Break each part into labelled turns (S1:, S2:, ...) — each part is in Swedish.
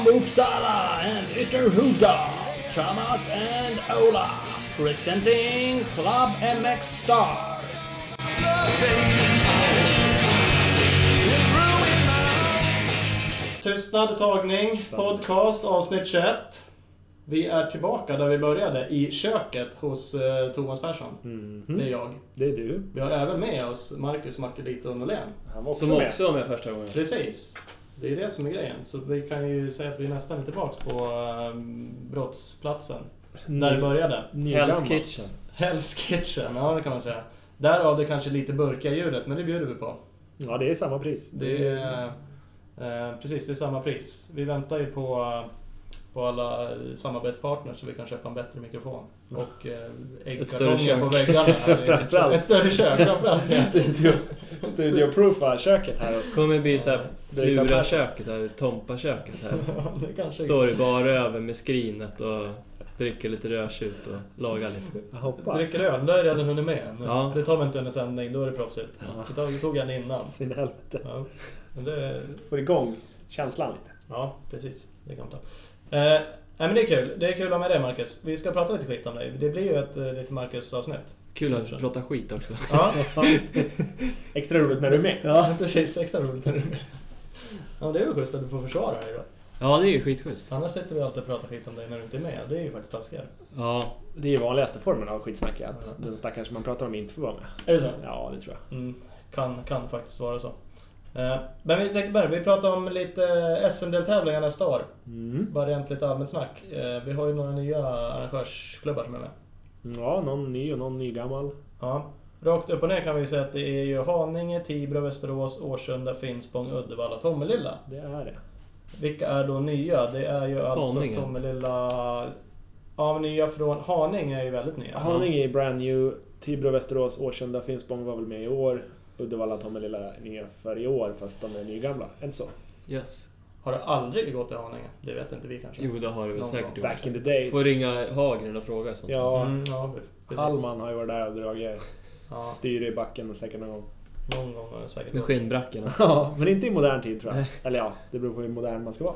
S1: Uppsala and Ytterhuda, Thomas and Ola, presenting Club MX Star.
S2: Tystnad, tagning, podcast avsnitt 21. Vi är tillbaka där vi började, i köket hos eh, Thomas Persson.
S3: Mm.
S2: Det är jag.
S3: Mhm. Det är du.
S2: Vi har även med oss Marcus Markelito Norlén.
S4: Han var också
S3: Som
S4: med.
S3: också var med första gången.
S2: Precis. Det är det som är grejen. Så vi kan ju säga att vi nästan är tillbaks på eh, brottsplatsen. Där det började.
S3: Hell's Kitchen.
S2: Hell's Kitchen, ja det kan man säga. Därav det kanske lite burkiga ljudet, men det bjuder vi på.
S3: Ja, det är samma pris.
S2: Det är, eh, precis, det är samma pris. Vi väntar ju på, eh, på alla samarbetspartners så vi kan köpa en bättre mikrofon. Och eh,
S3: större
S2: äggkartonger
S3: kök.
S2: på väggarna.
S3: Framförallt.
S2: Ett större kök framförallt. ja.
S3: Studio, studio proofa köket här också.
S4: Kommer bli såhär
S3: Det är klart.
S4: Plura-köket här, Tompa-köket här.
S2: Ja, det kanske
S4: Står i bara över med skrinet och dricker lite rödtjut och lagar lite.
S3: Jag hoppas.
S2: Dricker öl, då har jag redan hunnit med. Nu-
S4: Ja.
S2: Det tar vi inte under sändning, då är det proffsigt. Det tog- Det tog jag innan.
S3: Svin i helvete.
S2: Ja. Men det,
S3: Får igång känslan lite.
S2: ja, precis. Det kan man ta. Eh, nej, men det är kul. Det är kul att ha med dig Marcus. Vi ska prata lite skit om dig. Det blir ju ett eh, lite Marcus-avsnitt.
S4: Kul att prata skit också.
S2: Ja.
S3: Extra roligt när du är med.
S2: Ja, precis. Extra roligt när du är med. Ja, det är väl schysst att du får försvara dig då.
S4: Ja, det är ju skitschysst.
S2: Annars sitter vi alltid och pratar skit om dig när du inte är med. Det är ju faktiskt taskigare.
S4: Ja,
S3: Det är ju vanligaste formen av skitsnack att den stackaren som man pratar om inte får vara med.
S2: Är det så?
S3: Ja, det tror jag.
S2: Mm, kan, kan faktiskt vara så. Eh, Men vi tänkte börja. Vi pratar om lite SM-deltävlingar nästa år.
S3: Mm.
S2: Bara rent lite allmänt snack. Eh, Vi har ju några nya arrangörsklubbar som är med.
S3: Ja, någon ny och någon ny gammal.
S2: Ja. Rakt upp och ner kan vi säga att det är ju Haninge, Tibro, Västerås, Årsunda, Finspång, Uddevalla, Tommelilla.
S3: Det är det.
S2: Vilka är då nya? Det är ju alltså
S4: Haninge.
S2: Tommelilla... Ja, men nya från... Haninge är ju väldigt nya.
S3: Haninge är brand new. Tibro, Västerås, Årsunda, Finspång var väl med i år. Uddevalla, Tomelilla är nya för i år fast de är nygamla. Inte så?
S4: yes.
S2: Har det aldrig gått till Haninge? Det vet inte vi kanske.
S4: Jo, det har du väl
S2: Någon
S4: säkert
S2: gång.
S4: gjort.
S3: Back in the days.
S4: Får ringa Hagren och fråga sånt.
S3: Ja,
S2: Mm, ja, precis.
S3: Hallman har ju varit där och dragit
S2: Ja,
S3: styre i backen och säkert någon gång.
S2: någon gång har det säkert
S4: Med
S2: gått.
S4: skinnbrackorna.
S3: Ja, men inte i modern tid tror jag.
S4: Nej.
S3: Eller ja, det beror på hur modern man ska vara.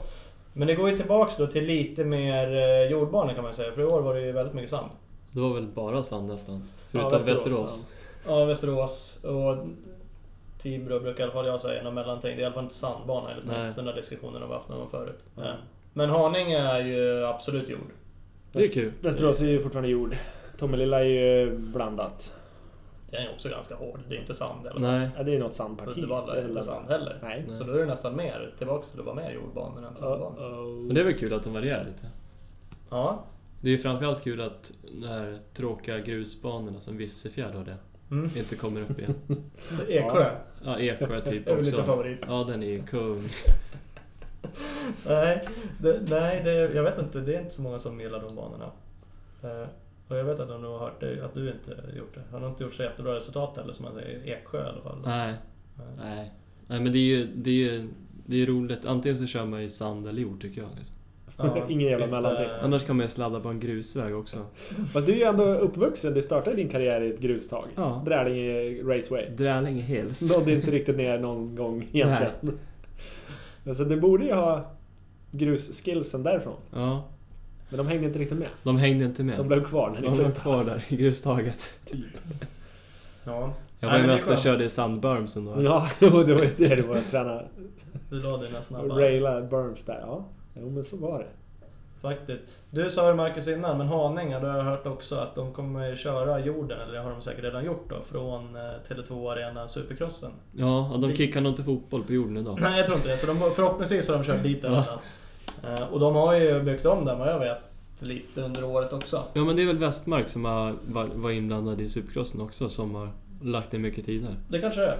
S2: Men det går ju tillbaks då till lite mer eh, jordbanor kan man säga. För i år var det ju väldigt mycket sand.
S4: Det var väl bara sand nästan. Förutom
S3: Ja,
S4: Västerås.
S2: Ja, Västerås och Tibro brukar i alla fall jag säga någon mellanting. Det är i alla fall inte sandbana enligt
S4: Nej.
S2: den där diskussionen de har haft någon gång förut.
S3: Mm.
S2: Eh, Men Haninge är ju absolut jord.
S4: Det är kul.
S3: Västerås är ju fortfarande jord. Tommelilla är ju blandat.
S2: Den är också ganska hård. Det är inte sand eller
S4: Nej.
S3: Ja, det är ju något sandparti.
S2: Uddevalla
S3: Det
S2: är
S3: väl
S2: inte
S3: det.
S2: sand heller.
S3: Nej.
S2: Så då är det nästan mer tillbaks till att vara mer jordbanor än sandbanor.
S3: Uh-oh.
S4: Men det är väl kul att de varierar lite.
S2: Ja.
S4: Det är ju framförallt kul att de här tråkiga grusbanorna som Vissefjärd har det,
S2: Mm.
S4: inte kommer upp igen.
S2: Eksjö.
S4: Ja, Eksjö typ
S2: Det är väl lite
S4: också.
S2: favorit.
S4: Ja, den är ju kung.
S2: Nej, det, nej det, jag vet inte. Det är inte så många som gillar de banorna. Eh, och jag vet att om du har hört det, att du inte gjort det. Har du inte gjort så jättebra resultat heller som man säger i Eksjö i alla fall?
S4: Nej.
S2: Nej.
S4: Nej. Nej, men det är ju, det är ju det är roligt. Antingen så kör man i sand eller jord tycker jag. liksom.
S3: Ingen jävla
S2: lite-
S3: mellanting.
S4: Annars kan man ju sladda på en grusväg också.
S3: Fast du är ju ändå uppvuxen. Du startade din karriär i ett grustag.
S4: Ja.
S3: Drälinge Raceway.
S4: Drälinge Hills.
S3: Nådde inte riktigt ner någon gång egentligen. Så du borde ju ha grusskillsen därifrån.
S4: Ja,
S3: Men de hängde inte riktigt med.
S4: de hängde inte med.
S3: De blev kvar när ni
S4: de typ blev
S3: flyttade.
S4: kvar där i grustaget.
S2: Ja.
S4: Jag
S2: Nej,
S4: var ju
S2: men det är
S4: mest och
S2: skönt.
S4: körde i sandbermsen då.
S3: Ja, jo, det var ju det du var träna.
S2: Du la dina snabba.
S3: Raila Burns där. Ja, jo, men så var det.
S2: Faktiskt. Du sa ju Marcus innan, men Haninge, då har jag hört också att de kommer köra jorden, eller det har de säkert redan gjort då, från eh, Tele2 Arena Supercrossen.
S4: Ja, och de kickar nog inte fotboll på jorden idag.
S2: Nej, jag tror inte det. Så de, förhoppningsvis har de kört dit den redan. Eh, Och de har ju byggt om den vad jag vet, lite under året också.
S4: Ja, men det är väl Westmark som har, var, var inblandad i Supercrossen också som har lagt ner mycket tid där.
S2: Det kanske det är.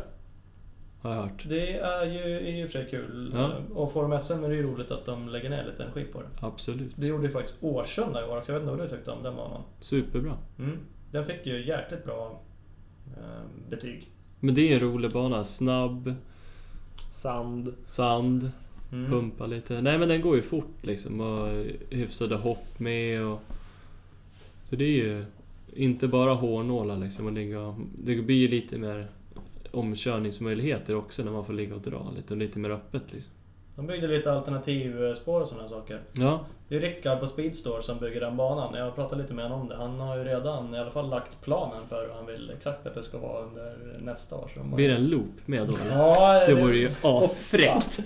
S4: Har jag hört.
S2: Det är ju i och för sig kul.
S4: Ja.
S2: Eh, Och Forum SM är det ju roligt att de lägger ner lite energi på det.
S4: Absolut.
S2: Det gjorde ju faktiskt Årsunda i år också. Jag vet inte vad du tyckte om den banan?
S4: Superbra.
S2: Mm. Den fick ju jäkligt bra eh, betyg.
S4: Men det är en rolig bana. Snabb,
S3: Sand.
S4: sand,
S2: Mm.
S4: pumpa lite. Nej men den går ju fort liksom och hyfsade hopp med och... Så det är ju inte bara hårnålar liksom och ligga... Det blir ju lite mer omkörningsmöjligheter också när man får ligga och dra lite och lite mer öppet liksom.
S2: De byggde lite alternativspår och sådana saker.
S4: Ja,
S2: Det är Rickard på Speedstore som bygger den banan. Jag har pratat lite med honom om det. Han har ju redan i alla fall lagt planen för hur han vill exakt att det ska vara under nästa år. Så de har-
S4: blir det en loop med då eller?
S2: Ja,
S4: Det vore ju asfräckt!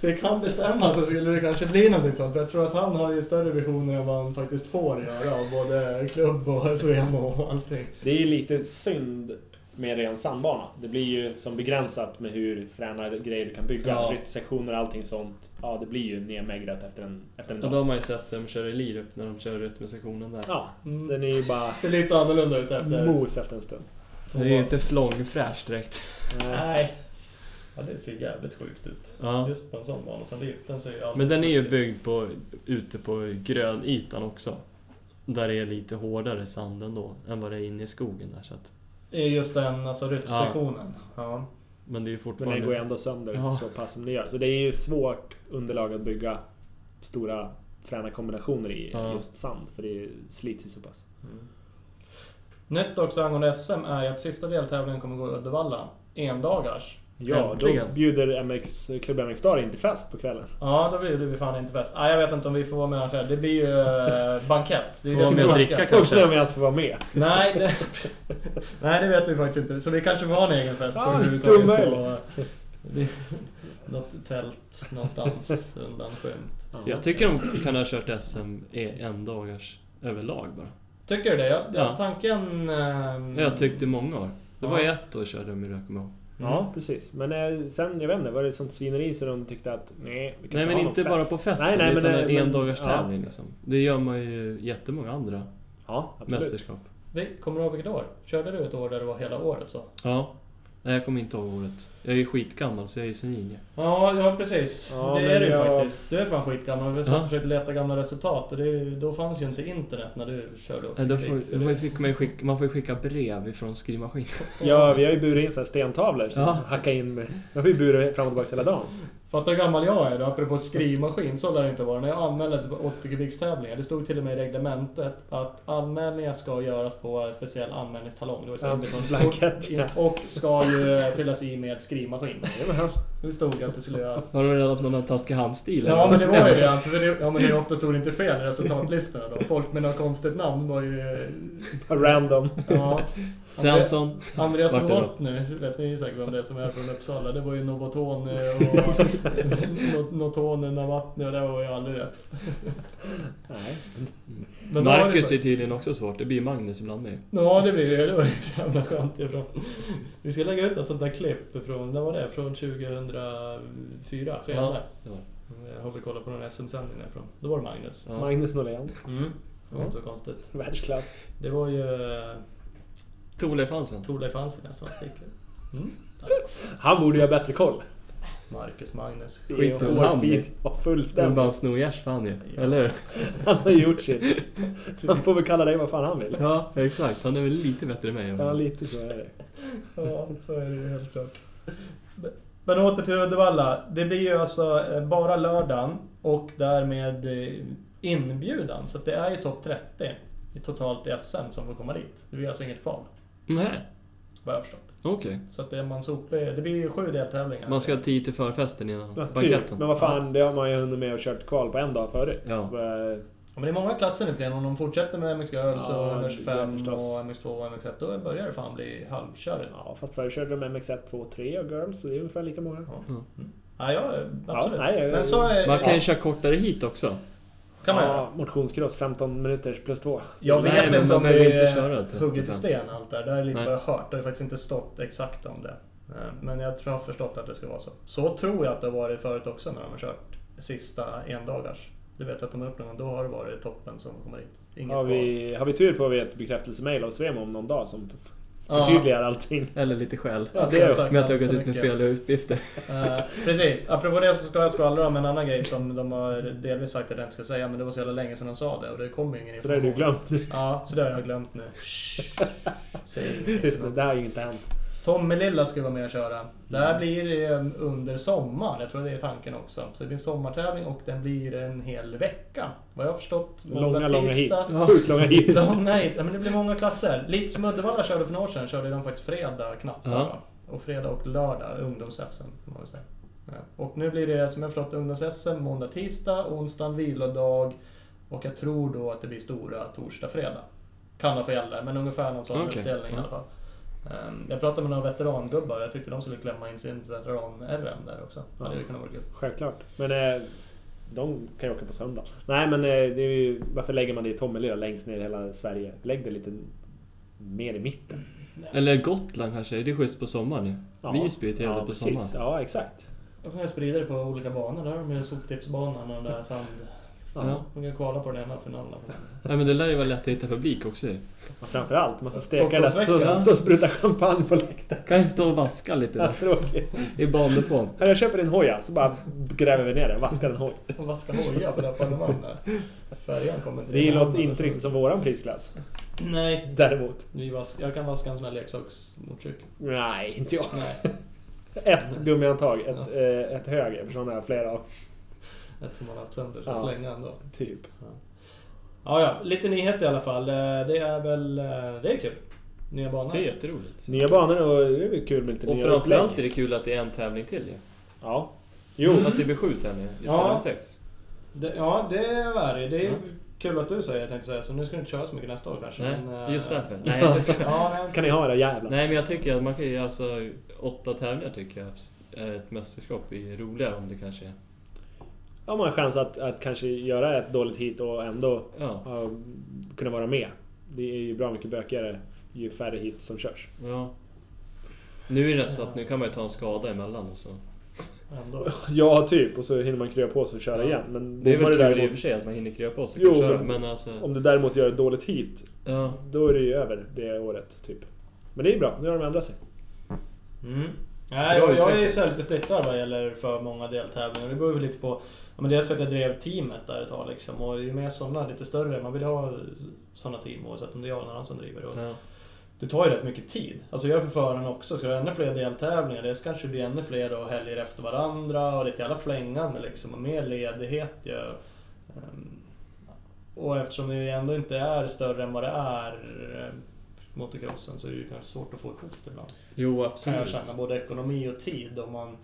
S2: Fick han bestämma så skulle det kanske bli någonting sånt. För jag tror att han har ju större visioner än vad han faktiskt får göra av både klubb och SVM och allting.
S3: Det är ju lite synd med ren sandbana. Det blir ju som begränsat med hur fräna grejer du kan bygga.
S4: Ja.
S3: Ryttsektioner och allting sånt. Ja, det blir ju nedmegrat efter en, efter en
S4: Och
S3: dag.
S4: då har man ju sett dem köra i Lirup när de kör ut med sektionen där.
S3: Ja,
S2: Mm.
S3: den är ju bara
S2: Ser lite annorlunda ut efter
S3: mos efter en stund.
S2: två
S4: Det är ju inte flångfräscht direkt.
S2: Nej. Ja, det ser jävligt sjukt ut.
S4: Ja.
S2: Just på en sån bana som Liv. Den ser ju alltid
S4: Men den är ju
S2: sjuk ut.
S4: byggd på, ute på grön ytan också. Där det är lite hårdare sand ändå än vad det är inne i skogen där. Så att,
S2: Det är just den, alltså ryttsektionen. Ja.
S4: men det är
S3: Men
S4: ju
S3: den
S4: fortfarande...
S3: går ju ändå sönder
S4: Ja.
S3: så pass som det gör. Så det är ju svårt underlag att bygga stora fräna kombinationer i
S4: Ja.
S3: just sand. För det slits ju så pass.
S2: Mm. Nytt också angående SM är ju att sista deltävlingen kommer gå i Uddevalla. Endagars.
S3: Ja, då
S4: Äntligen.
S3: bjuder MX, Klubb MX Star in till fest på kvällen.
S2: Ja, då blir det vi fan inte fest. Ah, jag vet inte om vi får vara med själv. Det blir ju eh, bankett. Det är
S4: Får vara
S2: som
S4: med och
S2: är
S4: dricka
S2: bankett.
S4: kanske?
S3: Kanske om jag ens får alltså vara med.
S2: Nej det, nej, det vet vi faktiskt inte. Så vi kanske får ha en egen fest.
S3: Ja,
S2: överhuvudtaget
S3: det är
S2: på-
S3: omöjligt.
S2: det- Något tält någonstans undanskymt.
S4: Jag tycker de kan ha kört SM i en dagars överlag bara.
S2: Tycker du det? Jag,
S4: Ja.
S2: Tanken...
S3: Mm.
S2: ehm,
S4: Jag tyckte i många år. Det var
S2: Ja.
S4: ju ett år körde de i Rökemo.
S3: Mm.
S2: mm.
S3: Ja, precis. Men eh, sen, jag vet inte, var det sånt svineri så de tyckte att nej, vi kan
S4: Nej men
S3: ha någon
S4: inte
S3: fest.
S4: bara på festen
S3: Nej, nej, men
S4: utan
S3: det-
S4: en
S3: men-
S4: endagars
S3: ja.
S4: tävling liksom. Det gör man ju i jättemånga andra
S3: Ja, absolut.
S4: mästerskap.
S2: vi- Kommer du ihåg vilket år? Körde du ett år där det var hela året så?
S4: Ja. Nej jag kommer inte ihåg året. Jag är ju skitgammal så jag är ju senil ju.
S2: Ja, ja precis.
S3: Ja,
S2: det
S3: men
S2: är du
S3: jag-
S2: faktiskt. Du är fan skitgammal. Vi satt
S4: Ja.
S2: och försökte leta gamla resultat och det, då fanns ju inte internet när du körde åt
S4: Nej, då
S2: Krik,
S4: får,
S2: så
S4: då
S2: det-
S4: får- fick man, ju skicka, man får ju skicka brev ifrån skrivmaskinen.
S3: Ja, vi har ju burit in så här stentavlor som
S4: Ja.
S3: hackar in med. De har ju burit fram och tillbaka hela dagen.
S2: Fatta hur gammal jag är då, apropå skrivmaskin. Så lär det inte vara. När jag anmälde till 80 kubikstävlingar, det stod till och med i reglementet att anmälningar ska göras på en speciell anmälningstalong. Det var
S3: Ja,
S2: ju så
S3: blankett, ja.
S2: Och ska ju fyllas i med skrivmaskin.
S3: Jajamän.
S2: Det stod att det skulle göras.
S4: Har de redan någon taskig handstil?
S2: Ja
S4: eller?
S2: men det var ju det. att- För det ja men det är ofta stod inte fel i resultatlistorna då. Folk med något konstigt namn var ju...
S3: Random.
S2: Ja.
S4: Svensson.
S2: Andreas
S4: Vart är det?
S2: Novot nu, vet ni säkert vem det är som är från Uppsala. Det var ju Novoton eh, och Noton Navatny och det var ju aldrig rätt.
S3: Nej.
S2: Men då har
S4: Marcus
S2: det-
S4: är tydligen också svårt. Det blir Magnus ibland med.
S2: Ja det blir det. Det var ju så jävla skönt ifrån. Vi ska lägga ut ett sånt där klipp från, när var det? Från 2004? Skene.
S4: det var det.
S2: Eh, Har vi kollat på någon SM-sändning därifrån. Då var det Magnus.
S4: Ja.
S3: Magnus Norén.
S2: Mm. Det var inte
S3: Ja.
S2: så konstigt.
S3: Världsklass.
S2: Det var ju eh,
S4: Torleif Hansen.
S2: Torleif Hansen som var speaker. Mm.
S3: Han borde ju ha bättre koll.
S2: Marcus, Magnus.
S3: Det är
S4: Skit i
S3: ju
S4: han.
S3: hårfint. Ja,
S4: Det är bara en
S3: fullständigt.
S4: snogärs för han ju. Eller hur?
S3: Han har gjort sitt. Han får väl kalla dig vad fan han vill.
S4: Ja, exakt. Han är väl lite bättre än mig.
S3: Ja, lite så är det.
S2: Ja, så är det ju helt klart. Men åter till Uddevalla. Det blir ju alltså eh, bara lördagen och därmed eh, inbjudan. Så att det är ju topp 30 i totalt i SM som får komma dit. Det blir alltså inget kval,
S4: Nej,
S2: vad jag har förstått.
S4: okej.
S2: Så att det, är man sopig, det blir ju sju deltävlingar.
S4: Man ska ha tid till förfesten innan
S3: Ja, typ.
S4: banketten.
S3: Men vad fan, det har man ju hunnit med och kört kval på en dag förut.
S4: Ja.
S3: Eh,
S2: Ja, Men det är många klasser nu för om de fortsätter med MX Girls
S3: Ja,
S2: och
S3: det är
S2: MX5
S3: förstås.
S2: och MX2 och MX1 då börjar det fan bli halvkörigt.
S3: Ja, fast förr körde de MX1, 2, 3 och Girls, så det är ungefär lika många.
S2: Ja.
S4: Mm.
S2: Ja, ja, absolut.
S3: nej, jag-
S2: Men så är,
S4: Man kan ju
S2: ja,
S4: köra kortare hit också.
S2: kan man göra.
S3: ja, motionscross 15 minuters plus 2.
S2: Jag
S4: Nej,
S2: vet
S4: men
S2: inte
S4: man
S2: om det
S4: behöver inte
S2: är
S4: köra till
S2: hugget i
S4: 35.
S2: sten allt det där. Det är lite
S4: Nej.
S2: vad jag har hört. Det har ju faktiskt inte stått exakt om det. Eh, Men jag tror jag har förstått att det ska vara så. Så tror jag att det har varit förut också när de har kört sista endagars. Du vet att de är uppe någon gång, då har det varit toppen som kommer hit. Inget
S3: Har
S2: val.
S3: vi, har vi tur får vi ett bekräftelsemail av Svemo om någon dag som
S2: Ja.
S3: förtydligar allting.
S4: Eller lite skäl.
S3: Ja, det är
S2: Exakt,
S4: Med att jag har
S2: så
S4: gått ut med
S2: mycket.
S4: fel uppgifter.
S2: Eh, precis. Apropå det så ska jag skvallra om en annan grej som de har delvis sagt att jag inte ska säga. Men det var så jävla länge sedan de sa det och det kom ingen
S3: Så det har du glömt.
S2: Ja, så det har jag glömt nu. Säg ingenting.
S3: Tyst nu, det här har ju inte hänt.
S2: Tommy Lilla ska vara med och köra. Det
S3: Mm.
S2: här blir eh, under sommaren, jag tror det är tanken också. Så det blir en sommartävling och den blir en hel vecka. Vad jag har förstått.
S3: Långa, långa hit.
S2: tisdag.
S4: Ja.
S3: Sjukt långa hit.
S2: Långa hit. Ja, men det blir många klasser. Lite som Uddevalla körde för några år sedan, körde de faktiskt fredag knattar.
S4: Ja.
S2: va? Och fredag och lördag, ungdoms-SM. får man väl säga. Och nu blir det som jag förstått ungdoms-SM måndag, tisdag, onsdag, vilodag. Och jag tror då att det blir stora torsdag, fredag. Kan ha fel där, men ungefär någon sån
S4: Okej,
S2: uppdelning i
S4: ja.
S2: alla fall. Ehm, Jag pratade med några veterangubbar, jag tyckte de skulle klämma in sin veteran-RM där också.
S3: Ja.
S2: Hade det kunnat vara kul.
S3: Självklart. Men eh, de kan ju åka på söndag. Nej men eh, det är ju, varför lägger man det i Tomelilla längst ner i hela Sverige? Lägg det lite mer i mitten.
S4: Eller Gotland kanske, det är schysst på sommaren ju.
S3: Ja.
S4: Visby är trevligt på
S3: precis.
S4: sommaren.
S3: Ja exakt.
S2: Då kan jag sprida det på olika banor. Där har de ju soptippsbanan och den där sand...
S3: Ja.
S4: Ja.
S2: Man kan kolla på den ena finalen.
S4: Nej men det lär ju vara lätt att hitta publik också ju.
S3: Och framförallt, man ska steka där så
S2: Stockholmsveckan.
S3: stå och spruta champagne på läktaren.
S4: Kan ju stå och vaska lite där,
S3: Tråkigt.
S4: i bandepån.
S3: Här, Jag köper en hoja, så bara gräver vi ner den, vaskar en hoj.
S2: Och vaska hoja på den panneman där. Färjan kommer inte
S3: Det
S2: in i
S3: låter
S2: handen.
S3: inte riktigt som våran prisklass.
S2: Nej.
S3: Däremot.
S2: Vi vas- jag kan vaska en sån här leksaksmotorcykel.
S3: Nej, inte jag.
S2: Nej.
S3: Ett gummihandtag, ett, eh, ett höger, eftersom jag har flera av.
S2: Ett som man har haft sönder. Så
S3: Ja.
S2: slänga ändå.
S3: Typ.
S2: Ja, ja. Lite nyheter i alla fall. Eh, Det är väl... eh, Det är kul. Nya banor.
S4: Det är jätteroligt.
S3: Nya banor och det är väl kul med lite
S4: Och
S3: nya
S4: framförallt är
S3: upplägg.
S4: det kul att det är en tävling till ju. Mm.
S3: Ja. typ,
S4: Jo, att det blir sju tävlingar istället
S2: Ja.
S4: för sex.
S2: Det, ja, det är det. Det är
S4: Mm.
S2: kul att du säger jag tänkte säga. Så nu ska du inte köra så mycket nästa år kanske.
S4: Nej,
S2: men, eh,
S4: just därför. Nej, jag skojar.
S2: Ja, nej.
S3: Kan ni ha era jävlar?
S4: Nej men jag tycker att man kan ju alltså, åtta tävlingar tycker jag är ett mästerskap är roligare om det kanske är.
S3: Har man en chans att, att kanske göra ett dåligt hit och ändå
S4: Ja,
S3: ja, kunna vara med. Det är ju bra mycket bökigare ju färre hit som körs.
S4: ja. Nu är det så att nu kan man ju ta en skada emellan och så.
S2: Ändå.
S3: Ja, typ. Och så hinner man krya på sig och köra
S2: Ja.
S3: igen. Men
S4: Det är väl
S3: bommar du
S4: kul i och för
S3: däremot,
S4: sig att man hinner krypa på sig
S3: Jo,
S4: och köra,
S3: men-
S4: men alltså...
S3: om du däremot gör ett dåligt hit,
S4: Ja.
S3: då är det ju över det året. Typ. Men det är ju bra, nu har de ändrat sig.
S2: Mm. Nej,
S4: Bra
S2: jag, jag är ju
S4: utveckling.
S2: så här lite splittrad vad gäller för många deltävlingar. Det beror ju lite på... Ja, men dels för att jag drev teamet där ett tag liksom. Och ju mer sådana, lite större. Man vill ha sådana team oavsett om det är jag eller någon annan som driver. Och
S4: ja.
S2: Det tar ju rätt mycket tid. Alltså jag är för föraren också. Ska du ha ännu fler deltävlingar, det ska kanske bli ännu fler då, helger efter varandra och det är ett jävla flängande liksom. Och mer ledighet ju. Ehm, Och eftersom det ändå inte är större än vad det är eh, motocrossen så är det ju kanske svårt att få ihop det ibland.
S4: Jo,
S2: Kan jag
S4: absolut.
S2: känna, både ekonomi och tid om man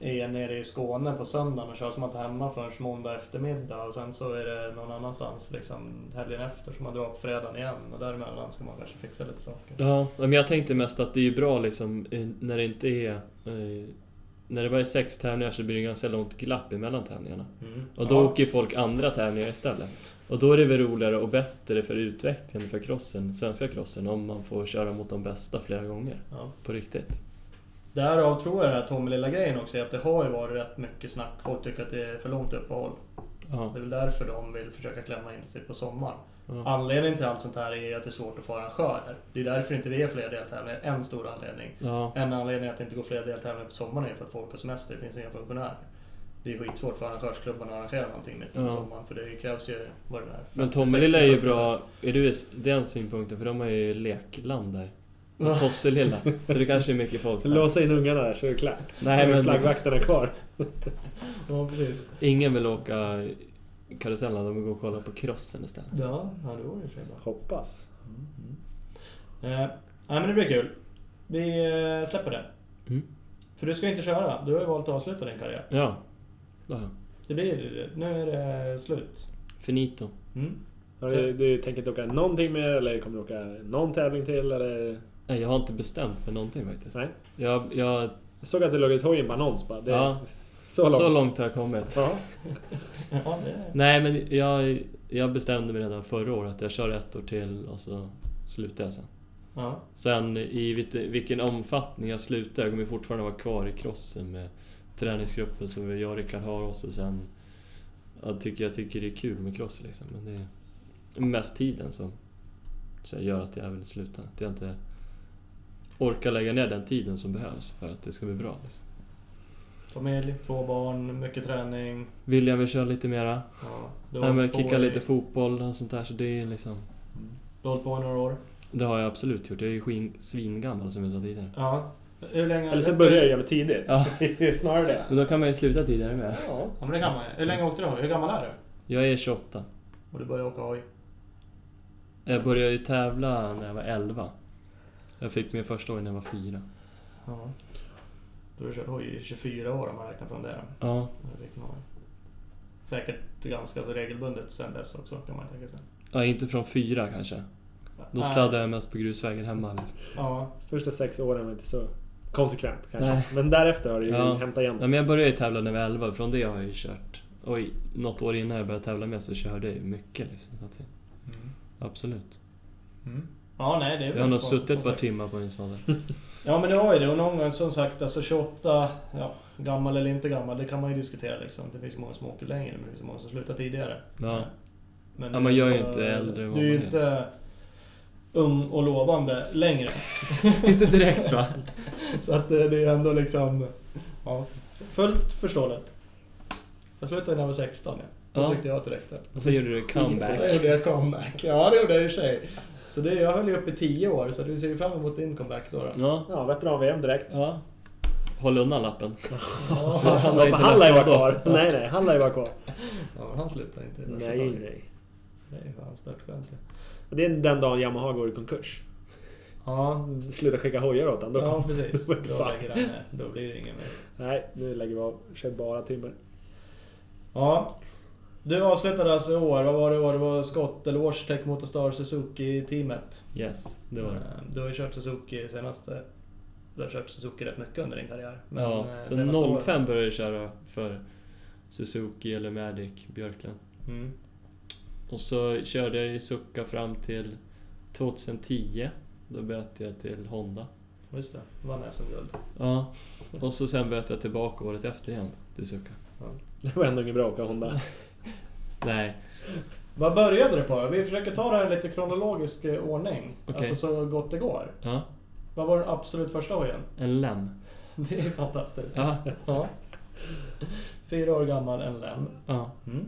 S2: är nere i Skåne på söndagen och kör som att hemma förrän måndag eftermiddag och sen så är det någon annanstans liksom helgen efter som man drar på fredagen igen och däremellan ska man kanske fixa lite saker.
S4: Ja, men jag tänkte mest att det är ju bra liksom eh, när det inte är... eh, När det bara är sex tävlingar så blir det ganska långt glapp emellan tävlingarna.
S2: Mm.
S4: Och då
S2: Ja.
S4: åker ju folk andra tävlingar istället. Och då är det väl roligare och bättre för utvecklingen för crossen, svenska crossen, om man får köra mot de bästa flera gånger.
S2: Ja.
S4: På riktigt.
S2: Därav tror jag den här Tommelilla grejen också är att det har ju varit rätt mycket snack. Folk tycker att det är för långt uppehåll.
S4: Ja.
S2: Det är väl därför de vill försöka klämma in sig på sommaren.
S4: ja.
S2: Anledningen till allt sånt här är att det är svårt att föra en skörd. Det är därför inte vi är fler deltävlingar. En stor anledning.
S4: ja.
S2: En anledning att det inte går fler deltävlingar på sommaren är för att folk har semester. Det finns inga funktionärer. Det är skitsvårt för arrangörsklubbarna att arrangera någonting mitt under
S4: Ja.
S2: sommaren. För det krävs ju... Vad det är,
S4: Men
S2: 56
S4: Tommelilla är ju
S2: minuter.
S4: bra, är du i den synpunkten, för de har ju lekland där. Och Tosselilla. Så det kanske är mycket folk där.
S3: Låsa in ungarna där så är det klart.
S4: Nej
S3: Då är
S4: men
S3: Flaggvakterna kvar.
S2: Ja, precis.
S4: ingen vill åka karusellen, de vill gå och kolla på crossen istället.
S2: Ja, ja det vore ju för bra.
S3: Hoppas.
S4: Mm,
S2: Eh, nej, men det blir kul. Vi eh, släpper det.
S4: Mm.
S2: För du ska inte köra. Du har ju valt att avsluta din karriär.
S4: Ja. ja.
S2: Det blir... Nu är det slut.
S4: Finito.
S2: Mm.
S3: Har du, du tänker inte åka någonting mer eller kommer du åka någon tävling till? Eller?
S4: Nej, jag har inte bestämt mig någonting faktiskt.
S3: Nej.
S4: Jag, jag,
S3: Jag såg att det låg ett hoj i en annons bara. Det,
S4: Ja.
S3: Så långt.
S4: Så långt har jag kommit.
S3: Ja.
S2: Ja, det...
S4: Nej, men jag, jag bestämde mig redan förra året att jag kör ett år till och så slutar jag sen.
S2: Ja.
S4: Sen i vilken- vilken omfattning jag slutar, jag kommer fortfarande vara kvar i crossen med träningsgruppen som jag och Rickard har och så sen... Jag tycker, jag tycker det är kul med cross liksom, men det är mest tiden som som gör att jag vill sluta. Att jag inte orkar lägga ner den tiden som behövs för att det ska bli bra. Liksom.
S2: Familj, två barn, mycket träning.
S4: William vill köra lite mera.
S2: Ja, du har
S4: Nej, men
S2: hållit på
S4: kicka
S2: i-
S4: lite fotboll och sånt där, så det är liksom...
S2: Du har hållit på i några år.
S4: Det har jag absolut gjort. Jag är ju skin- svingammal som jag sa tidigare.
S2: Ja. Hur länge...
S3: Eller så börjar jag jävligt tidigt.
S4: Ja.
S3: Det är Snarare det.
S4: Men då kan man ju sluta tidigare med.
S3: Ja.
S2: Ja men det kan man ju. Hur länge åkte du hoj? Hur gammal är du?
S4: Jag är 28.
S2: Och du började åka hoj?
S4: Jag började ju tävla när jag var 11. Jag fick min första hoj när jag var 4.
S2: Ja. Då har du kört hoj i 24 år om man räknar från det.
S4: Ja.
S2: Det fick man. Säkert ganska så regelbundet sen dess också kan man tänka sig.
S4: ja, inte från fyra kanske. Då
S2: Nej.
S4: sladdade jag mest på grusvägen hemma. Liksom.
S2: Ja,
S3: Första sex åren var inte så konsekvent kanske.
S4: Nej.
S3: Men därefter har du ju
S4: Ja.
S3: hämtat igen.
S4: Ja, men jag började ju tävla när jag var 11 från det har jag ju kört. Och i- något år innan jag började tävla med så körde jag ju mycket. Liksom. Så att, det-
S2: Mm.
S4: absolut.
S2: ja nej det är väl
S4: Jag har nog
S2: inte konstigt,
S4: suttit
S2: som
S4: ett par
S2: sagt.
S4: timmar på en sån där.
S2: Ja men det har ju det och någon gång som sagt alltså 28, ja, gammal eller inte gammal, det kan man ju diskutera liksom. Det finns många som åker längre men det finns många som slutar tidigare.
S4: Ja.
S2: Men
S4: Ja, man gör ju
S2: eh,
S4: inte äldre än
S2: Du
S4: vad
S2: är ju
S4: man är.
S2: inte ung och lovande längre.
S4: Inte direkt va?
S2: Så att eh, det är ändå liksom... Ja, fullt förståeligt. Jag slutade när jag var 16. Ja. Då
S4: Ja.
S2: tyckte jag att det räckte.
S4: Och så gjorde du
S2: Så
S4: comeback.
S2: gjorde jag comeback. Ja, det gjorde jag i och för sig. Så det, jag höll ju upp i 10 år, så du ser ju fram emot din comeback då. då.
S4: Ja.
S3: Ja, veteran-VM direkt.
S4: ja. Håll undan lappen.
S2: Ja.
S4: Han
S3: Han
S4: har
S3: har
S4: inte
S3: han lär ju vara
S4: lagt
S3: kvar. Nej, nej, han lär ju vara kvar.
S2: ja, men han slutar inte.
S3: Nej, nej.
S2: Det är ju fan störtskönt det.
S3: Och Det är den dagen Yamaha går i konkurs.
S2: Ja,
S3: Sluta skicka hojar åt honom.
S2: ja precis.
S3: Då, vet
S2: Då
S3: fan.
S2: lägger han ner. Då blir det ingen mer.
S3: Nej, nu lägger vi av. Kör bara timmer.
S2: Ja. Du avslutade alltså i år, vad var det i år? Det var Scott eller Wash Tech Motostar Suzuki-teamet.
S4: Yes, det var det.
S2: Eh, Du har ju kört Suzuki senaste... Du har kört Suzuki rätt mycket under din karriär. Men, eh,
S4: Ja,
S2: senaste
S4: så
S2: åren-
S4: 05 började jag köra för Suzuki eller Matic Björklund.
S2: Mm.
S4: Och så körde jag i Succa fram till 2010. Då bytte jag till Honda.
S2: Just det, vann SM-guld.
S4: Ja. Och så sen bytte jag tillbaka året efter igen till Succa.
S3: Det var ändå inget bra att åka Honda.
S4: Nej,
S2: Vad började du på? Vi försöker ta det här i lite kronologisk eh, ordning.
S4: Okej.
S2: Alltså så gott det går.
S4: ja.
S2: Vad var den absolut första hojen?
S4: En lem.
S2: Det är fantastiskt.
S4: Ja.
S2: Ja. Fyra år gammal, en lem.
S4: ja.
S2: Mm.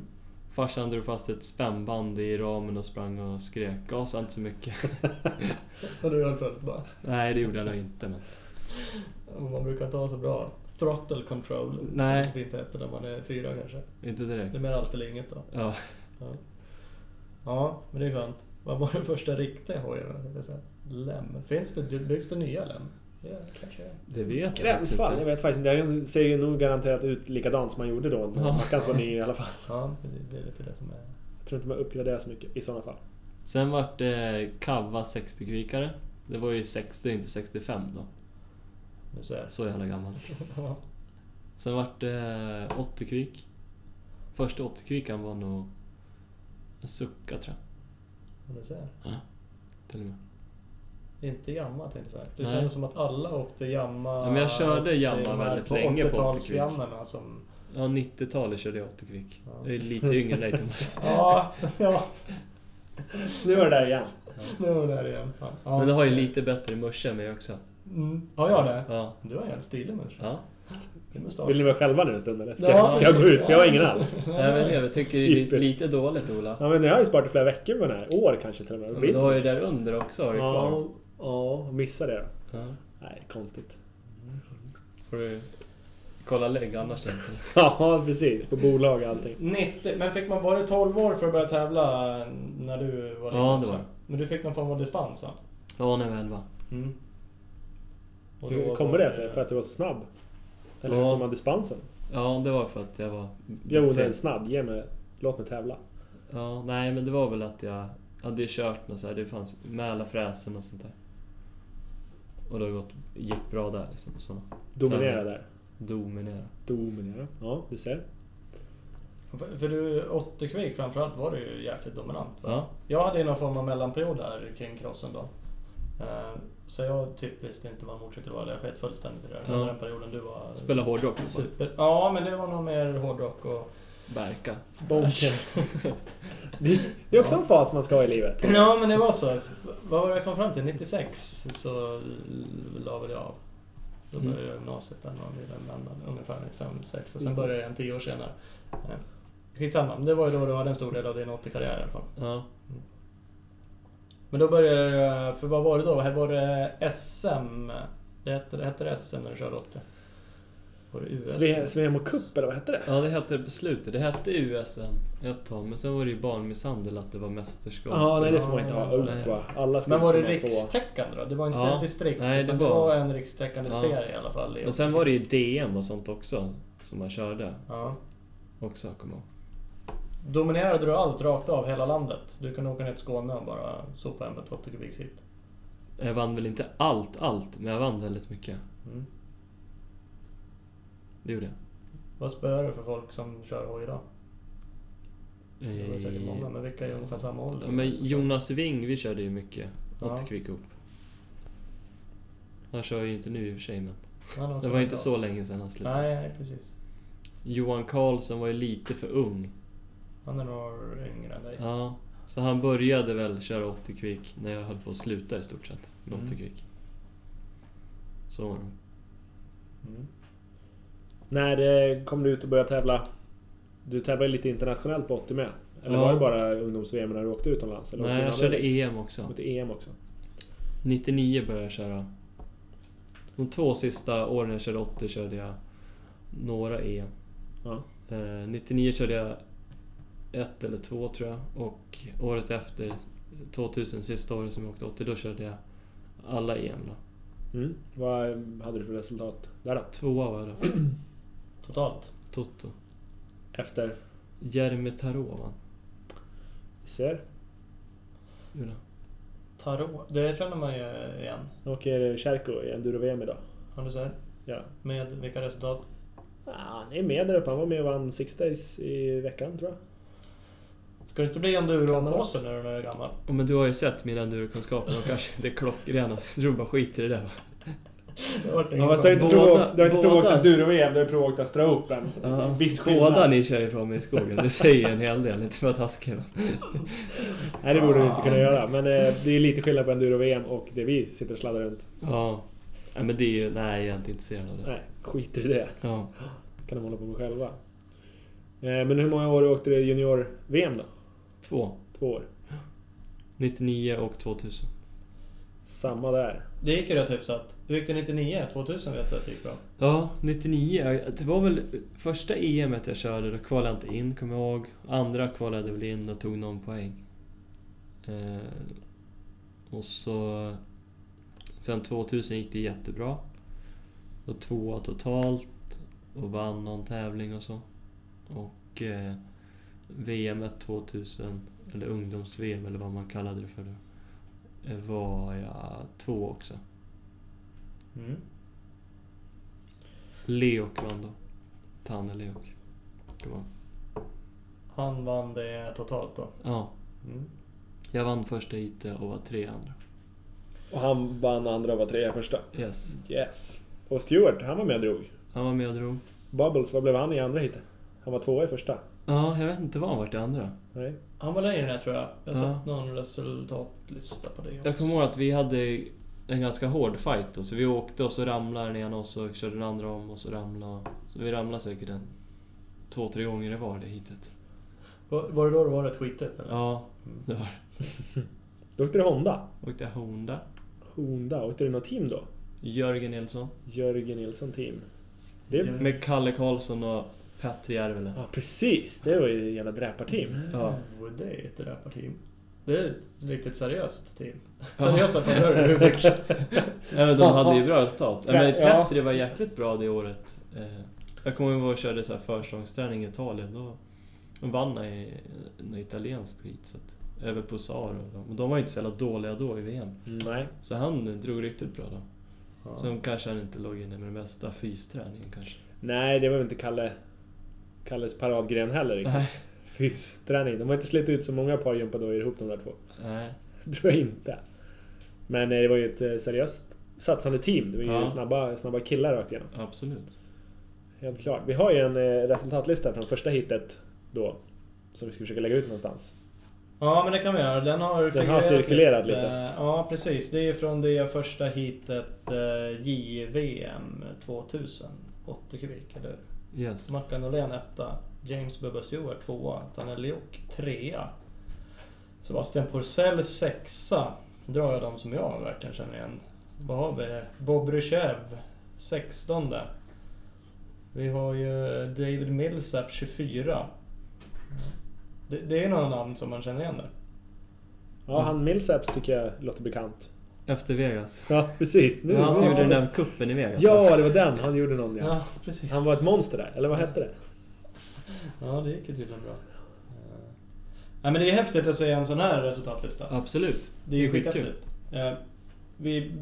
S4: Farsan drog fast ett spännband i ramen och sprang och skrek. Gasa inte så mycket.
S2: Och du höll fullt bara.
S4: Nej, det gjorde jag nog inte. Men...
S2: Och Man brukar inte ha så bra throttle control.
S4: Nej.
S2: Som det inte heter när man är fyra kanske.
S4: Inte direkt.
S2: Det blir alltid eller inget då.
S4: Ja.
S2: Ja. ja, men det är skönt. Vad var den första riktiga hojen? Jag tänkte säga, Lem. Finns det, byggs det nya lem? Ja, kanske.
S4: Det vet jag faktiskt
S3: Gränsfall? Jag
S4: inte.
S3: vet faktiskt inte. Jag ser ju nog garanterat ut likadant som man gjorde då.
S4: Ja.
S3: Mackan var ny i alla fall.
S2: Ja, det- det är lite det som är...
S3: Jag tror inte man uppgraderar så mycket i sådana fall.
S4: Sen vart det Kava 60-kvikare. Det var ju 60, inte 65 då.
S2: Nu så här.
S4: Så jävla gammal.
S2: Ja.
S4: Sen vart det 80-kvik. Första 80-kvikan var nog en sucka tror jag.
S2: Nu så här.
S4: Till och med.
S2: Inte Yamaha tänkte jag säga. Det
S4: Nej.
S2: kändes som att alla åkte Yamaha...
S4: Ja, men jag körde Yamaha
S2: de här
S4: väldigt länge på
S2: 80-tals
S4: 80-kvik.
S2: Yamaha som...
S4: Ja, 90-talet körde jag 80-kvik.
S2: Ja.
S4: Jag är lite yngre än dig Thomas.
S2: Ja, ja.
S3: Nu var det där igen.
S2: Nu var det där igen. Fan. Ja.
S4: Men det har ju lite bättre musche med också.
S2: Mm. Har jag det?
S4: Ja.
S2: Du har en jävligt stilig mustasch.
S4: ja.
S2: Det är mustasch.
S3: Vill ni vara själva nu en stund eller? Ska,
S2: Ja,
S3: ska jag gå ut? För jag har ingen
S2: ja.
S3: alls.
S4: Jag, vet, inte, jag tycker det är
S3: Typiskt.
S4: lite dåligt Ola.
S3: Ja men jag har ju sparat i flera veckor på den här. År kanske till och med.
S4: Ja, Men du har ju där under också har du kvar.
S3: Ja, ja, missa det då.
S4: Ja.
S3: Nej, konstigt.
S4: Får du kolla lägg annars inte.
S3: Ja, precis. På bolag och allting.
S2: 90, men fick man, var det 12 år för att börja tävla när du var liten
S4: Ja, det
S2: också?
S4: var det.
S2: Men du fick någon form av dispens va?
S4: Ja, när jag var 11.
S2: Mm. Och då
S3: Hur
S2: var
S3: kommer det sig? För att du var så snabb? Eller hur
S4: Ja.
S3: får man dispensen?
S4: Ja, det var för att jag var...
S3: Jag är onödigt snabb. Ge mig... Låt mig tävla.
S4: Ja, nej men det var väl att jag hade kört något så här, det fanns Mälarfräsen och sånt där. Och det har gått, gick bra där liksom. och Såna.
S3: Dominera där.
S4: Dominera.
S3: Dominera. Ja, du ser.
S2: För, för du, 80 kvik framförallt var du ju jäkligt dominant. va?
S4: Ja.
S2: Jag hade ju någon form av mellanperiod där kring crossen då. Eh, Så jag typ visste inte vad en motorcykel var, eller jag sket fullständigt i det.
S4: Ja.
S2: Under den perioden du var...
S4: Spela hårdrock. bara.
S2: Super. Ja, men det var nog mer hårdrock och...
S4: Berka.
S3: Sponken. Det det är också en fas man ska ha i livet.
S2: Ja, men det var så. Alltså, Vad var det jag kom fram till? 96 så la väl jag av. Då
S4: Mm.
S2: började jag gymnasiet där någon vid den vändan, ungefär 95, 6
S4: Mm.
S2: och sen började jag igen 10 år senare. Eh, Skitsamma, men det var ju då du hade en stor del av din 80-karriär i alla fall.
S4: Ja.
S2: Men då började jag, för vad var det då? Här var det SM? Det hette, det hette SM när du körde 80? Var det US?
S3: Sve- Svemo Cup eller vad hette det?
S4: Ja, det hette det på slutet. Det hette USM ett tag, men sen var det ju barnmisshandel att det var mästerskap.
S3: Ja, nej det får man inte ha.
S4: Nej.
S3: Ulf va? Alla skulle
S2: Men var det
S3: kunna få-
S2: rikstäckande då? Det var inte
S4: Ja.
S2: ett distrikt?
S4: Nej, det
S2: utan
S4: var-
S2: en rikstäckande
S4: Ja.
S2: serie i alla fall. i-
S4: Men sen var det ju DM och sånt också, som man körde
S2: Ja.
S4: också, kommer jag ihåg.
S2: Dominerade du allt rakt av, hela landet? Du kunde åka ner till Skåne och bara sopa hem ett 80 kubiks hit.
S4: Jag vann väl inte allt, allt, men jag vann väldigt mycket.
S2: Mm.
S4: Det gjorde jag.
S2: Vad spöar du för folk som kör hoj idag? Det var säkert många, men vilka är ungefär samma ålder? Alltså,
S4: Ja, Eh, men Jonas Wing, vi körde ju mycket.
S2: Ja.
S4: 80 Quick Hoop. Han kör ju inte nu i och för sig, men
S2: Han har också
S4: det var inte
S2: bra.
S4: så länge sedan han slutade.
S2: Nej, nej, precis.
S4: Johan Karlsson var ju lite för ung.
S2: Han är några yngre än dig.
S4: Ja, så han började väl köra 80 Quick när jag höll på att sluta i stort sett med 80
S2: Mm.
S4: Quick. Så var det.
S2: Mm.
S3: När eh, kom du ut och började tävla? Du tävlade lite internationellt på 80 med? Eller
S4: Ja.
S3: var det bara ungdoms-VM när du åkte utomlands? Eller åkte
S4: Nej,
S3: du
S4: jag
S3: andra
S4: körde E
S3: race?
S4: EM också.
S3: Åkte EM E också?
S4: 99 började jag köra. De två sista åren jag körde 80 körde jag några EM.
S3: Ja.
S4: Eh, 99 körde jag ett eller två tror jag och året efter, 2000, sista året som jag åkte 80, då körde jag alla EM då.
S3: Mm. Vad hade du för resultat där då?
S4: Tvåa var jag då,
S2: Totalt.
S4: Toto.
S3: Efter?
S4: Jeremy Tarot vann,
S3: Ser?
S4: gjorde han.
S2: Tarot, det känner man ju igen.
S3: Nu åker Kärko i enduro-VM idag.
S2: Har du sett?
S3: Ja.
S2: Med vilka resultat?
S3: Ah, han är med där uppe. Han var med och vann Six Days i veckan tror jag.
S2: Ska du inte bli enduropåse nu när du är gammal?
S4: Ja, men du har ju sett mina endurokunskaper, de kanske inte är klockrena så jag tror bara skiter i det. Va?
S3: Ja, fast du har inte
S4: Båda-
S3: provåkt- du har inte
S4: båda.
S3: provåkt enduro-VM, du har provåkt Astra Open. Viss skillnad.
S4: Båda ni kör ifrån mig i skogen, det säger en hel del, inte för att taskig. va?
S3: Nej, det borde du inte kunna göra. Men eh, det är lite skillnad på enduro-VM och det vi sitter och sladdar runt.
S4: Ja. Nej men det är ju, nej jag är inte intresserad av det.
S3: Nej, skiter i det.
S4: Ja.
S3: Kan de hålla på med själva. Eh, men hur många år åkte du junior-VM då?
S4: Två.
S3: Två år.
S4: 99 och 2000.
S3: Samma där.
S2: Det gick ju rätt hyfsat. Hur gick det 99? 2000 vet jag att det gick bra.
S4: Ja, 99. Det var väl första EMet jag körde, då kvalade jag inte in kommer jag ihåg. Andra kvalade jag väl in och tog någon poäng. Eh, och så... Sen 2000 gick det jättebra. Och tvåa totalt och vann någon tävling och så. Och eh, VM 2000, eller ungdoms-VM eller vad man kallade det för då, eh, var jag två också.
S2: Mm.
S4: Leok vann då. Tanne Leok. Kommer jag ihåg.
S2: Han vann det totalt då.
S4: Ja,
S2: Mm.
S4: jag vann första IT och var tre andra.
S3: Och han vann andra och var trea första.
S4: Yes.
S3: Mm. Yes. Och Stewart, han var med och drog.
S4: Han var med och drog.
S3: Bubbles, vad blev han i andra heatet? Han var tvåa i första.
S4: Ja, jag vet inte vad han vart i andra.
S3: Nej.
S2: Han var längre än jag tror jag. Jag har
S4: Ja.
S2: sett någon resultatlista på det också.
S4: Jag kommer ihåg att vi hade en ganska hård fight då, så vi åkte och så ramlade den ena och så körde den andra om och så ramlade... Så vi ramlade säkert en... Två, tre gånger det var det hitet.
S2: Var, var det då det var rätt skitigt eller?
S4: Ja,
S2: Mm.
S4: det var det.
S3: Då åkte du Honda.
S4: Åkte jag Honda.
S3: Honda, åkte du något team då?
S4: Jörgen Nilsson.
S3: Jörgen Nilsson team. Det...
S2: Jörgen.
S4: Med Kalle Karlsson och Petri Järvelen.
S3: Ja, precis. Det var ju ett jävla dräparteam.
S4: Ja.
S2: Oh, det är ett röparteam. Det är ett riktigt seriöst team. Seriösa chaufförer i Rubik.
S4: Nej, men de hade ju bra resultat. Nej, men
S3: Ja.
S4: Petri var jäkligt bra det året. Eh, Jag kommer ihåg att jag körde så här försäsongsträning i Italien. Då de vann jag i något italienskt skit. Så att, över Posaro. och de- Och de var ju inte så jävla dåliga då i VM.
S3: Mm, Nej.
S4: Så han drog riktigt bra då.
S2: Ja.
S4: Sen kanske han inte låg inne med den bästa fysträningen kanske.
S3: Nej, det var väl inte Kalle, Kalles paradgren heller riktigt.
S4: Nej.
S3: Fysträning. De har inte slitit ut så många par gympadojor ihop de där två.
S4: Nej.
S3: tror jag inte. Men eh, det var ju ett eh, seriöst satsande team. Det var ju
S4: Ja.
S3: snabba, snabba killar rakt igenom.
S4: Absolut.
S3: Helt klart. Vi har ju en eh, resultatlista från första hitet då. Som vi ska försöka lägga ut någonstans.
S2: Ja, men det kan vi göra. Den har,
S3: Den har
S2: figurerat
S3: cirkulerat lite.
S2: Ja, precis. Det är från det första heatet eh, JVM 2000. 80 kubik, eller hur?
S4: Yes.
S2: Mackan Norlén etta. James Bubba Stewart tvåa. Daniel Leok trea. Sebastian Porcell sexa. Nu drar jag de som jag verkligen känner igen. Vad har vi? Bob Rychev, 16. Vi har ju David Millsap 24. Det, det är några namn som man känner igen där.
S3: Ja, han Millsaps tycker jag låter bekant.
S4: Efter Vegas.
S3: Ja, precis. Nu,
S4: Det var han som
S3: ja,
S4: gjorde den där kuppen i Vegas va?
S3: Ja, det var den. Han gjorde någon ja.
S2: Ja, precis.
S3: Han var ett monster där. Eller vad hette det?
S2: Ja, det gick ju tydligen bra. Eh, Nej, men det är häftigt att se en sån här resultatlista.
S4: Absolut.
S2: Det är ju skithäftigt. Eh, Vi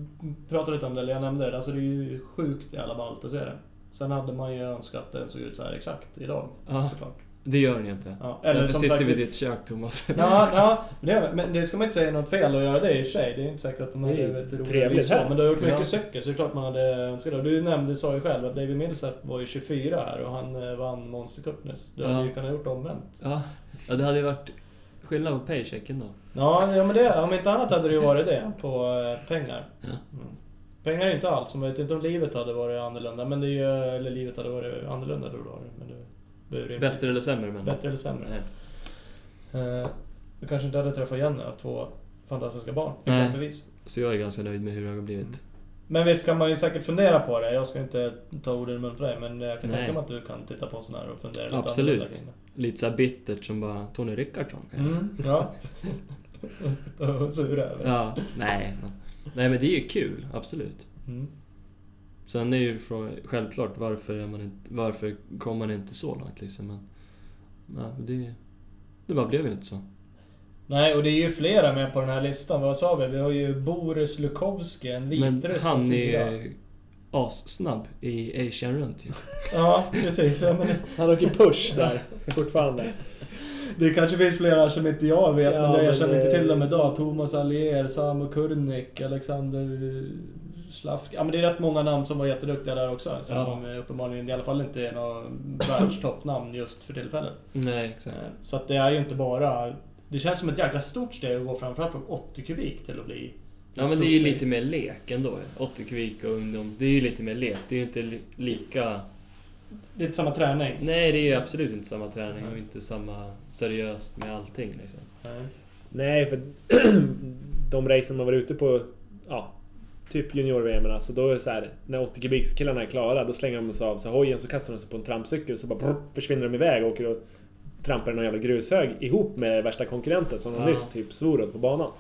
S2: pratade lite om det, eller jag nämnde det. Alltså det är ju sjukt jävla ballt att se det. Sen hade man ju önskat att det såg ut så här exakt idag.
S4: Ja.
S2: Såklart.
S4: Det gör den ju inte.
S2: Ja, eller
S4: Därför
S2: som
S4: sitter
S2: sagt-
S4: vi i ditt kök Thomas.
S2: Ja, ja men, det, men det ska man inte säga något fel att göra det i och för sig. Det är inte säkert att de
S3: Det
S2: hade
S3: är
S2: varit roliga
S3: trevligt
S2: lyssnare,
S3: här.
S2: Men det har gjort mycket
S4: Ja.
S2: söker så det är klart man hade önskat det. Du nämnde, sa ju själv att David Millsap var ju 24 här och han eh, vann Monster Cup nyss. Du hade
S4: Ja.
S2: ju kunnat gjort omvänt.
S4: Ja, ja det hade ju varit skillnad på paychecken då.
S2: Ja, ja men det, om inte annat hade det ju varit det på eh, pengar.
S4: Ja.
S2: Mm. Pengar är inte allt, som jag vet inte om livet hade varit annorlunda. Men det är ju, eller livet hade varit annorlunda då. då men det behöver inte-
S4: Bättre eller sämre men.
S2: Bättre eller sämre.
S4: Nej.
S2: Eh, du kanske inte hade träffat Jenny, haft två fantastiska barn
S4: Nej.
S2: exempelvis.
S4: Så jag är ganska nöjd med hur det har blivit.
S2: Mm. Men visst kan man ju säkert fundera på det. Jag ska inte ta orden i munnen på dig, men jag kan
S4: Nej.
S2: tänka mig att du kan titta på en sån här och fundera lite
S4: Absolut.
S2: annorlunda kring
S4: Lite såhär bittert som bara Tony Rickardsson
S2: det.
S4: kanske.
S2: Mm, ja. Och sitta och sura över det.
S4: Ja, nej. men- Nej men det är ju kul, absolut.
S2: Mm.
S4: Sen är ju frågan, självklart varför, är man inte, varför kom man inte så långt liksom. Men, nej, men det, det bara blev ju inte så.
S2: Nej, och det är ju flera med på den här listan. Vad sa vi? Vi har ju Boris Lukowski, en
S4: Men
S2: vitryss. och
S4: han
S2: fyra. Mm.
S4: är assnabb i Asian typ. runt ju.
S2: Ja, precis. Ja, men det,
S3: Han åker push där. Fortfarande.
S2: det kanske finns flera som inte jag vet,
S3: Ja,
S2: men det
S3: men
S2: jag känner
S3: det-
S2: inte till dem idag. Thomas Allier, Samu Kurnik, Alexander Slafka. Ja, men det är rätt många namn som var jätteduktiga där också. Som
S4: Ja.
S2: eh, uppenbarligen i alla fall inte är några världstoppnamn just för tillfället.
S4: Nej, exakt.
S2: Eh, Så att det är ju inte bara... Det känns som ett jäkla stort steg att gå framförallt från 80 kubik till att bli...
S4: Ja men det är ju lite mer lek ändå. 80 kvik och ungdom, det är ju lite mer lek. Det är ju inte li- lika...
S2: Det är inte samma träning.
S4: Nej, det är ju absolut inte samma träning och inte samma seriöst med allting liksom.
S2: Nej.
S3: Nej, för de racen man var ute på, ja, typ junior-VM, alltså då är det så här, när 80 kubikskillarna är klara, då slänger de sig av sig hojen, så kastar de sig på en trampcykel, så bara brr, försvinner de iväg och åker och trampar i någon jävla grushög ihop med värsta konkurrenten som de
S4: Ja.
S3: nyss typ svor åt på banan.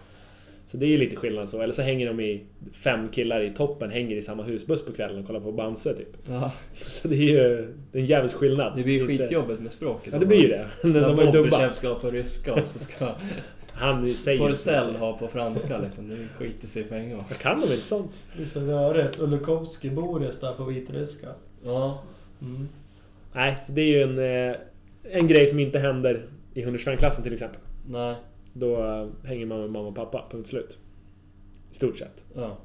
S3: Så det är ju lite skillnad så, eller så hänger de i, fem killar i toppen hänger i samma husbuss på kvällen och kollar på Bamse typ.
S4: Ja,
S3: Så det är ju det är en jävels skillnad.
S4: det blir ju
S3: Inte-
S4: skitjobbigt med språket.
S3: Ja det blir ju det. De
S4: När
S3: har ju dubbat.
S4: Bobbychev ska ha på ryska och så ska
S3: Han säger
S4: Forsell ha på franska liksom. Det skiter sig på en gång.
S3: Kan de inte sånt?
S2: Det är så rörigt. Och Lukowski Boris där på vitryska.
S4: Ja.
S2: Mm.
S3: Nej, så det är ju en, eh, en grej som inte händer i 125-klassen till exempel.
S4: Nej.
S3: Då eh, hänger man med mamma och pappa, punkt slut. I stort sett.
S4: Ja.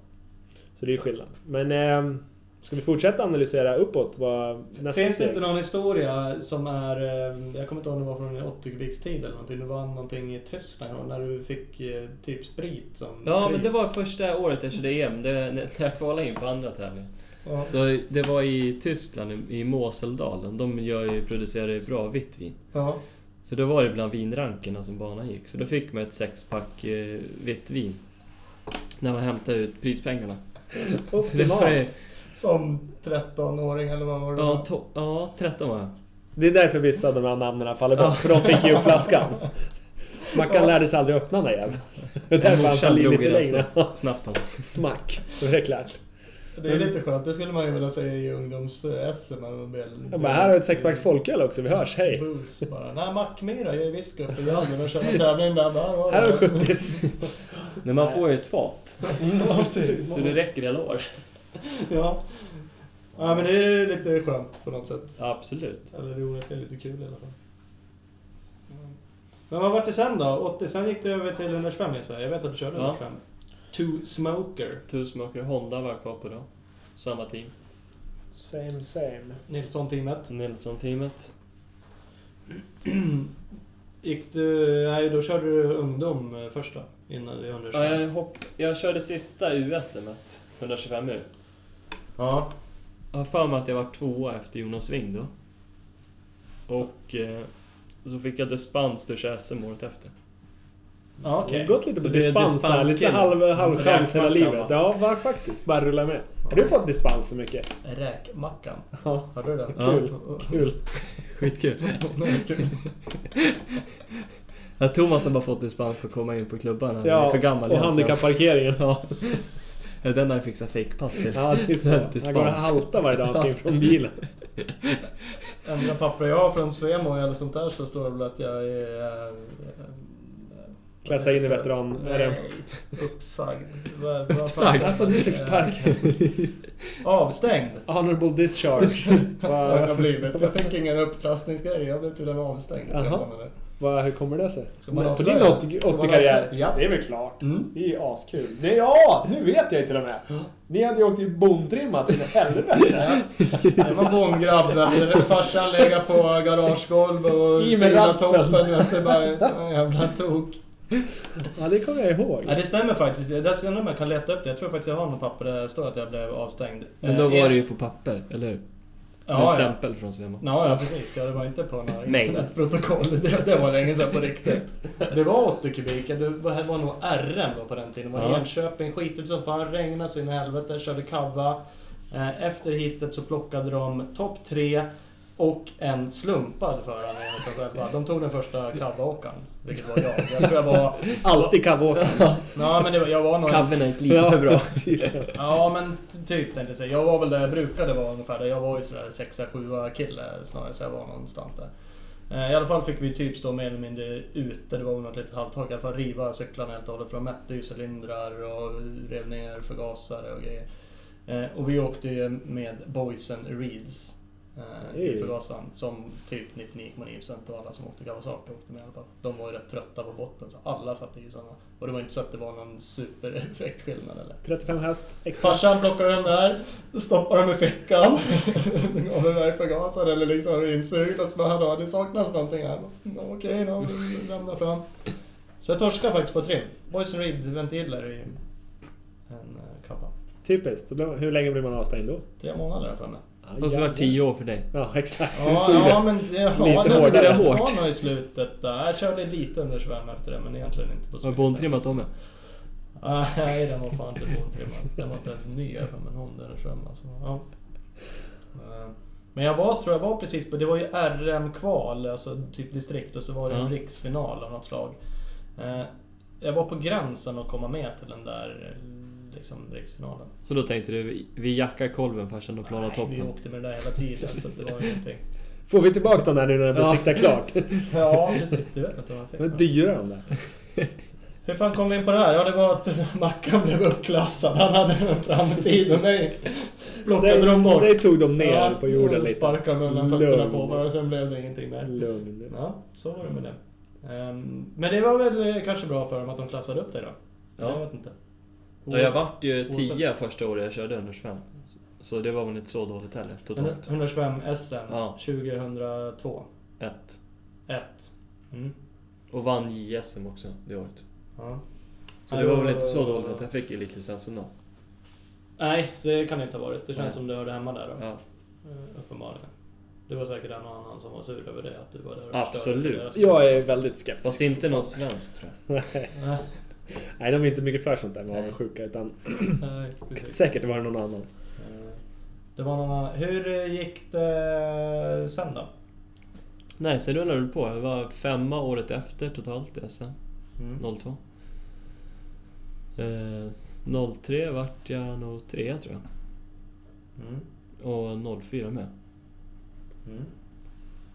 S3: Så det är ju skillnad. Men eh, ska vi fortsätta analysera uppåt? Vad nästa
S2: Finns det
S3: steg?
S2: inte någon historia som är... eh, Jag kommer inte ihåg om det var från 80 kubiks tid eller någonting. Du vann någonting i Tyskland och när du fick eh, typ sprit som
S4: ja,
S2: pris.
S4: men det var första året jag körde EM. Det, när jag kvalade in på andra tävlingen.
S2: Ja.
S4: Så det var i Tyskland, i- i Moseldalen. De gör ju, producerar ju bra vitt vin.
S2: Ja.
S4: Så då var det bland vinrankerna som banan gick. Så då fick man ett sexpack eh, vitt vin. När man hämtade ut prispengarna. Så det var ju,
S2: Som 13-åring eller vad var det?
S4: ja, to, ja, 13 var jag.
S3: Det är därför vissa av de här namnen faller
S4: Ja.
S3: bort, för de fick ju upp flaskan. Mackan lärde sig aldrig öppna den där jäveln. Det är därför han
S4: Morsan
S3: faller
S4: drog i
S3: lite
S4: den
S3: längre.
S4: snabbt, snabbt om.
S3: Smack, då är det klart.
S2: Det är lite skönt. Det skulle man ju vilja säga i ungdoms-SM.
S3: Jag bara, här har vi ett sexpack folköl också, vi hörs, hej.
S2: Booze bara. Nej, Mackmyra gör ju whisky uppe i Gävle. Men kör man tävling där. Bara, var
S3: Här har vi 70
S4: Men man får ju ett fat.
S2: Ja, precis.
S4: Så det räcker hela år.
S2: Ja. ja, men det är ju lite skönt på något sätt.
S4: Absolut.
S2: Eller det är onekligen lite kul i alla fall. Men vad vart det sen då? 80, sen gick det över till 125 gissar jag. Jag vet att du körde
S4: Ja.
S2: 125. Two Smoker.
S4: Tusmaker Honda var kvar på då. Samma team.
S3: Same same.
S2: Nilsson-teamet.
S4: Nilsson-teamet.
S2: Gick du... Nej, då körde du ungdom eh, först då? Innan du
S4: Ja,
S2: 125.
S4: jag, hopp, jag körde sista USMet, 125 U.
S2: Ja.
S4: Jag har för mig att jag var tvåa efter Jonas Wing då. Och eh, så fick jag dispens till att köra SM året efter.
S2: Ja,
S3: Jag
S2: okej.
S3: har gått lite
S4: Så
S3: på
S4: det är Mm,
S3: dispens här. Lite
S4: dispenskille.
S3: halv, halvchans
S4: Räkmacka,
S3: hela livet.
S4: va?
S3: Ja, var, faktiskt. Bara rulla med. Har du fått dispens för mycket?
S2: Räkmackan.
S3: Ja.
S2: Hörde du den?
S4: Ja.
S3: Kul. Kul.
S4: Skitkul. Ja, Thomas har bara fått dispens för att komma in på klubban. Han är
S3: Ja,
S4: för gammal
S3: och
S4: egentligen.
S3: handikapparkeringen.
S4: Ja. Ja, Den har jag fixat fejkpass till.
S3: Ja, det är så. Han går och haltar varje dag han ska in från bilen.
S2: Enda papper jag har från Svemo eller sånt där så står det väl att jag är... eh,
S3: Klassa in i veteran...
S2: Nej, uppsagd. Vad- vad fan-
S4: Uppsagd?
S3: Alltså du fick sparken.
S2: Avstängd.
S3: Honorable discharge.
S2: har Jag,
S3: Vad,
S2: blivit. jag fick ingen uppklassningsgrej. Jag blev tydligen avstängd. i tre
S3: Jaha.
S2: månader.
S3: vad, hur kommer det sig?
S2: Ska man
S3: På
S2: avslöja
S3: din 80
S2: det? Ska man
S3: 80-karriär?
S2: avslöja? Ja.
S3: Det är väl klart.
S2: Mm.
S3: Det är ju askul. Nej, ja! Nu vet jag ju till och med. Ni hade ju åkt i bondtrimmat så in i helvete.
S2: Det var bongrabb. där. Farsan lägga på garagegolv och
S3: I med
S2: fila
S3: raspen.
S2: toppen. vet du, bara, en Jävla tok.
S3: Ja, det kommer jag ihåg.
S2: Ja, det stämmer faktiskt. Jag ska undra om jag kan leta upp det. Jag tror faktiskt jag har något papper där det står att jag blev avstängd.
S4: Men då
S2: Eh,
S4: var det ju på papper, eller hur? Med
S2: Ja, ja.
S4: stämpel från Svema.
S2: Ja, ja precis. Ja, det var inte på något
S4: Nej.
S2: internetprotokoll. Det, det var länge sedan på riktigt. Det var 80 kubik. Det var, det var nog RM då på den tiden. Det var
S4: Ja.
S2: Enköping, skitigt som fan, regnade så in i helvete, körde kava. Eh, Efter hitet så plockade de topp tre och en slumpad förare enligt dem själva. De tog den första kavaåkaren, vilket var jag. Jag tror jag var...
S3: Alltid kavåkaren.
S2: Ja, men det var, jag var nog...
S4: Kaven gick lite för bra.
S3: tydligen.
S2: Ja men t- typ tänkte jag säga. Jag var väl där jag brukade vara ungefär. Där jag var ju sådär 6-7 kille snarare. Så jag var någonstans där. Eh, I alla fall fick vi typ stå mer eller mindre ute. Det var väl något litet halvtag. I alla fall riva cyklarna helt och hållet. För de mätte ju cylindrar och rev ner förgasare och grejer. Eh, Och vi åkte ju med Boysen Reeds. eh, I
S3: Hey.
S2: förgasaren. Som typ 99,9% av alla som åkte Kawasaki åkte med i alla fall. De var ju rätt trötta på botten så alla satte i sådana. Och det var inte så att det var någon supereffektskillnad eller?
S3: 35 häst. Extra.
S2: Farsan plockar den där, stoppar den i fickan. Gav den där förgasad eller liksom rimsugd och så bara "Hallå, det saknas någonting här. "Ja, Okej då, vi lämnar fram. Så jag torskar faktiskt på trim. Boys and Reed ventiler i en eh, kappa.
S3: Typiskt. Då blev- Hur länge blir man avstängd då?
S2: Tre månader har jag för mig.
S4: Och så var det tio år för dig.
S3: Ja, exakt.
S2: Ja,
S3: Tio.
S2: ja men det, ja,
S3: Lite
S2: det-
S3: hårdare.
S2: det
S4: Hårt.
S2: var nog i slutet där. Jag körde lite under svärm efter det men egentligen inte på så
S4: Har
S2: mycket.
S4: bondtrimmat om det?
S2: Ah, Nej, den var fan inte bontrimmad. Den var inte ens ny jag har för mig, någon där fram alltså. ja. Eh, Men jag var, tror jag var precis på, det var ju RM-kval, alltså typ distrikt och så var det en
S4: Ja.
S2: riksfinal av något slag. Eh, Jag var på gränsen att komma med till den där eh, liksom, riksfinalen.
S4: Så då tänkte du, vi- vi jackar kolven farsan och planar
S2: Nej, vi
S4: toppen.
S2: åkte med det där hela tiden så att det var ju ingenting.
S3: Får vi tillbaka dem där nu när den
S4: Ja.
S3: besiktar klart?
S2: Ja precis, du vet att det var
S3: De är
S2: fel.
S3: dyra de där.
S2: Hur fan kom vi in på det här? Ja, det var att Mackan blev uppklassad. Han hade en framtid och mig plockade de bort.
S3: det tog de ner
S2: Ja,
S3: på jorden
S2: och
S3: lite.
S2: Sparkade mellan fötterna
S3: Lugn.
S2: på varandra och sen blev det ingenting mer.
S3: Lugn.
S2: Ja, så var det med det. Ehm, men det var väl eh, kanske bra för dem att de klassade upp dig då?
S4: Ja.
S2: Jag vet inte.
S4: Ja, jag vart ju
S2: Oavsett.
S4: tia första året jag körde under 25. Så det var väl inte så dåligt heller, totalt.
S2: 125 SM
S4: Ja.
S2: 2002.
S4: Ett.
S2: 1. Mm.
S4: Och vann JSM också det året.
S2: Ja.
S4: Så
S2: Ja,
S4: det
S2: det
S4: var väl
S2: var-
S4: inte så dåligt att jag fick elitlicensen då.
S2: Nej, det kan det inte ha varit. Det känns
S4: Nej.
S2: som du hörde hemma där då.
S4: Ja,
S2: Eh, Uppenbarligen. Det var säkert en och annan som var sur över det, att du var där och
S4: Absolut.
S2: förstörde för deras-
S3: Jag är väldigt skeptisk.
S4: fast inte någon svensk tror jag.
S2: Nej,
S3: Nej, de är inte mycket för sånt där med avundsjuka. Utan
S2: nej, precis.
S3: säkert var det någon annan.
S2: Eh, Det var någon annan. Hur eh, gick det eh, sen då?
S4: Nej, sen rullade det på. Jag var femma året efter totalt i SM.
S2: Mm.
S4: 02. Eh, 03 vart jag nog trea tror jag.
S2: Mm.
S4: Och 04 med.
S2: Mm.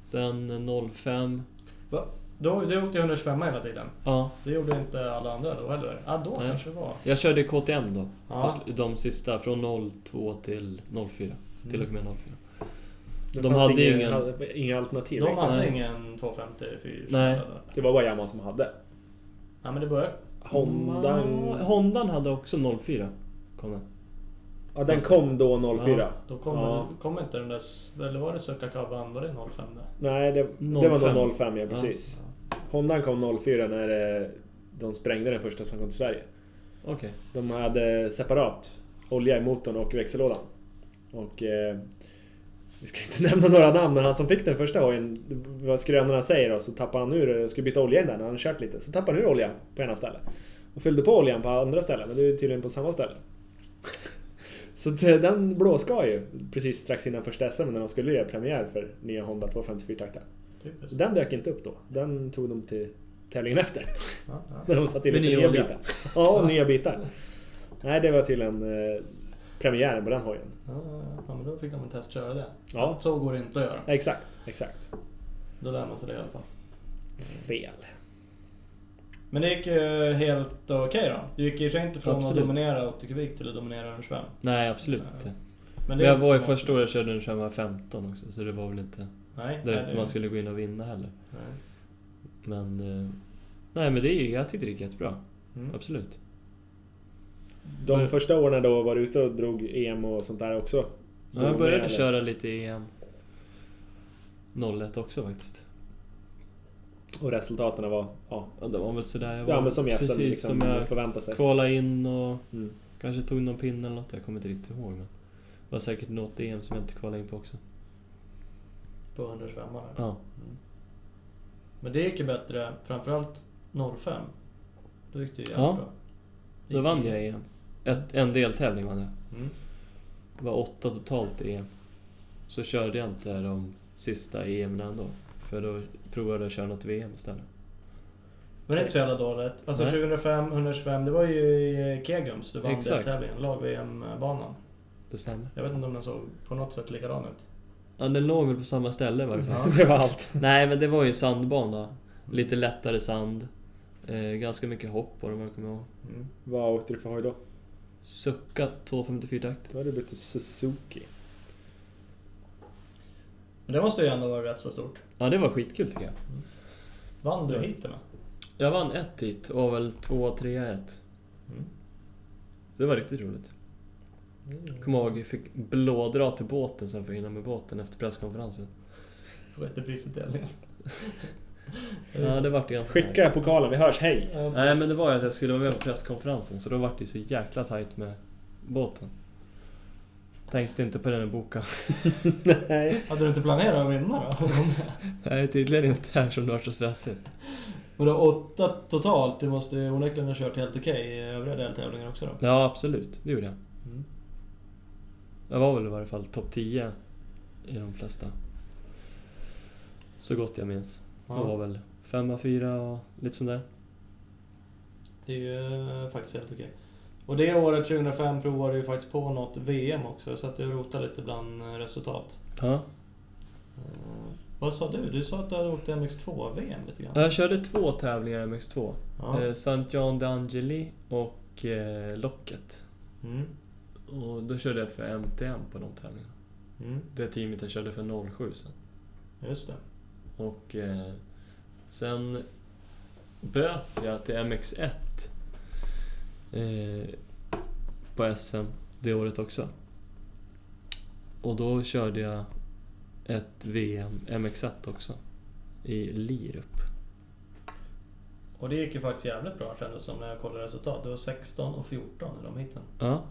S4: Sen 05.
S2: Va? Då, du åkte 125 hela tiden.
S4: Ja,
S2: Det gjorde inte alla andra då heller. Ja, då
S4: Nej.
S2: kanske det var.
S4: jag körde KTM då.
S2: Ja.
S4: Fast de sista från 02 till 04. Till
S2: Mm.
S4: och med 04.
S3: Det
S4: De
S3: fanns
S4: hade
S3: inga,
S4: ingen-
S3: hade- Inga alternativ.
S2: De
S3: riktigt.
S2: hade
S4: Nej.
S2: ingen 250 4
S4: Nej.
S3: Det var bara Yamaha som hade.
S2: Ja, men det började...
S3: Honda...
S4: Ma- Hondan hade också 04. Kom den.
S3: Ja, den kom då 04.
S4: Ja,
S2: Då kom,
S3: Ja.
S2: kom inte den där... s- Eller var det Sucakavan? Var det 05 där?
S3: Nej, det, det var
S4: 05.
S3: nog 05 ja, precis. Hondan kom 04 när eh, de sprängde den första som kom till Sverige.
S4: Okej.
S3: De hade separat olja i motorn och växellådan. Och eh, Vi ska inte nämna några namn, men han som fick den första hojen, vad skrönorna säger då, så tappade han ur, jag skulle byta olja in där när han hade kört lite, så tappade han ur olja på ena stället. Och fyllde på oljan på andra stället, men det är tydligen på samma ställe. Så att, eh, den blåskar ju precis strax innan första SM när de skulle göra premiär för nya Honda 254 takter.
S2: Typiskt.
S3: Den dök inte upp då. Den tog de till tävlingen efter.
S2: Ja, ja.
S3: När de satte in
S4: Med
S3: lite
S4: nya
S3: nya
S4: olja.
S3: bitar. Ja, nya bitar. Nej, det var tydligen eh, premiären på den hojen.
S2: Ja, ja, ja, men då fick de en testköra det.
S3: Ja.
S2: Så går det inte att göra.
S3: Exakt, exakt.
S2: Då lär man sig det i alla fall.
S3: Fel.
S2: Men det gick ju helt okej då. Du gick ju i och för sig inte från
S4: Absolut.
S2: att dominera 80 kubik till att dominera 125.
S4: Nej, absolut
S2: Nej.
S4: inte.
S2: Men
S4: Men jag var ju första året jag körde en 515 också, så det var väl inte
S2: Nej, nej,
S4: därefter
S2: det-
S4: man skulle gå in och vinna heller.
S2: nej.
S4: Men... eh, Nej men det, jag tyckte det gick jättebra.
S2: Mm.
S4: Absolut.
S3: De
S4: Bör-
S3: första åren då var du ute och drog EM och sånt där också?
S4: Ja, jag började
S3: Dominerade.
S4: köra lite EM 01 också faktiskt.
S3: Och resultaten var, ja,
S4: Ja, det var väl sådär. Jag var
S3: ja men som gästen
S4: precis
S3: liksom
S4: som jag
S3: förväntade sig.
S4: kvalade in och
S3: Mm.
S4: kanske tog någon pinne eller något. Jag kommer inte riktigt ihåg. Men det var säkert något EM som jag inte kvalade in på också.
S2: På 125 eller?
S4: Ja.
S2: Men det gick ju bättre, framförallt 05. Då gick det ju
S4: Ja.
S2: jättebra.
S4: Då vann jag EM. Ett, en deltävling vann jag.
S2: Mm.
S4: Det var åtta totalt i EM. Så körde jag inte de sista EM ändå. För då provade jag att köra något VM istället.
S2: Men det är inte så jävla dåligt. Alltså
S4: Nej.
S2: 2005, 125, det var ju i eh, Kegums du vann
S4: Exakt.
S2: deltävlingen. Lag-VM-banan.
S4: Det stämmer.
S2: Jag vet inte om den såg på något sätt likadan ut.
S4: Ja, den låg väl på samma ställe i varje fall.
S2: Ja.
S3: Det var allt.
S4: Nej, men det var ju en sandbana. Lite lättare sand. Eh, ganska mycket hopp på den vad jag kommer ihåg.
S2: Mm.
S3: Vad åkte du för hoj då?
S4: Sucka 254 takt.
S3: Då hade du blivit till Suzuki.
S2: Men det måste ju ändå vara rätt så stort.
S4: Ja, det var skitkul tycker jag.
S2: Vann du
S4: Ja.
S2: heaten? då?
S4: Jag vann ett hit och var väl två, tre, ett.
S2: Mm.
S4: Det var riktigt roligt. Kommer ihåg, jag fick blådra till båten sen för att hinna med båten efter presskonferensen.
S2: Sjätte prisutdelningen.
S4: Ja, det vart ganska tajt.
S3: Skicka pokalen, vi hörs, hej!
S2: Ja, precis.
S4: Nej, men det var ju att jag skulle vara med på presskonferensen så då vart det ju så jäkla tajt med båten. Tänkte inte på den i boka.
S3: Nej.
S2: Hade du inte planerat att vinna då?
S4: Nej, tydligen inte här som det vart så stressigt.
S2: Men du har åtta totalt. Du måste ju onekligen ha kört helt okej i övriga deltävlingar också då.
S4: Ja, absolut. Det gjorde jag.
S2: Mm.
S4: Jag var väl i varje fall topp 10 i de flesta. Så gott jag minns. Det var
S2: Ja,
S4: väl femma, fyra och lite sånt där.
S2: det är ju eh, faktiskt helt okej. Och det året, 2005, provade du ju faktiskt på något VM också. Så att du rotade lite bland eh, resultat.
S4: Ja.
S2: Eh, Vad sa du? Du sa att du hade åkt MX2-VM lite grann.
S4: Jag körde två tävlingar i MX2.
S2: Ja.
S4: Eh, St. John D'Angeli och eh, Locket.
S2: Mm.
S4: Och då körde jag för MTM på de tävlingarna.
S2: Mm.
S4: Det teamet jag körde för 07 sen.
S2: Just det.
S4: Och eh, sen böt jag till MX1 eh, på SM det året också. Och då körde jag ett VM MX1 också. I Lirup.
S2: Och det gick ju faktiskt jävligt bra kändes som när jag kollade resultat. Det var 16 och 14 i de hitten.
S4: Ja,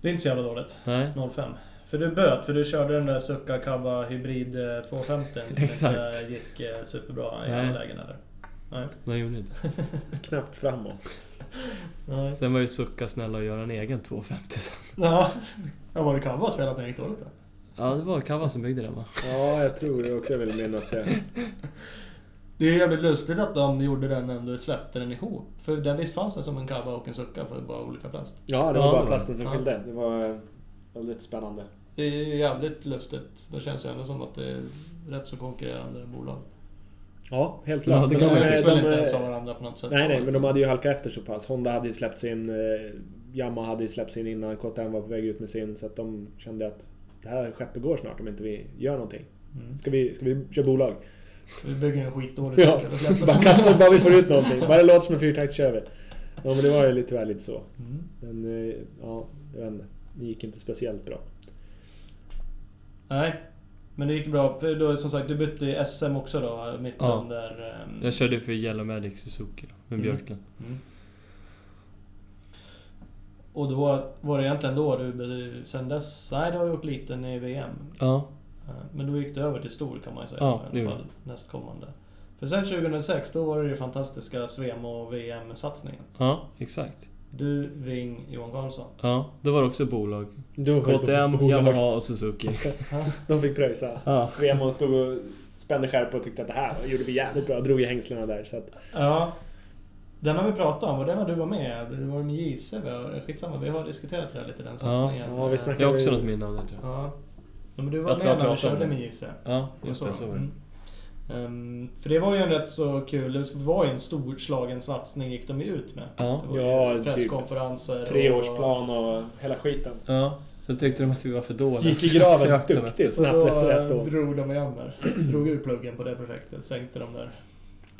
S2: Det är inte så jävla dåligt.
S4: nej.
S2: 05. För du böt, för du körde den där Succa Cava Hybrid eh, 250 som
S4: Exakt.
S2: inte gick eh, superbra i
S4: Nej.
S2: alla lägen eller? Nej.
S4: Nej, gjorde inte.
S3: Knappt framåt.
S2: Nej.
S4: Sen var ju Sucka snälla och göra en egen 250 sen.
S2: Ja. Ja, var det Cavas fel att den gick dåligt då?
S4: Ja, det var Kava som byggde den va?
S3: Ja, jag tror det också. Jag vill minnas det.
S2: Det är jävligt lustigt att de gjorde den ändå, släppte den ihop. För den visst fanns det som en Cava och en Succa för bara olika plast.
S3: Ja, det
S4: Ja,
S3: var
S4: det var
S3: bara plasten som
S2: det.
S3: skilde. Det var eh, väldigt spännande.
S2: Det är ju jävligt lustigt. Det känns ju ändå som att det är rätt så konkurrerande bolag.
S3: Ja, helt
S4: Ja,
S3: klart.
S4: det
S3: Men
S4: kan
S3: de,
S4: man
S2: de
S4: ju
S3: de,
S4: inte
S2: skulle inte
S3: eh,
S2: ens ha varandra på något sätt.
S3: nej, nej, men de hade ju halkat efter så pass. Honda hade ju släppt sin. Eh, Yamaha hade ju släppt sin innan. KTM var på väg ut med sin. Så att de kände att det här skeppet går snart om inte vi gör någonting.
S2: Mm.
S3: Ska vi, ska vi köra bolag?
S2: Vi bygger en skitdålig
S3: Ja,
S2: Succa, då släpper vi
S3: bara
S2: den.
S3: kasta bara vi får ut någonting. Bara det låter som en fyrtakt kör vi. Ja, men det var ju lite- tyvärr lite så.
S2: Mm.
S3: Men eh, ja, jag vet inte. Det gick inte speciellt bra.
S2: Nej, men det gick bra. För då, som sagt, du bytte i SM också då, mitt
S4: Ja.
S2: under... ehm,
S4: Jag körde för Yellow Magic Suzuki då, med
S2: Mm.
S4: Björklund.
S2: Mm. Och då var det egentligen då du... Sen dess... Nej, du har gjort liten i VM.
S4: Ja.
S2: Eh, Men då gick det över till stor kan man ju säga.
S4: Ja, det
S2: i
S4: gjorde
S2: alla fall, nästkommande. För sen 2006, då var det ju fantastiska SVM och VM-satsningen.
S4: Ja, exakt.
S2: Du, Wing, Johan Karlsson.
S4: Ja, då var det också bolag.
S3: De fick-
S4: KTM, Yamaha och Suzuki.
S3: De fick pröjsa.
S4: Ja.
S3: Svemon Alltså, stod och spände skärp och tyckte att det här gjorde vi jävligt bra. Drog i hängslena där. Så att,
S2: Ja. Den har vi pratat om och den har du var med Du var med JC, va? skitsamma. Vi har diskuterat det här lite, den
S4: Ja.
S2: satsningen.
S3: Ja, vi snackade-
S4: Jag har också något minne av det tror jag.
S2: Ja. Ja, men du var
S4: Jag tror
S2: med
S4: jag
S2: när vi
S4: pratade om
S2: körde
S4: det.
S2: med JC.
S4: Ja,
S2: Och
S4: just det. Så var det.
S2: Mm. Ehm, för det var ju en rätt så kul, det var ju en storslagen satsning gick de ju ut med.
S4: Ja.
S2: Det var ju
S3: Ja, typ
S2: presskonferenser
S3: treårsplan och hela skiten.
S4: Ja. Sen tyckte de att vi var för dåliga.
S3: Gick i
S4: så
S3: graven
S4: strök de mig.
S3: duktigt
S2: Och
S3: snabbt
S2: då eh,
S3: efter ett år.
S2: drog de igen där. Drog ur pluggen på det projektet, sänkte de där.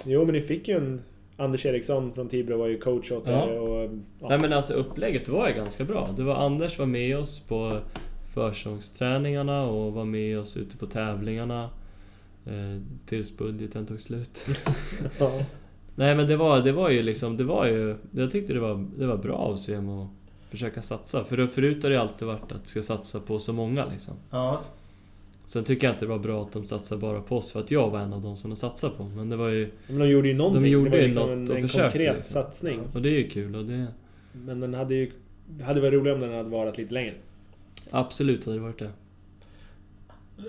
S3: Jo, men ni fick ju en... Anders Eriksson från Tibro var ju coach åt
S4: Ja.
S3: er. Och, ja.
S4: Nej men alltså upplägget var ju ganska bra. Det var Anders var med oss på försångsträningarna och var med oss ute på tävlingarna. Eh, tills budgeten tog slut.
S3: ja.
S4: Nej men det var, det var ju liksom, det var ju... Jag tyckte det var, det var bra av CM att försöka satsa. För det- förut har det alltid varit att ska satsa på så många liksom.
S2: Ja.
S4: Sen tycker jag inte det var bra att de satsar bara på oss för att jag var en av de som de satsade på. Men det var ju...
S3: Men de gjorde ju någonting.
S4: De gjorde
S3: det var
S4: ju
S3: liksom
S4: något
S3: en,
S4: och
S3: en
S4: försökte
S3: konkret
S4: liksom.
S3: satsning.
S4: Och det är ju kul och det...
S3: Men den hade ju... Det hade varit roligare om den hade varit lite längre.
S4: Absolut hade det varit det.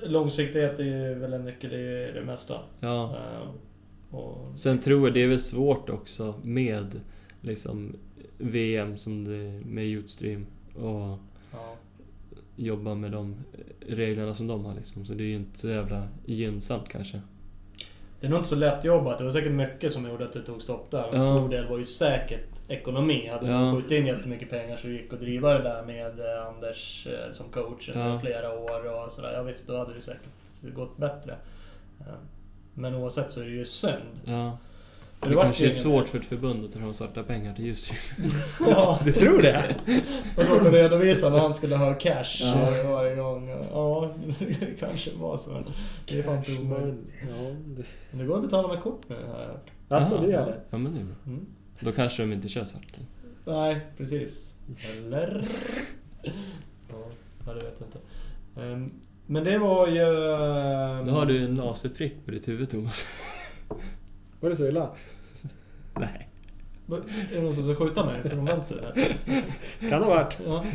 S2: Långsiktighet är ju väl en nyckel i det mesta.
S4: Ja.
S2: Ehm, och,
S4: Sen tror jag det är väl svårt också med liksom VM som det med Youthstream och
S2: ja.
S4: jobba med de reglerna som de har liksom. Så det är ju inte så jävla gynnsamt kanske.
S2: Det är nog inte så lätt jobbat. Det var säkert mycket som gjorde att det tog stopp där. En
S4: Ja.
S2: stor del var ju säkert ekonomi. Hade
S4: Ja.
S2: man skjutit in jättemycket pengar så gick att driva det där med eh, Anders eh, som coach under
S4: Ja.
S2: flera år och sådär. Ja visst, då hade det säkert gått bättre. Eh, Men oavsett så är det ju synd.
S4: Ja.
S2: För
S4: Det,
S2: vart
S4: kanske
S2: ju
S4: är
S2: ingen-
S4: svårt för ett förbund att ta fram svarta pengar till Youthstream.
S2: Ja,
S3: Du tror det?
S2: och så att redovisa när han skulle ha cash
S4: Ja.
S2: eh, varje gång. Ja, det kanske var så. Men det är fan inte omöjligt.
S3: Ja, det...
S2: Men det går att betala med kort nu har jag hört.
S3: Alltså,
S4: Jaha,
S3: du gör
S4: ja.
S3: det?
S4: Ja men det är bra.
S2: Mm.
S4: Då kanske de inte kör svart.
S2: Nej, precis. Eller? ja, det vet jag inte. Ehm, men det var ju... ehm,
S4: Då har du en laserprick på ditt huvud Thomas.
S3: Var det så illa?
S4: Nej.
S2: Är det någon som ska skjuta mig från vänster? eller?
S3: Kan ha varit.
S2: Ja.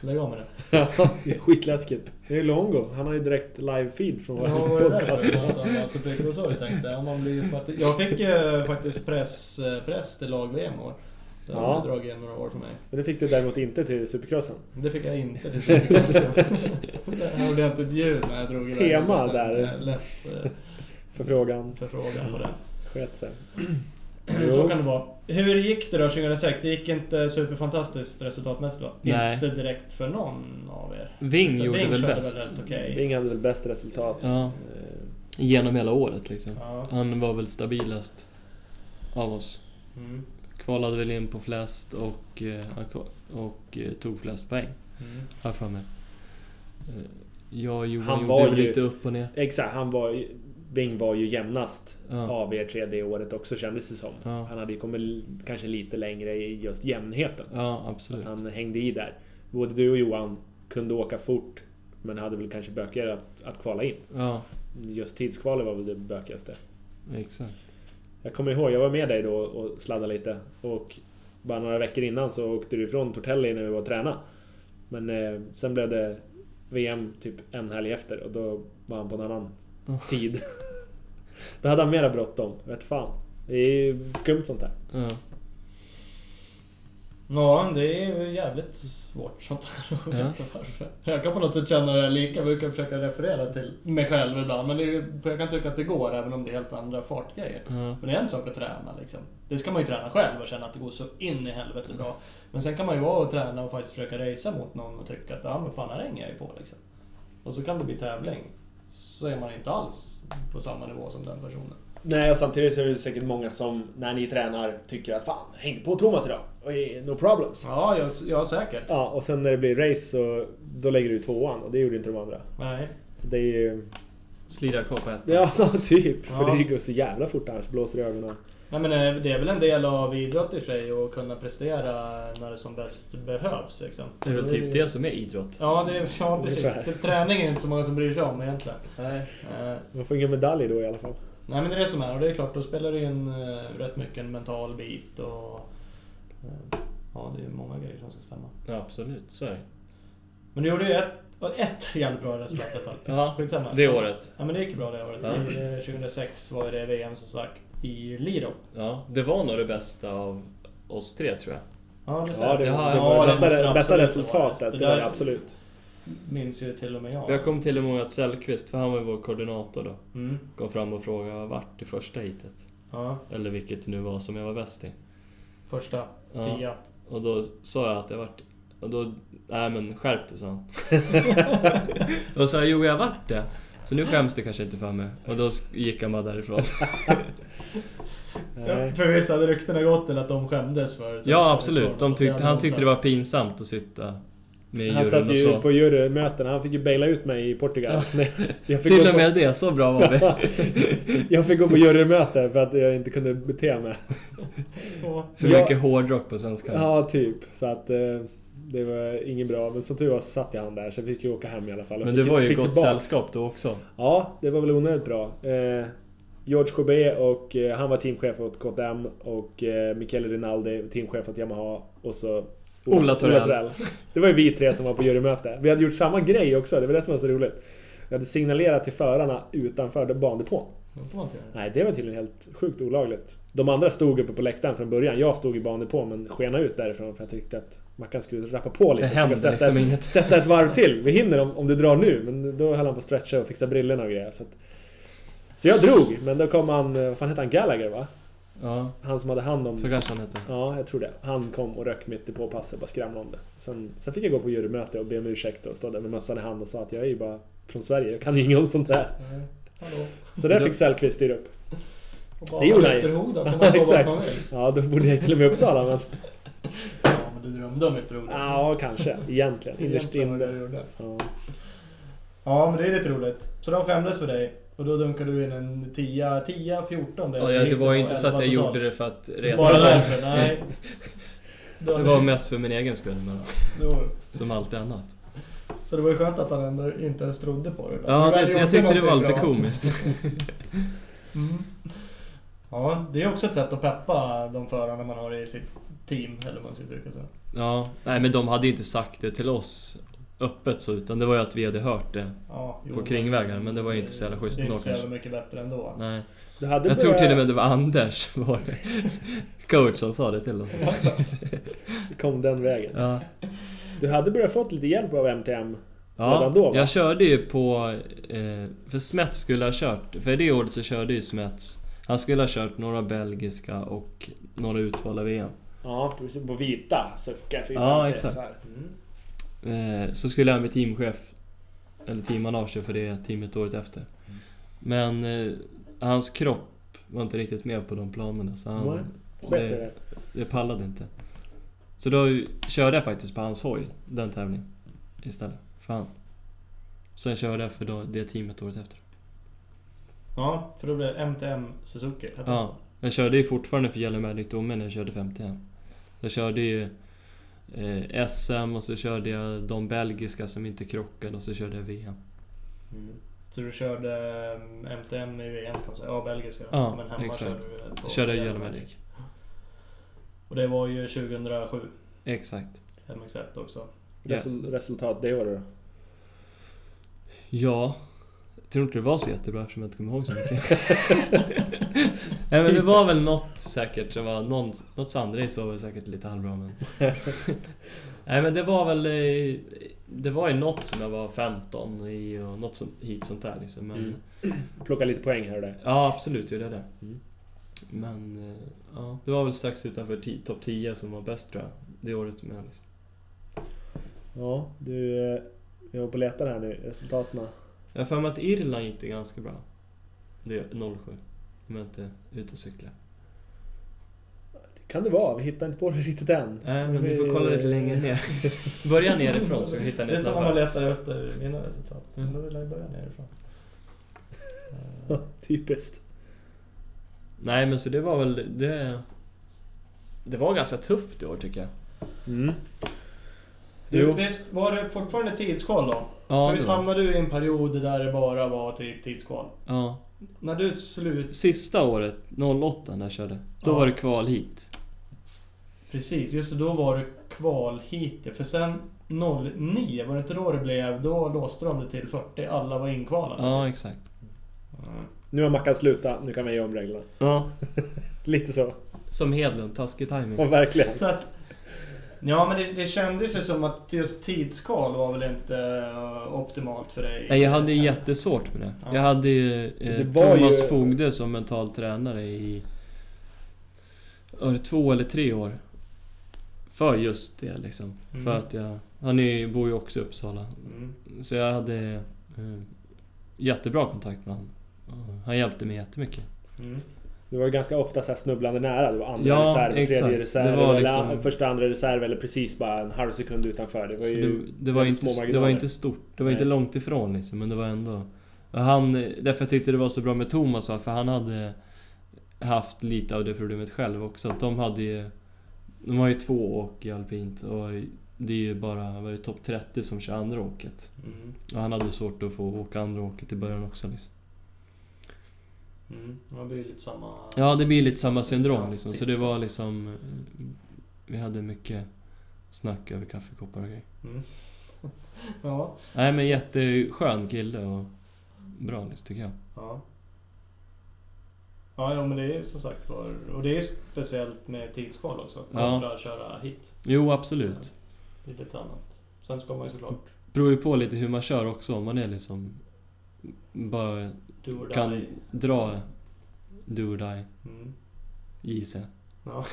S2: Lägg av med det.
S3: Ja, det är skitläskigt. Det är Longo. Han har ju direkt live-feed från vår
S2: Ja, vad var det där
S3: podcast.
S2: för något som var så prick och sorg tänkte jag. Om man blir svart. Jag fick ju faktiskt press, eh, press till lag-VM år. Det har
S3: Ja.
S2: ja. dragit igen några år för mig.
S3: Men det fick du däremot inte till Supercrossen.
S2: Det fick jag inte till alltså. Jag gjorde inte ett ljud när jag drog iväg.
S3: Tema
S2: en liten,
S3: där.
S2: eh, Lätt eh,
S3: Förfrågan
S2: förfrågan på det.
S3: sket sig.
S2: Så
S3: Jo.
S2: kan det vara. Hur gick det då 2006? Det gick inte superfantastiskt resultatmässigt va?
S4: Nej.
S2: Inte direkt för någon av er.
S4: Ving
S2: Så
S4: gjorde
S2: Ving
S4: väl
S2: körde
S4: bäst.
S2: Väl rätt okej.
S3: Bing hade väl bäst resultat.
S4: Ja.
S3: Eh,
S4: Genom hela året liksom.
S2: Ja.
S4: Han var väl stabilast av oss.
S2: Mm.
S4: Kvalade väl in på flest och, eh, han kva- och eh, tog flest poäng,
S2: Mm.
S4: har jag för mig. Eh, Jag och Johan
S3: Han
S4: gjorde
S3: var
S4: väl
S3: ju-
S4: lite upp och ner.
S3: Exakt, han var ju... Bing var ju jämnast
S4: Ja.
S3: av er tre det året också kändes det som.
S4: Ja.
S3: Han hade ju kommit l- kanske lite längre i just jämnheten.
S4: Ja,
S3: Att
S4: absolut.
S3: han hängde i där. Både du och Johan kunde åka fort men hade väl kanske bökigare att, att kvala in.
S4: Ja,
S3: Just tidskvalet var väl det bökigaste.
S4: exakt.
S3: Jag kommer ihåg, jag var med dig då och sladdade lite. Och bara några veckor innan så åkte du ifrån Tortelli när vi var och tränade. Men eh, sen blev det VM typ en helg efter och då var han på en annan
S4: Ja.
S3: tid. då hade han mera bråttom. Vet fan. Det är ju skumt sånt där.
S4: Ja.
S2: ja, det är ju jävligt svårt sånt här. Jag vet
S4: Ja.
S2: inte varför. Jag kan på något sätt känna det lika. Jag brukar försöka referera till mig själv ibland. Men det är, ju- jag kan tycka att det går även om det är helt andra fartgrejer.
S4: Ja.
S2: Men det är en sak att träna liksom. Det ska man ju träna själv och känna att det går så in i helvete bra. Men sen kan man ju vara och träna och faktiskt försöka racea mot någon och tycka att ja men fan här hänger jag ju på liksom. Och så kan det bli tävling. Så är man inte alls på samma nivå som den personen.
S3: Nej, och samtidigt så är det säkert många som när ni tränar tycker att fan, häng på Thomas idag. Och eh, No problems.
S2: Ja, jag, jag säkert.
S3: Ja, och sen när det blir race så då lägger du tvåan och det gjorde inte de andra.
S2: Nej.
S3: Så det är ju...
S4: Slira kvar på ett.
S3: Ja, typ. För
S2: Ja.
S3: det går så jävla fort annars. Blåser i ögonen.
S2: Nej, men eh, det är väl en del av idrott i sig att kunna prestera när det som bäst behövs. Liksom.
S4: Det är väl typ det som är idrott.
S2: Ja, det är, ja precis.
S3: Ungefär.
S2: Det, träning är inte så många som bryr sig om egentligen.
S3: Nej.
S2: Eh,
S3: Man får ingen medalj då i alla fall.
S2: Nej men det är det som är och det är klart då spelar det in eh, rätt mycket en mental bit och eh, ja det är många grejer som ska stämma.
S4: Ja, absolut, så är det.
S2: Men du gjorde ju ett, ett jävligt bra resultat i alla fall.
S4: Ja,
S2: Skitsamma.
S4: det året.
S2: Ja men det gick ju bra det året.
S4: Ja.
S2: I, eh, 2006 var ju det VM som sagt i Lido.
S4: Ja, det var nog det bästa av oss tre tror jag.
S2: Ja det,
S3: Ja, det, det
S4: Ja,
S3: var
S4: det
S3: det bästa,
S2: måste
S3: bästa
S2: absolut
S3: resultatet.
S2: Det
S3: Det,
S2: där-
S3: var det absolut.
S2: minns ju till och med jag.
S4: För jag kom till och med att Sellqvist, för han var ju vår koordinator då,
S2: Mm.
S4: kom fram och frågade vart det första heatet,
S2: Ja,
S4: eller vilket det nu var som jag var bäst i.
S2: första
S4: Ja.
S2: tia.
S4: Och då sa jag att jag vart... Och då... Nej men skärp dig sa han. då sa jag, jo jag vart det. Så nu skäms du kanske inte för mig. Och då sk- gick han bara därifrån.
S3: Nej.
S2: För visst hade ryktena gått eller att de skämdes för det?
S4: ja absolut, de tyckte, han tyckte det var pinsamt att sitta med
S3: Han
S4: juryn
S3: satt
S4: och
S3: ju
S4: så.
S3: på jurymöten, han fick ju baila ut mig i Portugal. Nej, jag, fick
S4: Till
S3: gå
S4: och
S3: på,
S4: med det, så bra var vi.
S3: jag fick gå på jurymöte för att jag inte kunde bete mig.
S2: Ja.
S4: För
S3: Ja.
S4: mycket hårdrock på svenska.
S3: Ja, typ. Så att eh, det var inget bra. Men som tur var så satt jag han där, så jag fick ju åka hem i alla fall. Och
S4: Men du
S3: fick,
S4: var ju i
S3: fick
S4: gott
S3: tillbaks.
S4: sällskap då också.
S3: Ja, det var väl onödigt bra. Eh, George Jobé och eh, han var teamchef åt KTM och eh, Michele Rinaldi var teamchef åt Yamaha och så
S4: Ola Torell.
S3: Det var ju vi tre som var på jurymöte. Vi hade gjort samma grej också, det var det som var så roligt. Vi hade signalerat till förarna utanför bandepån.
S2: De får man inte göra.
S3: Nej, det var tydligen helt sjukt olagligt. De andra stod uppe på läktaren från början. Jag stod i bandepån men skenade ut därifrån för jag tyckte att Mackan skulle rappa på lite.
S4: Det hände
S3: Försöka sätta
S4: liksom
S3: ett-
S4: inget.
S3: sätta ett varv till. Vi hinner om, om du drar nu. Men då höll han på att stretcha och fixa brillorna och grejer. Så, att, så jag drog, men då kom han, eh, vad fan hette han, Gallagher va?
S4: Ja,
S3: Han som hade hand om...
S4: så kanske han hette.
S3: Ja, jag tror det. Han kom och rök mitt i påpasset och bara skramlade om det. Sen, sen fick jag gå på jurymöte och be om ursäkt och stå där med mössan i hand och sa att jag är ju bara från Sverige, jag kan ju inget om sånt där.
S2: Nej. Hallå.
S3: Så där fick Sellqvist styra upp.
S2: Och bara
S3: Det gjorde han ju.
S2: Ytterhoda får
S3: Ja,
S2: man jobba
S3: exakt.
S2: man vill.
S3: Ja, då bodde jag till och med i Uppsala men...
S2: Ja, men du drömde om Mm. Ytterhoda.
S3: Ja, kanske. Egentligen. Innerst
S2: Egentligen var det
S3: inne.
S2: du gjorde.
S3: Ja.
S2: Ja, men det är lite roligt. Så de skämdes för dig. Och då dunkade du in en 10, 10, 14
S4: Ja, ja, det var ju inte så att jag gjorde det för att reta
S2: Bara
S4: någon.
S2: därför? Nej.
S4: Det var mest för min egen skull, men
S2: Det var-
S4: som allt annat.
S2: Så det var ju skönt att han ändå inte ens trodde på det. då.
S4: Ja,
S2: Du
S4: det,
S2: väl gjorde
S4: jag tyckte det var
S2: någonting
S4: lite
S2: bra.
S4: komiskt.
S2: Mm. Ja, det är också ett sätt att peppa de förarna man har i sitt team, eller vad man ska uttrycka sig.
S4: Ja, nej men de hade ju inte sagt det till oss öppet så, utan det var ju att vi hade hört det.
S2: Ja, jo,
S4: På kringvägar, men det var ju inte så jävla schysst
S2: Det är
S4: ändå
S2: inte så jävla
S4: kanske.
S2: mycket bättre ändå.
S4: Nej.
S3: Du hade
S4: Jag tror
S3: börjat-
S4: till och med det var Anders, vår coach, som sa det till oss.
S3: Kom den vägen.
S4: Ja,
S3: Du hade börjat fått lite hjälp av MTM.
S4: ja
S3: Redan då, va?
S4: jag körde ju på... Eh, för Smets skulle ha kört, för det året så körde ju Smets. Han skulle ha kört några belgiska och några utvalda VM.
S3: Ja, precis. På vita. Sucka 450.
S4: Ja, exakt.
S3: så här. Mm.
S4: Eh, så skulle jag bli teamchef, eller teammanager för det teamet året efter. Men eh, hans kropp var inte riktigt med på de planerna så
S3: Nej.
S4: han,
S3: Sket i det.
S4: det pallade inte. Så då körde jag faktiskt på hans hoj, den tävlingen, istället. För han. Sen körde jag för då, det teamet året efter.
S2: Ja, för då blir det MTM Suzuki. heter det.
S4: Ja, jag körde ju fortfarande för Yellow Magic Domen när jag körde 51. Jag körde ju eh, SM och så körde jag de belgiska som inte krockade och så körde jag VM.
S2: Mm. Så du körde ehm, MTM i VM kan man säga? Ja, belgiska.
S4: Ja,
S2: men hemma
S4: exakt.
S2: körde du det på
S4: Körde jag
S2: Yellow
S4: Yellow
S2: Magic.
S4: Magic.
S2: Och det var ju 2007,
S4: Exakt.
S2: MX1 också.
S4: Yes.
S3: Resul- Resultat det året då?
S4: Ja. Jag tror inte det var så jättebra eftersom jag inte kommer ihåg så mycket. Nej men det
S3: Typ.
S4: var väl något säkert som var... Någon, något sandrace var väl säkert lite halvbra men... Nej men det var väl... eh, Det var ju något som jag var 15 i och något som, hit sånt där liksom. Men,
S3: Mm. Plocka lite poäng här och där.
S4: Ja absolut gjorde jag det.
S3: Mm.
S4: Men eh, ja, det var väl strax utanför ti- topp 10 som var bäst tror jag. Det året med liksom.
S3: Ja, du... eh, Jag var på och letar här nu. Resultaten.
S4: Jag har för mig att Irland gick det ganska bra. Det 07. Om jag inte är ute och cyklar.
S3: Det kan det vara. Vi hittar inte på det riktigt än.
S4: Nej, men vi får kolla lite längre ner. Börja nerifrån så hittar
S2: Det är
S4: ni Mm.
S2: som när man
S4: snabbare.
S2: letar efter mina resultat. Men då vill jag ju börja nerifrån. Eh,
S3: Typiskt.
S4: Nej men så det var väl det... Det var ganska tufft i år tycker jag.
S3: Mm.
S2: Du,
S3: Jo.
S2: visst var det fortfarande tidskval då?
S4: Ja,
S2: För
S4: det
S2: visst
S4: var.
S2: hamnade du i en period där det bara var typ tidskval?
S4: ja.
S2: När du slut...
S4: Sista året, 08 när jag körde. Då
S2: Ja.
S4: var det kval hit.
S2: Precis, just det, då var det kval hit ja. För sen 09, var det inte då det blev? Då låste de det till 40. Alla var inkvalade.
S4: Ja exakt.
S2: Mm.
S3: Nu har Mackan slutat, nu kan vi göra om reglerna.
S4: Ja.
S3: Lite så.
S4: Som Hedlund, taskig timing.
S3: Och verkligen.
S2: Så att, ja men det, det kändes ju som att just tidskval var väl inte eh, optimalt för dig?
S4: Nej, jag hade ju jättesvårt med det.
S2: Ja.
S4: Jag hade ju eh,
S3: Det var
S4: Thomas
S3: ju-
S4: Fogde som mental tränare i... var det Två eller tre år. För just det liksom.
S2: Mm.
S4: För att jag... Han är, bor ju också i Uppsala.
S2: Mm.
S4: Så jag hade eh, jättebra kontakt med honom. Han hjälpte mig jättemycket.
S2: Mm.
S3: Det var ju ganska ofta så här snubblande nära. Det var andra
S4: Ja,
S3: reserv, tredje
S4: exakt.
S3: reserv,
S4: Det var
S3: eller
S4: liksom-
S3: första, andra reserv eller precis bara en halv sekund utanför. Det var
S4: Så
S3: ju...
S4: det, det, var
S3: väldigt
S4: inte,
S3: små
S4: det var
S3: marginaler.
S4: inte stort, det var inte
S3: Nej.
S4: långt ifrån liksom, men det var ändå... Och Han, eh, därför jag tyckte det var så bra med Thomas, va, för han hade haft lite av det problemet själv också. Att de hade ju... De har ju två åk i alpint och det är ju bara vad är det, topp 30 som kör andra åket.
S2: Mm.
S4: Och han hade svårt att få åka andra åket i början också. Liksom.
S2: Mm. Det blir ju lite samma...
S4: Ja, det blir lite samma syndrom
S2: Ja, typ.
S4: liksom. Så
S2: stick.
S4: det var liksom... eh, Vi hade mycket snack över kaffekoppar och grejer.
S2: Ja.
S4: Nej men jätteskön kille och bra liksom, tycker jag.
S2: Ja. Ja, ja, men det är ju som sagt var... Och det är ju speciellt med tidskval också.
S4: Ja.
S2: Kontra att köra hit.
S4: Jo, absolut.
S2: Det är lite annat. Sen ska man ju såklart...
S4: Beror ju på lite hur man kör också. Om man är liksom... Bara
S2: Du och
S4: Kan-
S2: die.
S4: dra do or die,
S2: Mm.
S4: gissar jag.
S2: Ja,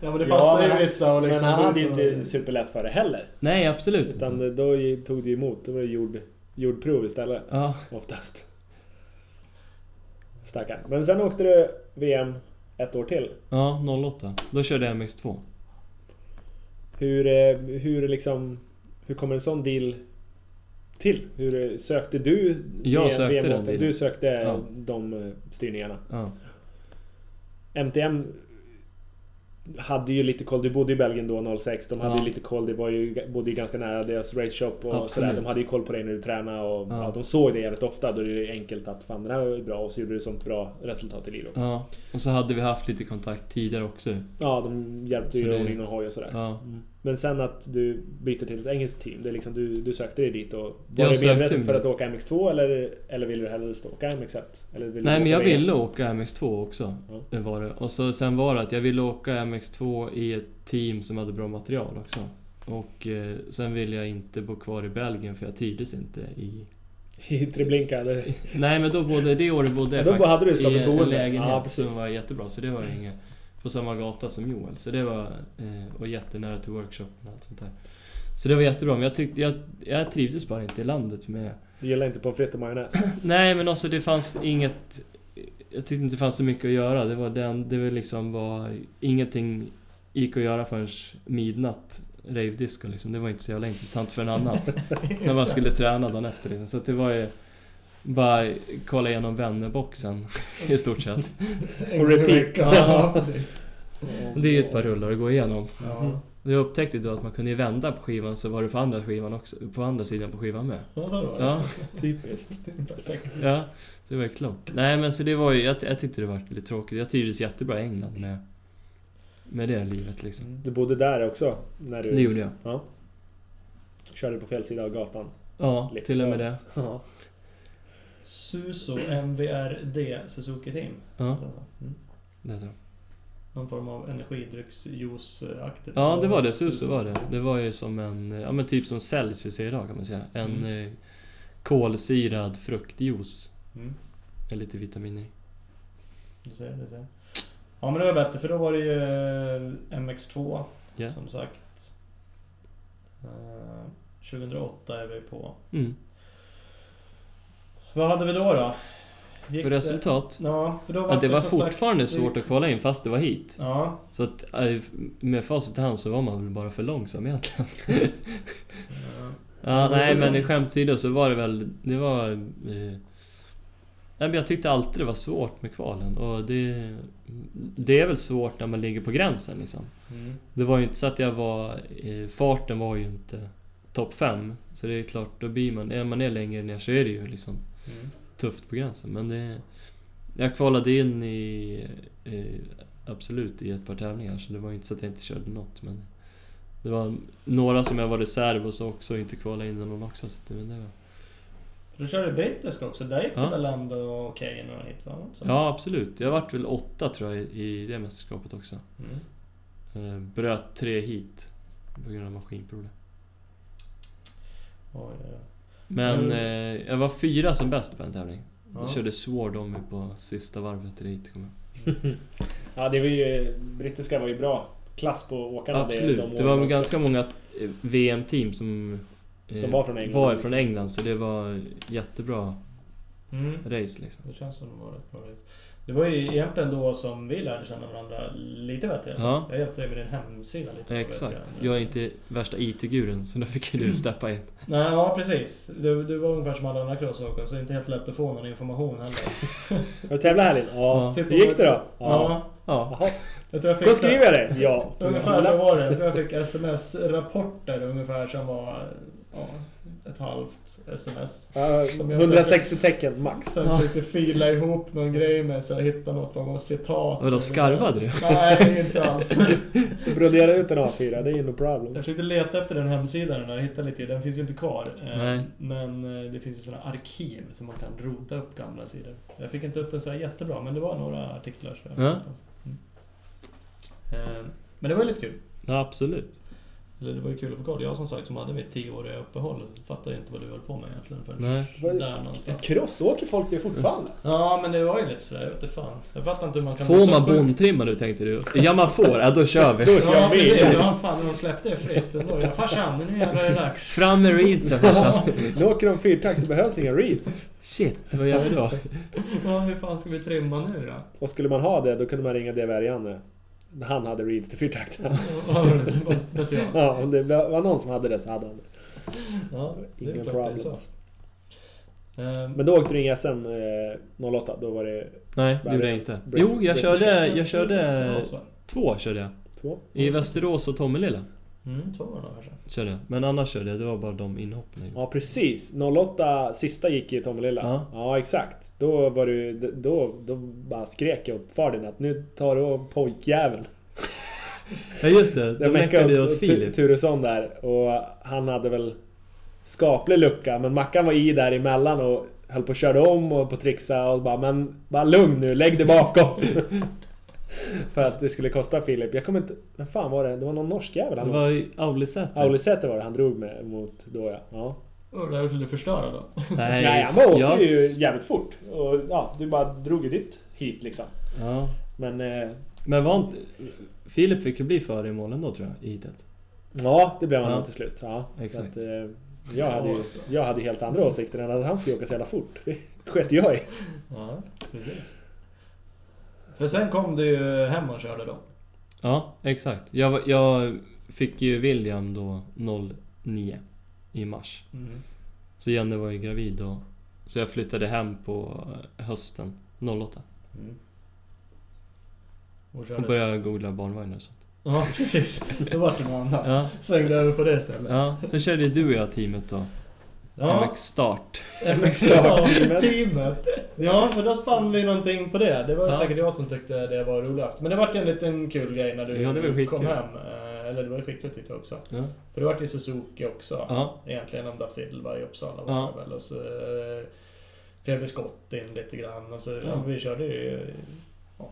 S2: men det
S3: Ja,
S2: passar
S3: men-
S2: ju vissa och liksom...
S3: Men han hade ju inte superlätt för det heller.
S4: Nej, absolut
S3: Utan
S4: inte.
S3: då ju- tog det ju emot. Då var det jord, jordprov istället.
S4: Ja,
S3: Oftast. Stackarn. Men sen åkte du VM ett år till.
S4: ja, 08. Då körde jag MX2.
S3: Hur, eh, hur liksom... Hur kommer en sån deal till? Hur eh, sökte du
S4: Jag
S3: VM
S4: sökte den dealen.
S3: Du sökte
S4: Ja.
S3: de eh, styrningarna.
S4: Ja.
S3: MTM hade ju lite koll. Du bodde i Belgien då 06. De hade
S4: Ja.
S3: ju lite koll. Det var ju, bodde ju ganska nära deras raceshop och
S4: Absolut.
S3: sådär. De hade ju koll på dig när du tränade och ja.
S4: Ja.
S3: de såg det jävligt ofta. Då är det enkelt att fan den här var ju bra och så gjorde du sånt bra resultat i Lido.
S4: ja. Och så hade vi haft lite kontakt tidigare också.
S3: Ja, de hjälpte
S4: Så
S3: ju
S4: det-
S3: ordning och hoj och sådär.
S4: Ja.
S3: Mm. Men sen att du byter till ett engelskt team. Det är liksom du, du sökte dig dit och var
S4: Jag
S3: det
S4: sökte
S3: medvetet
S4: mig
S3: för att
S4: dit.
S3: åka MX2 eller, eller ville du helst åka MX1? Eller ville
S4: Nej,
S3: du
S4: men
S3: åka
S4: jag
S3: VM?
S4: ville åka MX2 också.
S3: Ja.
S4: Det var det. Och så, sen var det att jag ville åka MX2 i ett team som hade bra material också. Och eh, sen ville jag inte bo kvar i Belgien för jag trivdes inte i...
S3: I Treblinka eller?
S4: Nej men då bodde, det året bodde jag
S3: Ja, då
S4: faktiskt
S3: hade du skapat
S4: i en
S3: boende.
S4: lägenhet
S3: Ja, precis.
S4: som var jättebra. Så det var inget på samma gata som Joel. Så det var, eh, och jättenära till workshopen och allt sånt där. Så det var jättebra. Men jag, tyckte, jag, jag trivdes bara inte i landet med
S3: Du gillar inte pommes frites och majonnäs?
S4: Nej men alltså det fanns inget... Jag tyckte inte det fanns så mycket att göra. Det var den... Det var liksom var... Ingenting gick att göra förrän midnatt. Rave-disco liksom. Det var inte så jävla intressant för en annan. när man skulle träna dagen efter liksom. Så att det var ju... Bara kolla igenom vännerboxen i stort sett.
S2: På
S3: repeat.
S2: Ja, precis.
S4: Det är ju ett par rullar att gå igenom.
S2: Ja.
S4: Jag upptäckte då att man kunde ju vända på skivan så var det på andra skivan också. På andra sidan på skivan med.
S2: Ja, så var det.
S4: Ja.
S3: Typiskt.
S2: Perfekt.
S4: Ja, det var ju klart. Nej men så det var ju, jag, jag tyckte det var lite tråkigt. Jag trivdes jättebra i England med, med det livet liksom.
S3: Du bodde där också? När du
S4: Det gjorde jag.
S3: Ja. Körde på fel sida av gatan.
S4: Ja,
S3: Livsföret.
S4: till och med det.
S3: Ja.
S2: Suso MVRD Suzuki Team.
S4: Ja,
S2: Mm.
S4: det tror jag.
S2: Någon form av energidrycksjuice-aktigt.
S4: ja det var det. Suso var det. Det var ju som en, ja men typ som Celsius är idag kan man säga. En eh, kolsyrad fruktjuice
S2: Mm.
S4: med lite vitaminer i.
S2: Du ser, du ser. Ja men det var bättre för då var det ju eh, MX2
S4: Ja.
S2: som sagt. Eh, 2008 är vi på.
S4: Mm.
S2: Vad hade vi då då? Gick
S4: För
S2: det-
S4: resultat?
S2: Ja, för då var
S4: Ja, det var
S2: som sagt-
S4: fortfarande
S2: det-
S4: svårt att kvala in fast det var hit.
S2: Ja,
S4: Så att eh, med facit i hand så var man väl bara för långsam egentligen.
S2: ja.
S4: Ja, nej men i skämt åsido så var det väl... Det var... Eh, Nej, men jag tyckte alltid det var svårt med kvalen och det, det är väl svårt när man ligger på gränsen liksom.
S2: Mm.
S4: Det var ju inte så att jag var... eh, Farten var ju inte topp 5. Så det är klart, då blir man... Är man är längre ner så är det ju liksom
S2: Mm.
S4: tufft på gränsen. Men det... Jag kvalade in i... eh, Absolut i ett par tävlingar så det var ju inte så att jag inte körde något men... Det var några som jag var reserv och så också inte kvalade in i någon också. Så det, men det var,
S2: För du körde brittiska också, där gick det
S4: Ja.
S2: väl ändå okej i några hit? Va? Något sånt.
S4: ja absolut, jag vart väl åtta tror jag i i det mästerskapet också.
S2: Mm.
S4: Eh, Bröt tre hit på grund av maskinproblem.
S2: Oj, oj, oj.
S4: Men
S2: Mm.
S4: eh, jag var fyra som bäst på en tävling.
S2: Ja.
S4: Jag körde sword om mig på sista varvet i hit kommer
S3: Ja, det var ju... Brittiska var ju bra klass på
S4: jag.
S3: åkarna. det-
S4: Absolut.
S3: de
S4: Det var
S3: åren
S4: väl
S3: också.
S4: ganska många eh, VM-team som... eh,
S3: Som var från England,
S4: Var
S3: liksom.
S4: från England, så det var jättebra
S2: Mm.
S4: race liksom.
S2: Det känns som det var rätt bra race. Det var ju egentligen då som vi lärde känna varandra lite bättre.
S4: Ja.
S2: Jag hjälpte dig med din hemsida lite.
S4: Exakt. Jag är inte värsta IT-guren, så då fick ju du steppa in.
S2: Nej, ja precis. Du, du var ungefär som alla andra crossåkare så det är inte helt lätt att få någon information heller.
S3: Har du tävlat helgen? Ja.
S4: Ja.
S3: Hur gick det då?
S2: Ja.
S4: Ja.
S3: Jaha.
S2: Jag tror jag
S3: Då
S2: fick...
S3: skriver jag det. Ja.
S2: Ungefär så var det. Jag tror jag fick sms-rapporter ungefär som var... Ja, ett halvt sms.
S3: Ja,
S2: Som jag
S3: 160 tecken max.
S2: Sen
S4: Ja.
S2: försökte fila ihop någon grej med så jag hittade något form av citat.
S4: Vadå, skarvade du?
S2: Nej, inte alls.
S3: Brodera ut en A4, det är ju no problem.
S2: Jag försökte leta efter den hemsidan och jag hittade lite. Den finns ju inte kvar. Eh,
S4: Nej.
S2: Men eh, det finns ju sådana arkiv som man kan rota upp gamla sidor. Jag fick inte upp den så här jättebra, men det var några artiklar. Så jag
S4: Ja.
S2: Mm. Eh, Men det var lite kul.
S4: Ja, absolut.
S2: Eller det var ju kul att få koll. Jag som sagt som hade mitt tioåriga uppehåll fattade ju inte vad du höll på med egentligen förrän
S4: Nej.
S2: där någonstans.
S3: Cross åker folk det fortfarande?
S2: Ja men det var ju lite sådär, jag vet inte fan. Jag fattar inte hur man kan bli
S4: Får
S2: så
S4: man
S2: sjuk.
S4: bomtrimma nu tänkte du? Ja, man får. Ja, då kör vi.
S2: Ja
S3: Jag vet.
S2: precis, ja fan de släppte det fritt ändå. Jag farsan, nu jävlar är det dags.
S4: Fram med reedsen farsan.
S3: Nu åker de fyrtakt, det behövs inga reeds.
S4: Shit, vad gör vi då?
S2: Ja, hur fan ska vi trimma nu då?
S3: Och skulle man ha det, då kunde man ringa DVR-Janne. Han hade reeds till fyrtakten.
S2: Vad var det? Bara special.
S3: Ja, om det var någon som hade det så hade han det.
S2: Ja, det är
S3: Inga
S2: klart det är så.
S3: problems.
S2: Ehm,
S3: Men då åkte du inga SM eh, 08, då var det
S4: Nej, det gjorde jag inte. Jo, jag körde... Jag körde... Två körde jag.
S3: två.
S4: I Västerås och Tommelilla eh,
S2: Mm, två var det nog kanske.
S4: körde jag. Men annars körde jag, det var bara de inhoppen jag gjorde.
S3: Ja precis, 08 sista gick ju i Tommelilla.
S4: Ja.
S3: ja exakt. Då var du, då, då bara skrek jag åt far din att nu tar du av pojkjäveln.
S4: Ja just det, de
S3: Jag
S4: meckade
S3: meckade
S4: ju
S3: åt Tu-
S4: åt Filip.
S3: Turesson där och han hade väl skaplig lucka men Mackan var i däremellan och höll på att köra om och på att trixa och bara men bara lugn nu, lägg dig bakom. För att det skulle kosta Filip. Jag kommer inte... Vem fan var det? Det var någon norsk jävel
S4: Det
S3: han
S4: var ju typ. Aulisäter.
S3: Aulisäter var det han drog med mot då ja. ja.
S2: Och det där skulle du förstöra då?
S4: Nej,
S3: Nej, han bara åkte
S4: jag-
S3: ju jävligt fort. Och ja, du bara drog ju ditt hit liksom.
S4: Ja.
S3: Men eh,
S4: Men var inte... Filip fick ju bli före i målen då tror jag, i hitet.
S3: ja, det blev han
S4: Ja.
S3: nog till slut. Ja,
S4: Exakt.
S3: Så att, eh, jag, hade ju,
S2: Kaos.
S3: jag hade helt andra åsikter än att han skulle åka så jävla fort. Det sket jag i.
S2: Ja, precis. Men sen kom du ju hem och körde då.
S4: Ja, exakt. Jag, var- jag fick ju William då 09 i mars.
S2: Mm.
S4: Så Jenny var ju gravid då. Så jag flyttade hem på eh, hösten 08.
S2: Och
S4: Och
S2: körde.
S4: började googla barnvagnar och sånt.
S2: Ja, precis. Då vart det något annat.
S4: Ja.
S2: Svängde över på det istället.
S4: Ja, sen körde du och jag teamet då.
S2: Ja,
S4: MX Start.
S2: MX-teamet. Ja, för då spann vi någonting på det. Det var
S4: Ja.
S2: säkert jag som tyckte det var roligast. Men det vart ju en liten kul grej när du
S4: Ja, det var skitkul.
S2: kom hem. Eh, Eller det var skitkul tyckte jag också.
S4: Ja.
S2: För det vart ju Suzuki också.
S4: Ja.
S2: Egentligen om da Silva i Uppsala var
S4: Ja.
S2: det väl. Och så eh, klev ju Scott in lite grann. Och så, ja.
S4: Ja.
S2: vi körde ju ja,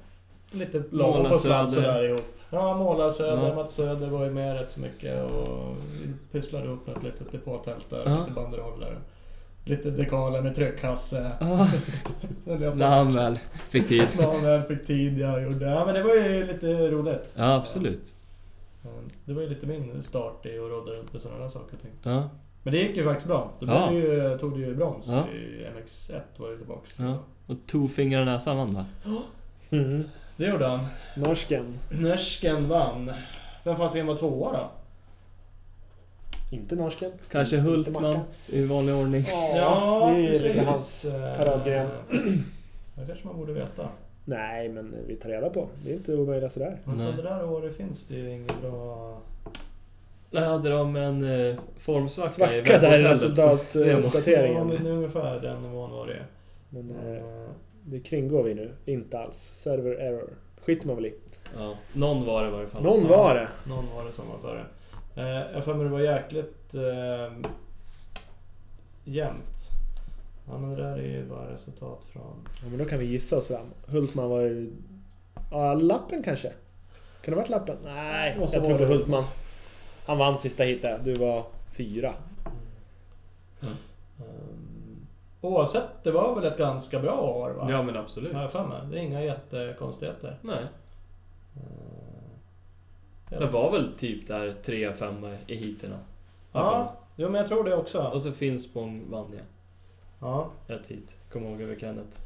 S2: lite
S4: Måla
S2: lagom på sladd
S4: Söder.
S2: sådär ihop. Ja, Måla Söder,
S4: Ja.
S2: Mats Söder var ju med rätt så mycket. Och vi pusslade ihop ett litet depåtält där.
S4: Ja.
S2: Lite banderoller. Lite dekaler med tryckkasse.
S4: Ah, när han väl fick tid.
S2: När han väl fick tid jag gjorde. Ja men det var ju lite roligt.
S4: Ja, absolut.
S2: Det var ju lite min start i att rodda runt med sådana där saker. och ting.
S4: Ja.
S2: Men det gick ju faktiskt bra. Då
S4: Ja.
S2: blev det ju, tog du ju brons
S4: Ja.
S2: i MX1 var det tillbaks.
S4: Ja. Och tofingrar näsan vann va?
S3: Mm.
S2: Det gjorde han.
S3: Norsken.
S2: Norsken vann. Vem fan ska vara tvåa då?
S3: Inte norsken.
S4: Kanske
S3: Inte
S4: Hultman
S3: Mackan.
S4: i vanlig ordning.
S3: Ja, det är ju lite hans paradgren.
S2: Eh, Det kanske man borde veta.
S3: Nej, men vi tar reda på. Det är inte omöjligt sådär.
S2: Men
S4: Nej.
S2: för det där året finns det ju inget bra...
S4: Där hade de en eh, formsvacka i
S3: Svacka där i
S4: webbhotellet på Semo.
S2: Ja,
S3: resultatuppdateringen.
S2: men ungefär den nivån var det.
S3: Men eh,
S2: Eh,
S3: det kringgår vi nu. Inte alls. Server error. Skiter man väl i.
S4: Ja, någon var det i varje fall.
S3: Någon var det.
S2: Någon var det som var före. Eh, jag har för mig det var jäkligt eh, jämnt. Ja men det där är ju bara resultat från...
S3: Ja, men då kan vi gissa oss fram. Hultman var ju... Ja, lappen kanske? Kan det ha varit lappen? Nej,
S2: Och så
S3: jag tror
S2: var
S3: på
S2: det-
S3: Hultman. Han vann sista hitet. Du var fyra.
S4: Mm.
S2: Um, oavsett, det var väl ett ganska bra år va?
S4: Ja men absolut.
S2: Har jag för mig. Det är inga jättekonstigheter.
S4: Nej.
S2: Eh,
S4: Det var väl typ där 3-5 i heaterna.
S2: ja, jo men jag tror det också.
S4: Och så Finspång vann jag.
S2: Ja.
S4: Ett hit. Kom ihåg över Kenneth.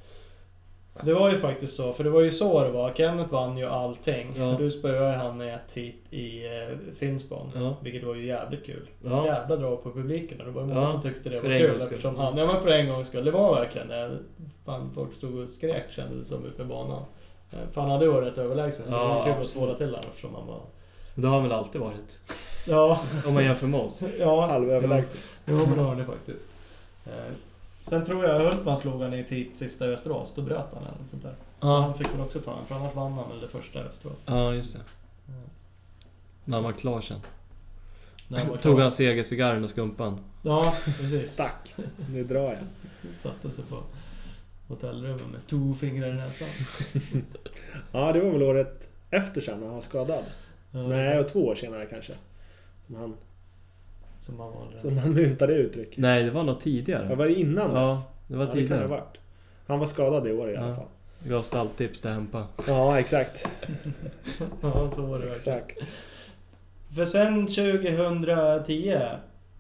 S2: Det var ju faktiskt så, för det var ju så det var. Kenneth vann ju allting.
S4: Ja.
S2: Du spöade han i ett hit i eh, Finspång.
S4: Ja.
S2: Vilket var ju jävligt kul.
S4: Ja.
S2: Jävla drag på publiken. och Det var många
S4: Ja,
S2: som tyckte det
S4: för
S2: var
S4: en
S2: kul.
S4: gångs skull.
S2: Eftersom han, ja men för en gångs skull. Det var verkligen det. Fan, folk stod och skrek kändes det som ute på banan. Eh, För han hade ju varit rätt överlägsen. Så det
S4: Ja,
S2: var kul att
S4: absolut.
S2: svåra till honom eftersom han var...
S4: Men Det har han väl alltid varit.
S2: Ja,
S4: Om man jämför med oss.
S2: ja.
S3: Halvöverlägsen.
S2: Jo men det har ni faktiskt. Eh, Sen tror jag Hultman slog han i ett hit sista i Västerås. Då bröt han eller något sånt där. Så han
S4: Ja,
S2: fick väl också ta den. För annars vann han väl det första i Västerås. Eh,
S4: ja just det.
S2: Ja.
S4: När han var klar sen.
S2: När han var
S4: Tog
S2: klar.
S4: han segercigarren och skumpan.
S2: Ja, precis.
S3: Stack. Nu drar jag.
S2: Satte sig på hotellrummet med två fingrar i näsan.
S3: Ja, det var väl året efter sen han var skadad.
S2: Ja.
S3: Nej, och två år senare kanske. Som han,
S2: Som man valde.
S3: som han myntade uttryck.
S4: Nej, det var något
S3: Ja,
S4: tidigare.
S3: var det innan dess?
S4: Ja, det var
S3: Ja, det kan det ha
S4: tidigare.
S3: varit. Han var skadad i år i alla
S4: Ja.
S3: fall.
S4: Gav stalltips till Hempa.
S3: Ja, exakt.
S2: Ja, så var det verkligen.
S3: Exakt.
S2: För sen 2010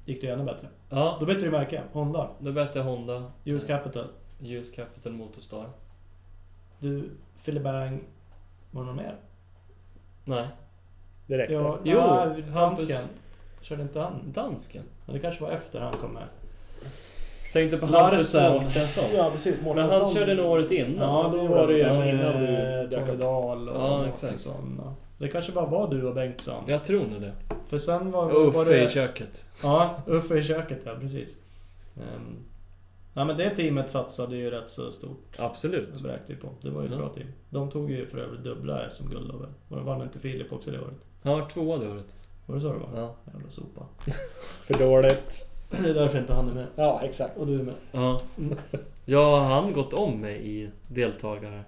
S2: gick det ju ännu bättre.
S4: Ja,
S2: Då bytte du märke. Honda.
S4: då bytte jag Honda.
S2: US Capital.
S4: US Capital Motorstar.
S2: Du, Filibang. Var det någon mer?
S4: Nej.
S3: Det räckte.
S2: Ja,
S4: Jo,
S2: nej,
S4: Hampus-
S2: dansken. Körde inte han?
S4: Dansken.
S2: Men det kanske var efter han kom med.
S4: Tänkte på Hampus
S2: Larsen.
S4: Mårtensson.
S3: Ja, precis.
S4: Men han körde nog året innan.
S2: Ja,
S3: det
S2: då
S3: gjorde
S2: var det ju
S3: han.
S2: eh,
S3: Innan du dök
S2: Tony
S3: upp.
S2: Dahl och
S4: Ja, exakt.
S2: sådana. Det kanske bara var du och Bengtsson.
S4: Jag tror nog det.
S2: För sen var, var
S4: Uffe
S2: det...
S4: i köket.
S2: Ja, Uffe i köket ja, precis. Um, ja men det teamet satsade ju rätt så stort.
S4: Absolut.
S2: Det beräknade vi på. Det var ju ett
S4: Ja.
S2: bra team. De tog ju för övrigt dubbla SM-guld då väl? Och de vann inte Filip också det året?
S4: Han var tvåa det året.
S2: Var det så det var?
S4: Ja.
S2: Jävla sopa.
S3: För dåligt.
S2: Det är därför inte han är med.
S3: Ja, exakt.
S2: Och du är med.
S4: Ja. Ja, han gått om mig i deltagare.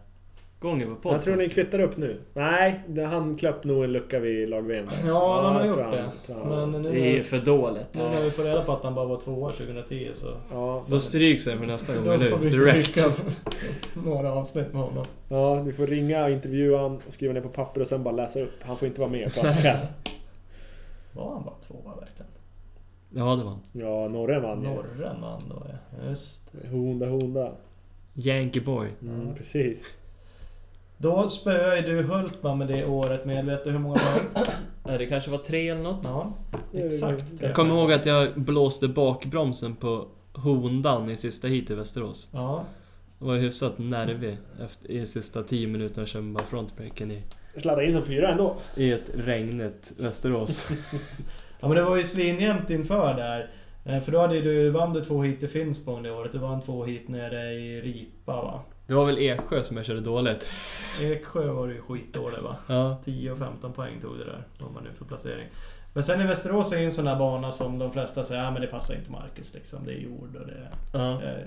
S4: Gånger på
S3: Jag
S4: podcast.
S3: tror ni kvittar upp nu. Nej, det- han klöpp nog en lucka vid lag-VM. där.
S2: Ja, han har
S3: jag tror
S2: gjort det.
S3: tror
S2: Men nu,
S4: Det är
S2: nu
S4: för dåligt.
S2: när vi får reda på att han bara var tvåa 2010 så...
S3: Ja,
S4: Då stryks jag för nästa gång,
S2: Då
S4: eller
S2: får vi
S4: hur? Direkt.
S2: stryka några avsnitt med honom.
S3: ja, vi får ringa och intervjua honom, skriva ner på papper och sen bara läsa upp. Han får inte vara med och prata själv.
S2: Var han bara tvåa verkligen?
S4: Ja, det var han.
S3: Ja, Norren vann ju.
S2: Norren vann då ja. Just det.
S3: Honda, Honda.
S4: Yankee boy.
S3: Mm,
S2: Ja.
S3: Precis.
S2: Då spöade ju du Hultman med det året medvetet. Hur många poäng?
S4: Nej, det kanske var tre eller något.
S2: Ja,
S3: Det är
S2: exakt.
S3: det.
S4: Jag kommer ihåg att jag blåste bakbromsen på Hondan i sista hit i Västerås.
S2: Ja,
S4: Jag var hyfsat nervig efter, i sista 10 minuterna körde man frontbreken i,
S3: Sladda in som fyra ändå.
S4: i ett regnigt Västerås.
S2: ja men det var ju svinjämnt inför där. Eh, För då hade ju du, vann du två hit i Finspång det året. Du vann två hit nere i Ripa va?
S4: Det var väl Eksjö som jag körde dåligt.
S2: Eksjö var det ju skitdålig va?
S4: Ja.
S2: 10 och 15 poäng tog det där. Vad man nu för placering. Men sen i Västerås är ju en sån där bana som de flesta säger, ja men det passar inte Marcus liksom. Det är jord och det...
S4: ja.
S2: Eh,
S4: Det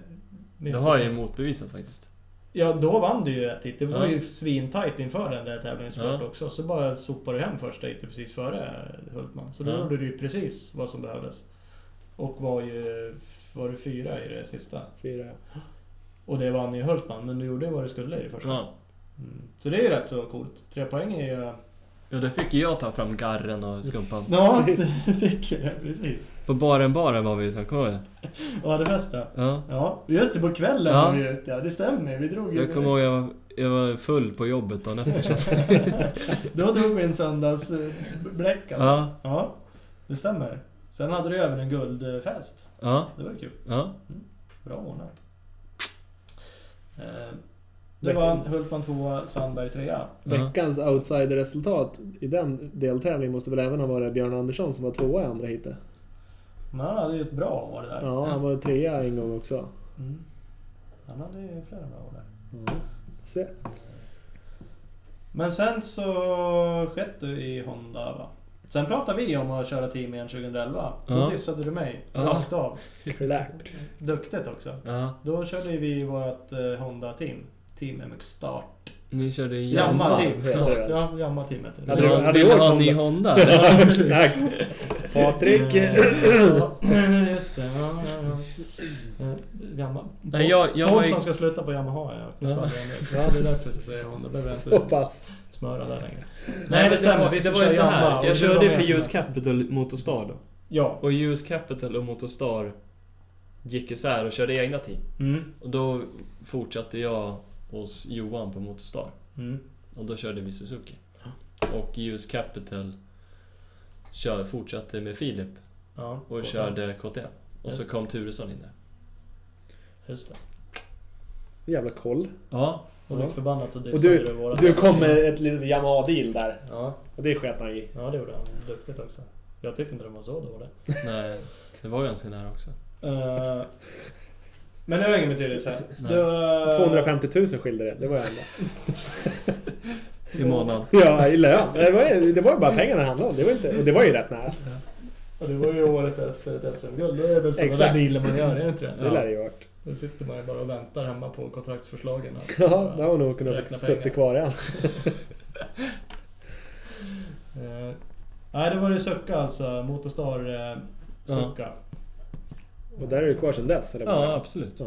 S2: minst
S4: har
S2: det-
S4: jag ju motbevisat faktiskt.
S2: Ja, då vann du ju ett hit. Det var
S4: Ja.
S2: ju svintajt inför den där tävlingen såklart
S4: Ja.
S2: också. Så bara sopade du hem första hitet precis före Hultman. Så då
S4: Ja.
S2: gjorde du ju precis vad som behövdes. Och var ju... Var du fyra i det sista?
S3: Fyra.
S2: Och det vann ju Hultman, men du gjorde ju vad du skulle i det första.
S4: Ja.
S2: Mm. Så det är ju rätt så coolt. Tre poäng är ju...
S4: Ja, då fick ju jag ta fram garren och skumpan.
S2: Ja,
S3: Precis.
S2: det fick jag det, precis.
S4: På baren baren var vi ju, så kommer du ihåg det?
S2: Och hade fest där.
S4: Ja.
S2: Ja, just det. På kvällen
S4: Ja.
S2: var vi ute. Ja, det stämmer. Vi drog ju...
S4: Jag kommer ihåg jag var, jag var full på jobbet dagen efter. så-
S2: Då drog vi en alltså. söndagsbläcka.
S4: Ja,
S2: Ja, det stämmer. Sen hade du även en guldfest.
S4: ja,
S2: Det var ju kul.
S4: ja.
S2: Bra ordnat. Eh, Det var Hultman tvåa, Sandberg trea.
S3: Veckans outsider-resultat i den deltävlingen måste väl även ha varit Björn Andersson som var tvåa i andra heatet?
S2: Men han hade ju ett bra år där.
S3: Ja, han var trea en gång också.
S2: Mm. Han hade ju flera bra år där.
S3: Ja. Så,
S2: Men sen så skett du i Honda va? Sen pratade vi om att köra team igen 2011. Då
S4: Ja.
S2: dissade du mig.
S4: Ja.
S2: Rakt av.
S3: klart.
S2: Duktigt också.
S4: Ja,
S2: Då körde ju vi vårt eh, Honda-team. Team MX Start.
S4: ni körde en
S3: Jamma.
S2: Jamma-team.
S3: heter det.
S2: Ja, Jamma-team heter
S3: Ja,
S2: det.
S3: det var-
S4: Vill
S3: hade
S4: du
S3: du
S4: ha en
S3: varit
S4: ny Honda?
S3: Exakt. Eh, Patrik.
S2: Eh, Ja, Just det. Ja, ja, ja. Eh, Jamma.
S4: Nej, jag- jag
S2: Folk
S4: var i-
S2: som ska sluta på Yamaha ja.
S4: Ja.
S2: ja, det är därför jag säger Honda. Behöver jag
S3: Så
S2: inte
S3: pass.
S2: smöra där längre.
S4: Nej,
S2: Nej,
S4: det
S2: det stämmer.
S4: var,
S2: Vi
S4: det
S2: ska
S4: var ju
S2: köra
S4: så
S2: Jamma.
S4: här.
S2: och
S4: Jag
S2: så
S4: körde
S2: drar vi
S4: för
S2: en
S4: US
S2: här.
S4: Capital Motorstar då.
S2: Ja.
S4: Och US Capital och Motorstar gick isär och körde egna team.
S2: Mm.
S4: Och då fortsatte jag hos Johan på Motorstar.
S2: Mm.
S4: Och då körde vi Suzuki. Och US Capital kör, fortsatte med Filip
S2: Ja,
S4: och körde KTM. Och så
S2: Just.
S4: kom Turesson in där.
S2: Just det.
S3: Jävla koll.
S4: Ja.
S2: Och lik förbannat så
S3: Och
S2: dissade
S3: du,
S2: du våra...
S3: du kom med ett litet Yamaha-deal där.
S2: Ja,
S3: Och det sket han i.
S2: ja, det gjorde han. Duktigt också. Jag tyckte inte det var så dåligt.
S4: Nej, det var ganska nära också.
S2: Eh, men det har ingen betydelse.
S4: Nej.
S2: Du, eh,
S3: 250 000 skilde det. Det var ju ändå.
S4: I månaden.
S3: Ja, i lön. Det var ju, det var ju bara pengarna det handlade om. Det var inte, och det var ju rätt nära.
S2: Och det var ju året efter ett SM-guld. Då är det väl sådana
S3: Exakt.
S2: där dealer man gör, är det inte
S3: Det
S2: det?
S3: lär det ju ha varit.
S2: Då sitter man ju bara och väntar hemma på kontraktsförslagen. här.
S3: Ja, det har nog kunnat
S2: Räkna
S3: suttit
S2: pengar.
S3: kvar än.
S2: Eh, Nej, det var det Sucka alltså. Motorstar eh, Sucka.
S3: Och där är du kvar sedan dess, eller?
S4: Ja, absolut.
S3: Ja.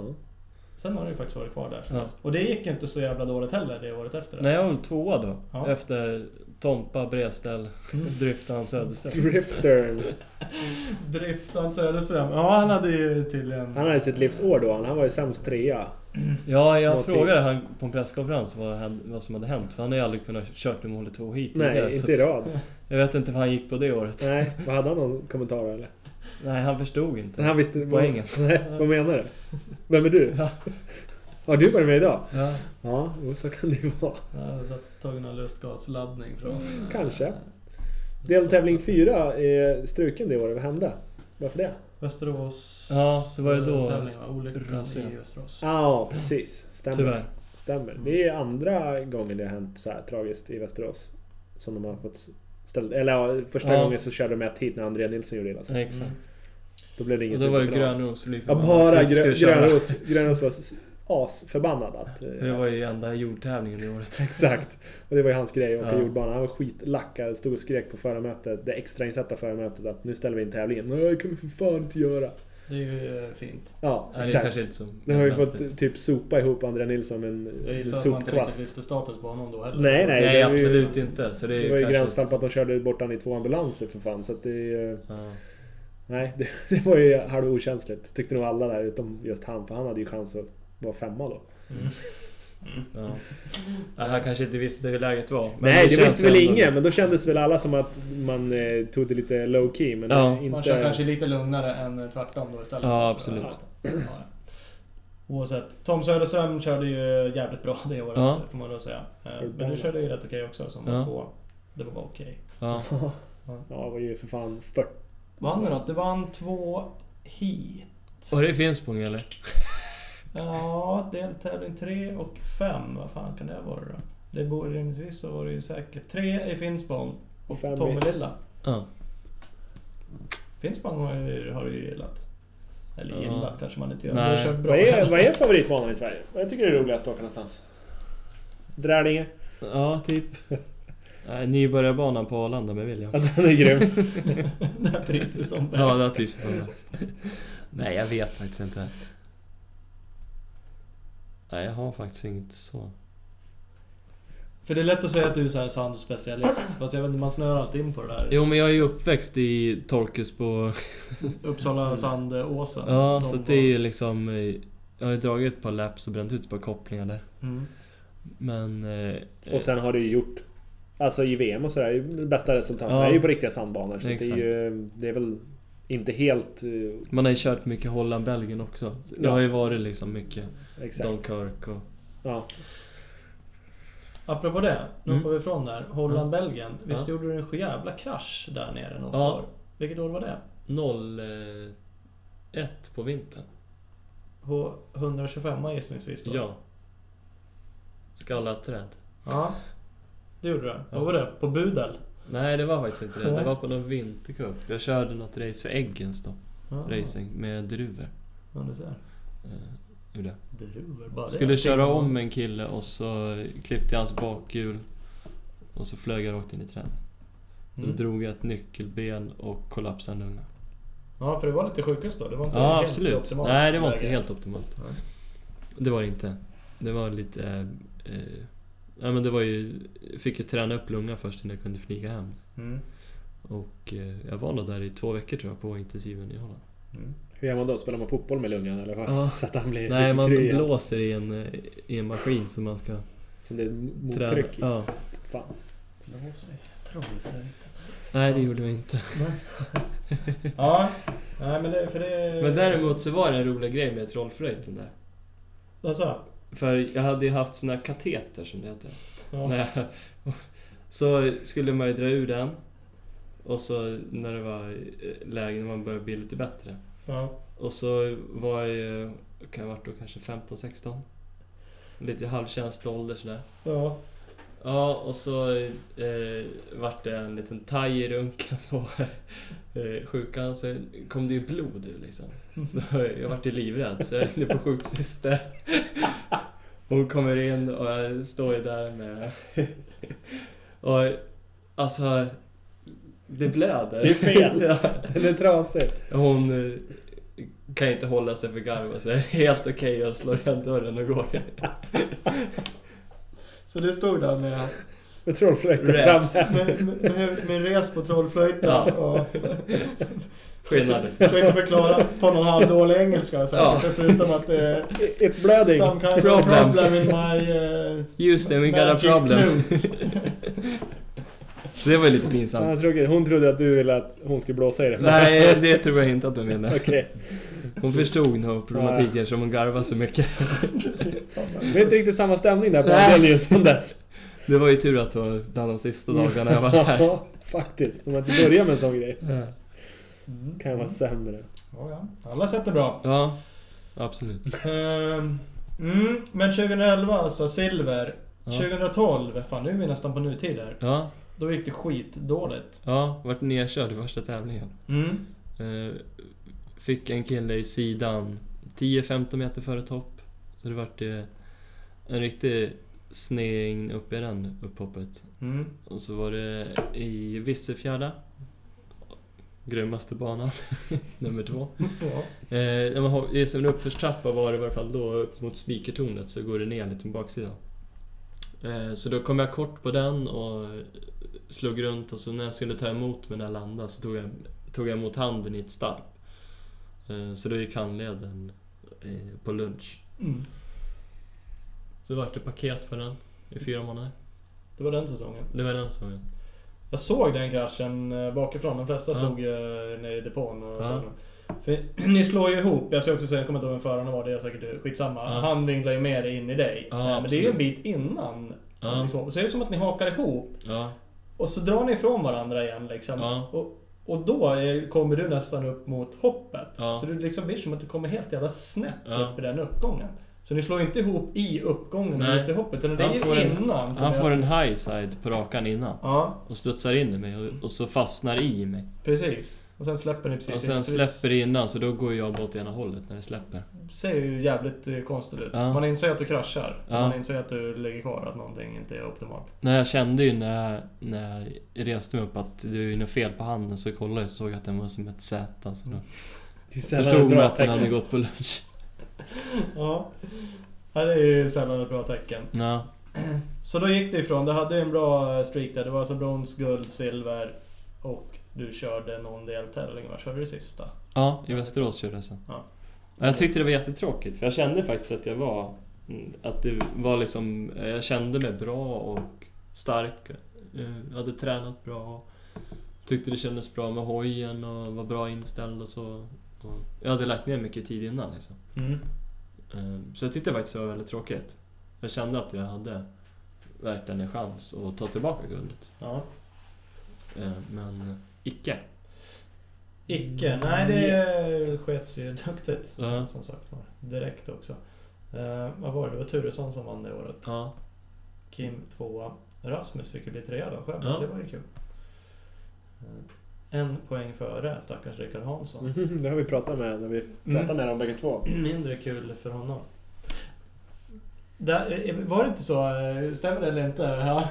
S2: Sen har det ju faktiskt varit kvar där. sen
S4: Ja.
S2: dess. Och det gick ju inte så jävla dåligt heller det året efter. det.
S4: Nej, jag var väl tvåa då.
S2: Ja.
S4: Efter Tompa, Bredställ,
S3: Mm.
S4: Dryftan, Söderställ.
S3: Driftern.
S2: Driftan Söderström. Ja, han hade ju till en...
S3: Han hade sitt livsår då. Han var ju sämst trea.
S4: Ja,
S3: Mm. Vad
S4: jag frågade han på en presskonferens vad, han- vad som hade hänt. För han har ju aldrig kunnat kört med mål 2 hit tidigare,
S3: Nej,
S4: så
S3: inte i
S4: att-
S3: rad.
S4: Jag vet inte vad han gick på det året.
S3: Nej, vad hade han någon kommentar eller?
S4: Nej, han förstod inte.
S3: Men han visste inte.
S4: Poängen.
S3: Nej, vad menar du? Vem är du?
S4: Ja.
S3: Har du varit med idag?
S4: Ja.
S3: Ja, jo, så kan det ju vara.
S2: Han hade satt- tagit någon lustgasladdning från... eh,
S3: Mm, Kanske. Deltävling fyra är struken det året. Vad hände? Varför det?
S2: Västerås...
S4: Ja, det var ju då
S2: Tävling, va? Olyckan
S4: Rosén.
S2: i Västerås.
S3: Ja, precis. Stämmer.
S4: Tyvärr.
S3: Stämmer. Det är andra gången det har hänt så här tragiskt i Västerås. Som de har fått ställa... Eller ja, första
S4: Ja.
S3: gången så körde de ett hit när André Nilsson gjorde illa sig.
S4: Nej, exakt.
S3: Då blev det Mm. ingen
S4: Och det var ju
S3: superfinal.
S4: Grönros blev
S3: Ja,
S4: förbannad
S3: bara
S4: att vi
S3: grö,
S4: skulle köra.
S3: Grönros. Grönros var s- asförbannad att... eh,
S4: För Det var ju enda jordtävlingen det året.
S3: Exakt. Och det var ju hans grej, att åka
S4: Ja.
S3: jordbana. Han var skitlackad. Stod och skrek på förarmötet, det extrainsatta förarmötet att nu ställer vi in tävlingen. Nej, det kan vi för fan inte göra.
S2: Det är ju eh, fint.
S3: Ja,
S4: Nej, det är
S3: exakt.
S4: kanske inte så
S3: Nu har vi
S4: konstigt.
S3: fått typ sopa ihop André Nilsson med en,
S2: Jag
S3: en
S2: gissar att man inte riktigt
S3: sopkvast.
S2: visste status på honom då heller.
S3: Nej, nej.
S4: Nej,
S3: det var ju-
S4: absolut inte. Så det, är
S3: Det var ju
S4: kanske
S3: gränsfall
S4: inte
S3: på att de körde bort honom i två ambulanser för fan. Så att det... eh,
S4: så- Ja.
S3: Nej, det, det var ju halv okänsligt. Tyckte nog alla där utom just han. För han hade ju chans att vara femma då.
S4: Ja. Ja, han kanske inte visste hur läget var. men
S3: Nej, det
S4: känns
S3: visste väl
S4: ändå-
S3: ingen. Men då kändes väl alla som att man eh, tog det lite low key. Men
S4: Ja.
S3: inte...
S2: Man kör kanske lite lugnare än tvärtom då istället.
S4: Ja, absolut.
S2: Ja, ja. Oavsett. Tom Söderström körde ju jävligt bra det året,
S4: Ja.
S2: får man då säga. Eh, Men du
S3: Förbannat.
S2: körde ju rätt okej också, som
S4: Ja.
S2: var två. Det var bara okej.
S4: Ja.
S3: Ja, det var ju för fan 40.
S2: Vann du något? Du vann två heat.
S4: Och det finns på eller?
S2: Ja, deltävling 3 och 5. Vad fan kan det ha varit då? Det borde rimligtvis så var det ju säkert. 3 i Finspång och
S3: Fem i-
S2: Tommelilla.
S4: Ja.
S2: Finspång har ju, har du ju gillat. Eller
S4: Ja.
S2: gillat kanske man inte gör.
S4: Nej.
S2: Men du har kört bra.
S3: Vad är, vad är favoritbanan i Sverige? Vad tycker du är roligast att åka någonstans? Drälinge?
S4: Ja, typ. Nej, Nybörjarbanan på Arlanda med William.
S3: Att den är grym.
S2: När trivs du som bäst?
S4: Ja, där trivs jag som bäst. Nej, jag vet faktiskt inte. Nej, jag har faktiskt inget så.
S2: För det är lätt att säga att du är så här sandspecialist. Fast jag vet inte, man snör alltid in på det där.
S4: Jo, men jag är ju uppväxt i Torkusbo.
S2: Uppsala Sandåsen.
S4: Mm. Ja,
S2: De
S4: så
S2: var-
S4: att det är ju liksom... eh, Jag har ju dragit ett par laps och bränt ut ett par kopplingar där.
S2: Mm.
S4: Men... eh,
S3: Och sen har du ju gjort... Alltså i VM och sådär, det bästa resultatet
S4: Ja.
S3: är ju på riktiga sandbanor. Så det är
S4: Exakt.
S3: ju... Det är väl inte helt... eh,
S4: Man har ju kört mycket Holland-Belgien också. Det
S3: Ja.
S4: har ju varit liksom mycket
S3: Exakt.
S4: Dunkirk och...
S3: Ja.
S2: Apropå det, nu
S4: Mm.
S2: hoppar vi ifrån där. Holland-Belgien. Visst
S4: Ja.
S2: gjorde du en jävla krasch där nere något
S4: Ja.
S2: år? Vilket år var det?
S4: 0-1 eh, på vintern.
S2: På 125 gissningsvis då?
S4: Ja. Skallat träd.
S2: Ja. Det gjorde du.
S4: Ja.
S2: Vad var det? På Budel?
S4: Nej, det var faktiskt inte det. Det
S2: Nej.
S4: var på någon vintercup. Jag körde något race för Eggens då.
S2: Ja.
S4: Racing med druvor.
S2: Ja, du ser.
S4: Eh, gjorde jag.
S2: Druvor bara. det.
S4: Skulle köra om en kille och så klippte jag hans bakhjul. Och så flög jag rakt in i trädet. Då
S2: Mm.
S4: drog jag ett nyckelben och kollapsade en lunga.
S2: Ja, för det var lite sjukhus då. Det var inte
S4: Ja,
S2: helt
S4: absolut.
S2: optimalt
S4: Nej, det var
S2: läge.
S4: inte helt optimalt.
S2: Nej.
S4: Det var det inte. Det var lite... Eh, eh, ja, men det var ju... Jag fick ju träna upp lungan först innan jag kunde flyga hem.
S2: Mm.
S4: Och eh, jag var nog där i två veckor tror jag, på intensiven i Holland.
S2: Mm.
S3: Hur gör man då? Spelar man fotboll med lungan eller vad?
S4: Ja.
S3: Så att han blir
S4: Nej,
S3: lite
S4: man
S3: kry igen.
S4: blåser i en, eh, i en maskin som man ska
S3: Som det är
S4: träna.
S3: mottryck i.
S4: Ja.
S3: Fan.
S2: Blås i troll för det.
S4: Nej, det gjorde jag inte.
S2: Ja. Nej, men det... För det...
S4: Men däremot så var det en rolig grej med trollflöjten där.
S2: Alltså,
S4: För jag hade ju haft såna här kateter som det heter.
S2: ja.
S4: När jag- Så skulle man ju dra ur den. Och så när det var eh, läge när man började bli lite bättre.
S2: Ja.
S4: Och så var jag ju, kan jag ha varit då kanske 15-16? Lite halvtjänstålder sådär.
S2: Ja.
S4: Ja, och så eh, vart det en liten taj i runken på eh, sjukan. Så kom det ju blod ur liksom. Så jag vart ju livrädd så jag ringde på sjuksyster. Hon kommer in och jag står ju där med... Och alltså... Det blöder.
S3: Det är fel.
S4: Ja.
S3: Den är trasig.
S4: Hon eh, kan inte hålla sig för garv och säger helt okej jag slår igen dörren och går.
S2: Så du stod där med,
S3: Med trollflöjten
S4: Räls.
S3: framme.
S2: med, med, med en res på trollflöjten
S4: Ja.
S2: och
S4: Skillnad.
S2: försökte förklara på någon halvdålig engelska säkert
S4: Ja.
S2: dessutom att det är
S3: It's blooding.
S2: some kind of
S4: Problem.
S2: problem in my... eh,
S4: Houston, we got a
S2: magic
S4: problem.
S2: flute.
S4: Så det var ju lite
S3: Ja,
S4: pinsamt.
S3: vad tråkigt. Hon trodde att du ville att hon skulle blåsa i den.
S4: Nej, det tror jag inte att hon menar.
S3: Okej.
S4: Hon förstod nog problematiken som hon garvade så mycket.
S3: Det är inte riktigt samma stämning där på
S4: Nej.
S3: helgen som dess.
S4: Det var ju tur att det var bland de sista dagarna jag var här.
S3: Ja, faktiskt. Om man inte börjar med en sån grej
S2: Mm.
S3: kan det vara sämre.
S2: Ja, ja. Alla sätt är bra.
S4: Ja, absolut.
S2: Ehm, Mm, men 2011 alltså, silver.
S4: Ja.
S2: 2012, fan nu är vi nästan på nutider.
S4: Ja,
S2: Då gick det skitdåligt.
S4: ja, vart nerkörd i första tävlingen.
S2: Mm.
S4: Eh, Fick en kille i sidan 10-15 meter före topp. Så det vart eh, en riktig sneding upp i den upphoppet.
S2: Mm.
S4: Och så var det i Vissefjärda. Grymmaste banan, nummer två.
S2: Ja.
S4: Eh, när man har, det är som en uppförstrappa var det i varje fall då upp mot spikertornet så går det ner lite på baksidan. Eh, så då kom jag kort på den och slog runt och så när jag skulle ta emot mig när jag landade så tog jag, tog jag emot handen i ett starp. Eh, så då gick handleden eh, på lunch.
S2: Mm.
S4: Så vart det paket på den i fyra månader.
S2: Det var den säsongen.
S4: Det var den som jag...
S2: Jag såg den kraschen eh, bakifrån. De flesta
S4: Ja.
S2: slog ju ner i depån. Och
S4: Ja.
S2: ja. För ni slår ju ihop. Jag ska också säga, jag kommer inte ihåg vem föraren var. Det är säkert eh, skitsamma.
S4: Ja.
S2: Han vinglar ju med dig in i dig.
S4: Ja,
S2: Eh, Men det är ju
S4: absolut.
S2: en bit innan. Liksom.
S4: Ja.
S2: Så är det som att ni hakar ihop.
S4: Ja,
S2: Och så drar ni ifrån varandra igen liksom.
S4: Ja.
S2: Och, och då är, kommer du nästan upp mot hoppet.
S4: Ja.
S2: Så det liksom blir som att du kommer helt jävla snett
S4: Ja.
S2: upp i den uppgången. Så ni slår ju inte ihop i uppgången
S4: Nej.
S2: och ut i hoppet. Utan det
S4: Han får
S2: är ju
S4: en-
S2: innan. som
S4: han
S2: är-
S4: får en high side på rakan innan
S2: Ja,
S4: och studsar in i mig och, och så fastnar i mig.
S2: precis. Och sen släpper ni precis
S4: Och sen
S2: in. Så
S4: släpper det innan så då går jag bara åt ena hållet när det släpper.
S2: ser ju jävligt eh, konstigt ut.
S4: Ja.
S2: Man inser ju att du kraschar.
S4: Ja.
S2: Man inser ju att du ligger kvar, att någonting inte är optimalt.
S4: Nej, jag kände ju när jag, när jag reste mig upp att det är ju något fel på handen så kollade jag och såg att den var som ett Z. Alltså då
S3: Det är sällan ett
S4: förstod man
S3: Mm. bra
S4: att den hade
S3: tecken.
S4: gått på lunch.
S2: Ja. ja det är ju sällan ett bra tecken.
S4: Ja,
S2: Så då gick det ifrån. Du hade ju en bra eh, streak där. Det var alltså brons, guld, silver och du körde någon deltävling. Vad körde du sista?
S4: ja i Västerås körde jag sen.
S2: Ja.
S4: Ja, Jag tyckte det var jättetråkigt för jag kände faktiskt att jag var... mm, Att det var liksom... eh, Jag kände mig bra och stark. Eh, hade tränat bra. Tyckte det kändes bra med hojen och var bra inställd och så. Och jag hade lagt ner mycket tid innan liksom.
S2: Mm.
S4: Ehm, Eh, Så jag tyckte faktiskt det var väldigt tråkigt. Jag kände att jag hade värt den en chans och ta tillbaka guldet.
S2: Ja.
S4: Eh, Men icke.
S2: Icke.
S4: Mm.
S2: Nej, det sket sig ju duktigt.
S4: Ja.
S2: Som sagt var. Direkt också. Eh, vad var det? Det var Turesson som vann det året.
S4: Ja.
S2: Kim tvåa. Rasmus fick ju bli trea då själv.
S4: Ja.
S2: Det var ju kul. Eh, En poäng före stackars Rickard Hansson.
S3: Mhm, Det har vi pratat med när vi
S4: Mm.
S3: pratade med dem bägge två.
S2: Mindre kul för honom. Där, eh, var det inte så? eh, Stämmer det eller inte? Ja.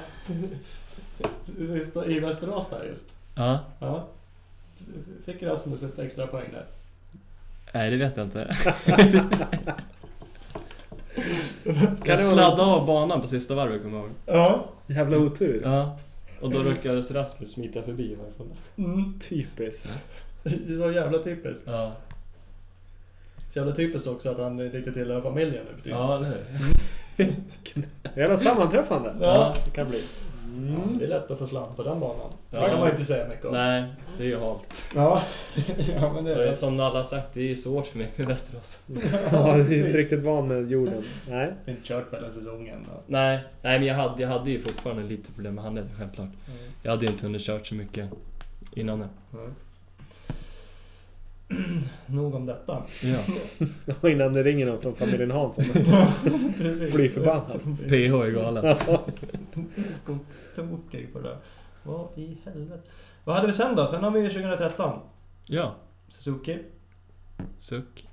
S2: Sista- I Västerås där just.
S4: ja.
S2: Ja. F- Fick Rasmus ett extra poäng där.
S4: Nej, det vet jag inte.
S3: Kan
S4: Jag
S3: det vara-
S4: sladdade av banan på sista varvet, kommer jag ihåg.
S2: Ja.
S3: Jävla otur.
S4: Mm. Ja. Och då lyckades Rasmus smita förbi i varje fall.
S2: Mm.
S3: Typiskt.
S2: Det var jävla typiskt.
S4: Ja.
S2: Så jävla typiskt också att han lite tillhör familjen nu för tiden.
S4: Ja, eller hur?
S3: Jävla sammanträffande.
S2: Ja.
S3: Det kan bli.
S2: Ja, Det är lätt att få slant på den banan.
S4: Ja.
S2: Det kan man inte säga mycket om.
S4: Nej, det är ju halt.
S2: Ja. ja, men det är
S4: Och det är
S2: det.
S4: Som alla har sagt, det är svårt för mig med Västerås.
S3: Ja, jag är
S2: precis.
S3: inte riktigt van med jorden. Nej.
S2: Det är Inte kört på hela säsongen. men-
S4: Nej, nej men jag hade, jag hade ju fortfarande lite problem med handleden, självklart.
S2: Mm.
S4: Jag hade ju inte hunnit kört så mycket innan det.
S2: Mm. Nog om detta.
S4: Ja.
S3: Och innan det ringer någon från familjen Hansson.
S2: Precis.
S3: Fly förbannat.
S4: PH är galen.
S2: Skogstokig på det där. Vad i helvete. Vad hade vi sen då? Sen har vi 2013.
S4: Ja,
S2: Suzuki.
S4: suck.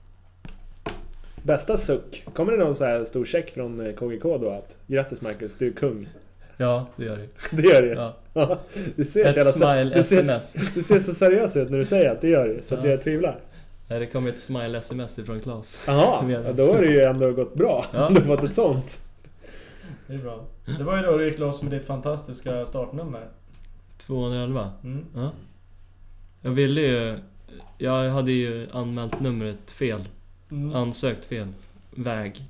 S3: Bästa suck. Kommer det någon så här stor check från eh, KGK då att grattis Marcus, du är kung.
S4: Ja, det gör det.
S3: Det gör det ju.
S4: Ja.
S3: Du ser,
S4: Ett
S3: så jävla-
S4: smile
S3: du, ser,
S4: SMS.
S3: du ser så seriös ut när du säger att det gör det, så att
S4: Ja.
S3: jag tvivlar.
S4: Nej, det kom ett smile-sms ifrån Claes.
S3: Jaha,
S4: Menar.
S3: ja, då har det ju ändå gått bra.
S4: Ja.
S3: Om du fått ett sånt.
S2: Det är bra. Det var ju då du gick loss med ditt fantastiska startnummer.
S4: 211.
S2: Mm.
S4: Ja. Jag ville ju... Jag hade ju anmält numret fel.
S2: Mm.
S4: Ansökt fel väg.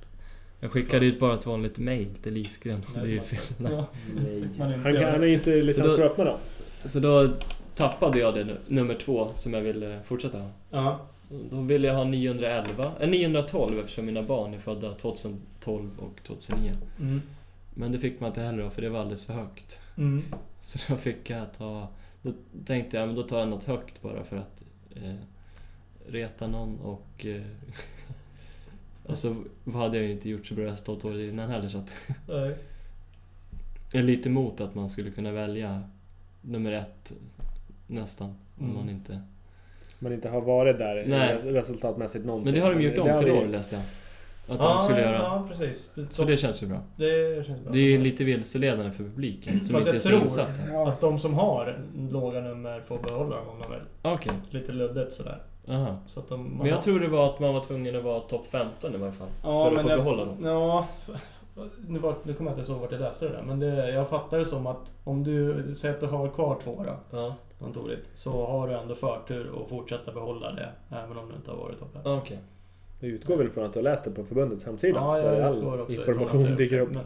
S4: Jag skickade ut bara ett vanligt mail till Lisgren. Det är ju fel.
S2: Ja, man inte
S3: Han, kan,
S2: göra.
S3: han är ju inte liksom licensföröppnad då.
S4: Så då tappade jag det nu- nummer två som jag ville fortsätta ha.
S2: Ja.
S4: Då ville jag ha 911, eller 912 eftersom mina barn är födda 2012 och 2009.
S2: Mm.
S4: Men det fick man inte heller då, för det var alldeles för högt.
S2: Mm.
S4: Så då fick jag ta... Då tänkte jag, men då tar jag något högt bara för att eh, reta någon och... Eh, alltså, vad hade jag ju inte gjort så bra resultat året innan heller så att...
S2: Nej.
S4: Jag är lite emot att man skulle kunna välja nummer ett, nästan. Om
S2: Mm.
S4: man inte...
S3: Man inte har varit där
S4: Nej.
S3: res- resultatmässigt någonsin.
S4: Men det har de gjort om
S3: har
S4: till
S3: vi-
S4: år läste jag. Att
S2: ja,
S4: de skulle göra.
S2: Ja, precis. Det,
S4: Så det känns ju bra.
S2: det känns bra.
S4: Det är ju lite vilseledande för publiken som
S2: Fast
S4: inte
S2: jag
S4: är så
S2: tror-
S4: insatt här.
S3: Ja.
S2: Att de som har låga nummer får behålla dem om de vill.
S4: Ah, Okej,
S2: Lite luddigt sådär.
S4: aha.
S2: Så att de,
S4: Men jag tror det var att man var tvungen att vara topp 15 i varje fall. för att få
S2: jag,
S4: behålla dem.
S2: Ja, nu, var, nu kommer jag inte ihåg vart jag läste det där. Men det, jag fattar det som att om du säger att du har kvar två då,
S4: Ja,
S2: kontoret, så har du ändå förtur att fortsätta behålla det. Även om du inte har varit topp
S4: Ah, okej.
S3: Du utgår väl från att du har läst det på förbundets hemsida?
S2: Ja,
S3: där
S2: jag utgår
S3: all
S2: också ifrån
S3: information
S2: att det-
S3: dyker upp.
S2: men-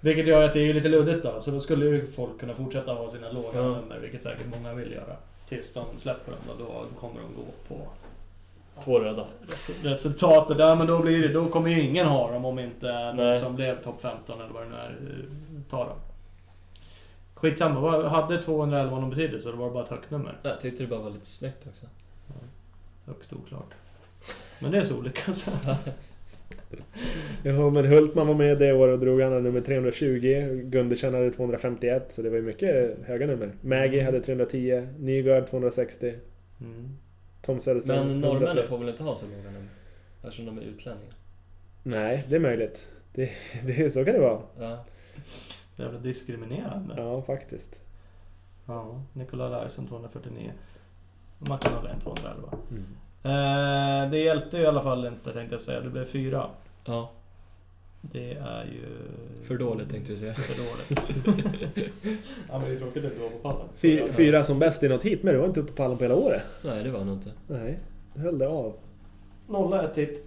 S2: Vilket gör att det är lite luddigt då. Så då skulle ju folk kunna fortsätta ha sina låga
S4: Ja.
S2: nummer, vilket säkert många vill göra. Tills de släpper dem då, då kommer de gå på
S4: Två röda.
S2: res- resultatet där. Men då, blir det, då kommer ju ingen ha dem om inte någon
S4: Nej.
S2: som blev topp 15 eller vad det nu är eh, tar dem. Skitsamma, vad- hade 211 någon betydelse? Eller var det bara ett högt nummer?
S4: Jag tyckte det bara var lite snyggt också.
S2: Högst oklart. Men det är så olika så.
S3: Ja, men Hultman var med det året och drog han nummer 320. Gundersen hade 251, så det var ju mycket höga nummer.
S4: Mm.
S3: Maggie hade 310, Nygaard 260,
S2: Mm.
S3: Tom Söderström
S4: Men norrmännen
S3: 103.
S4: får väl inte ha så många nummer? Eftersom de är utlänningar.
S3: Nej, det är möjligt. Det, det, så kan det vara.
S4: Ja.
S2: Så jävla diskriminerande.
S3: Ja, faktiskt.
S2: Ja, Nikolaj Larsson 249. Martin Norlén 211.
S3: Mm.
S2: Eh, det hjälpte ju i alla fall inte tänkte jag säga. Det blev fyra.
S4: ja,
S2: Det är ju...
S4: för dåligt tänkte du säga.
S2: För dåligt. ja men det är tråkigt att du var på pallen.
S3: Fy,
S2: Ja.
S3: Fyra som bäst i något hit, men du var inte uppe på pallen på hela året.
S4: Nej, det var nog inte.
S3: Nej, du höll det av.
S2: Nolla ett hit.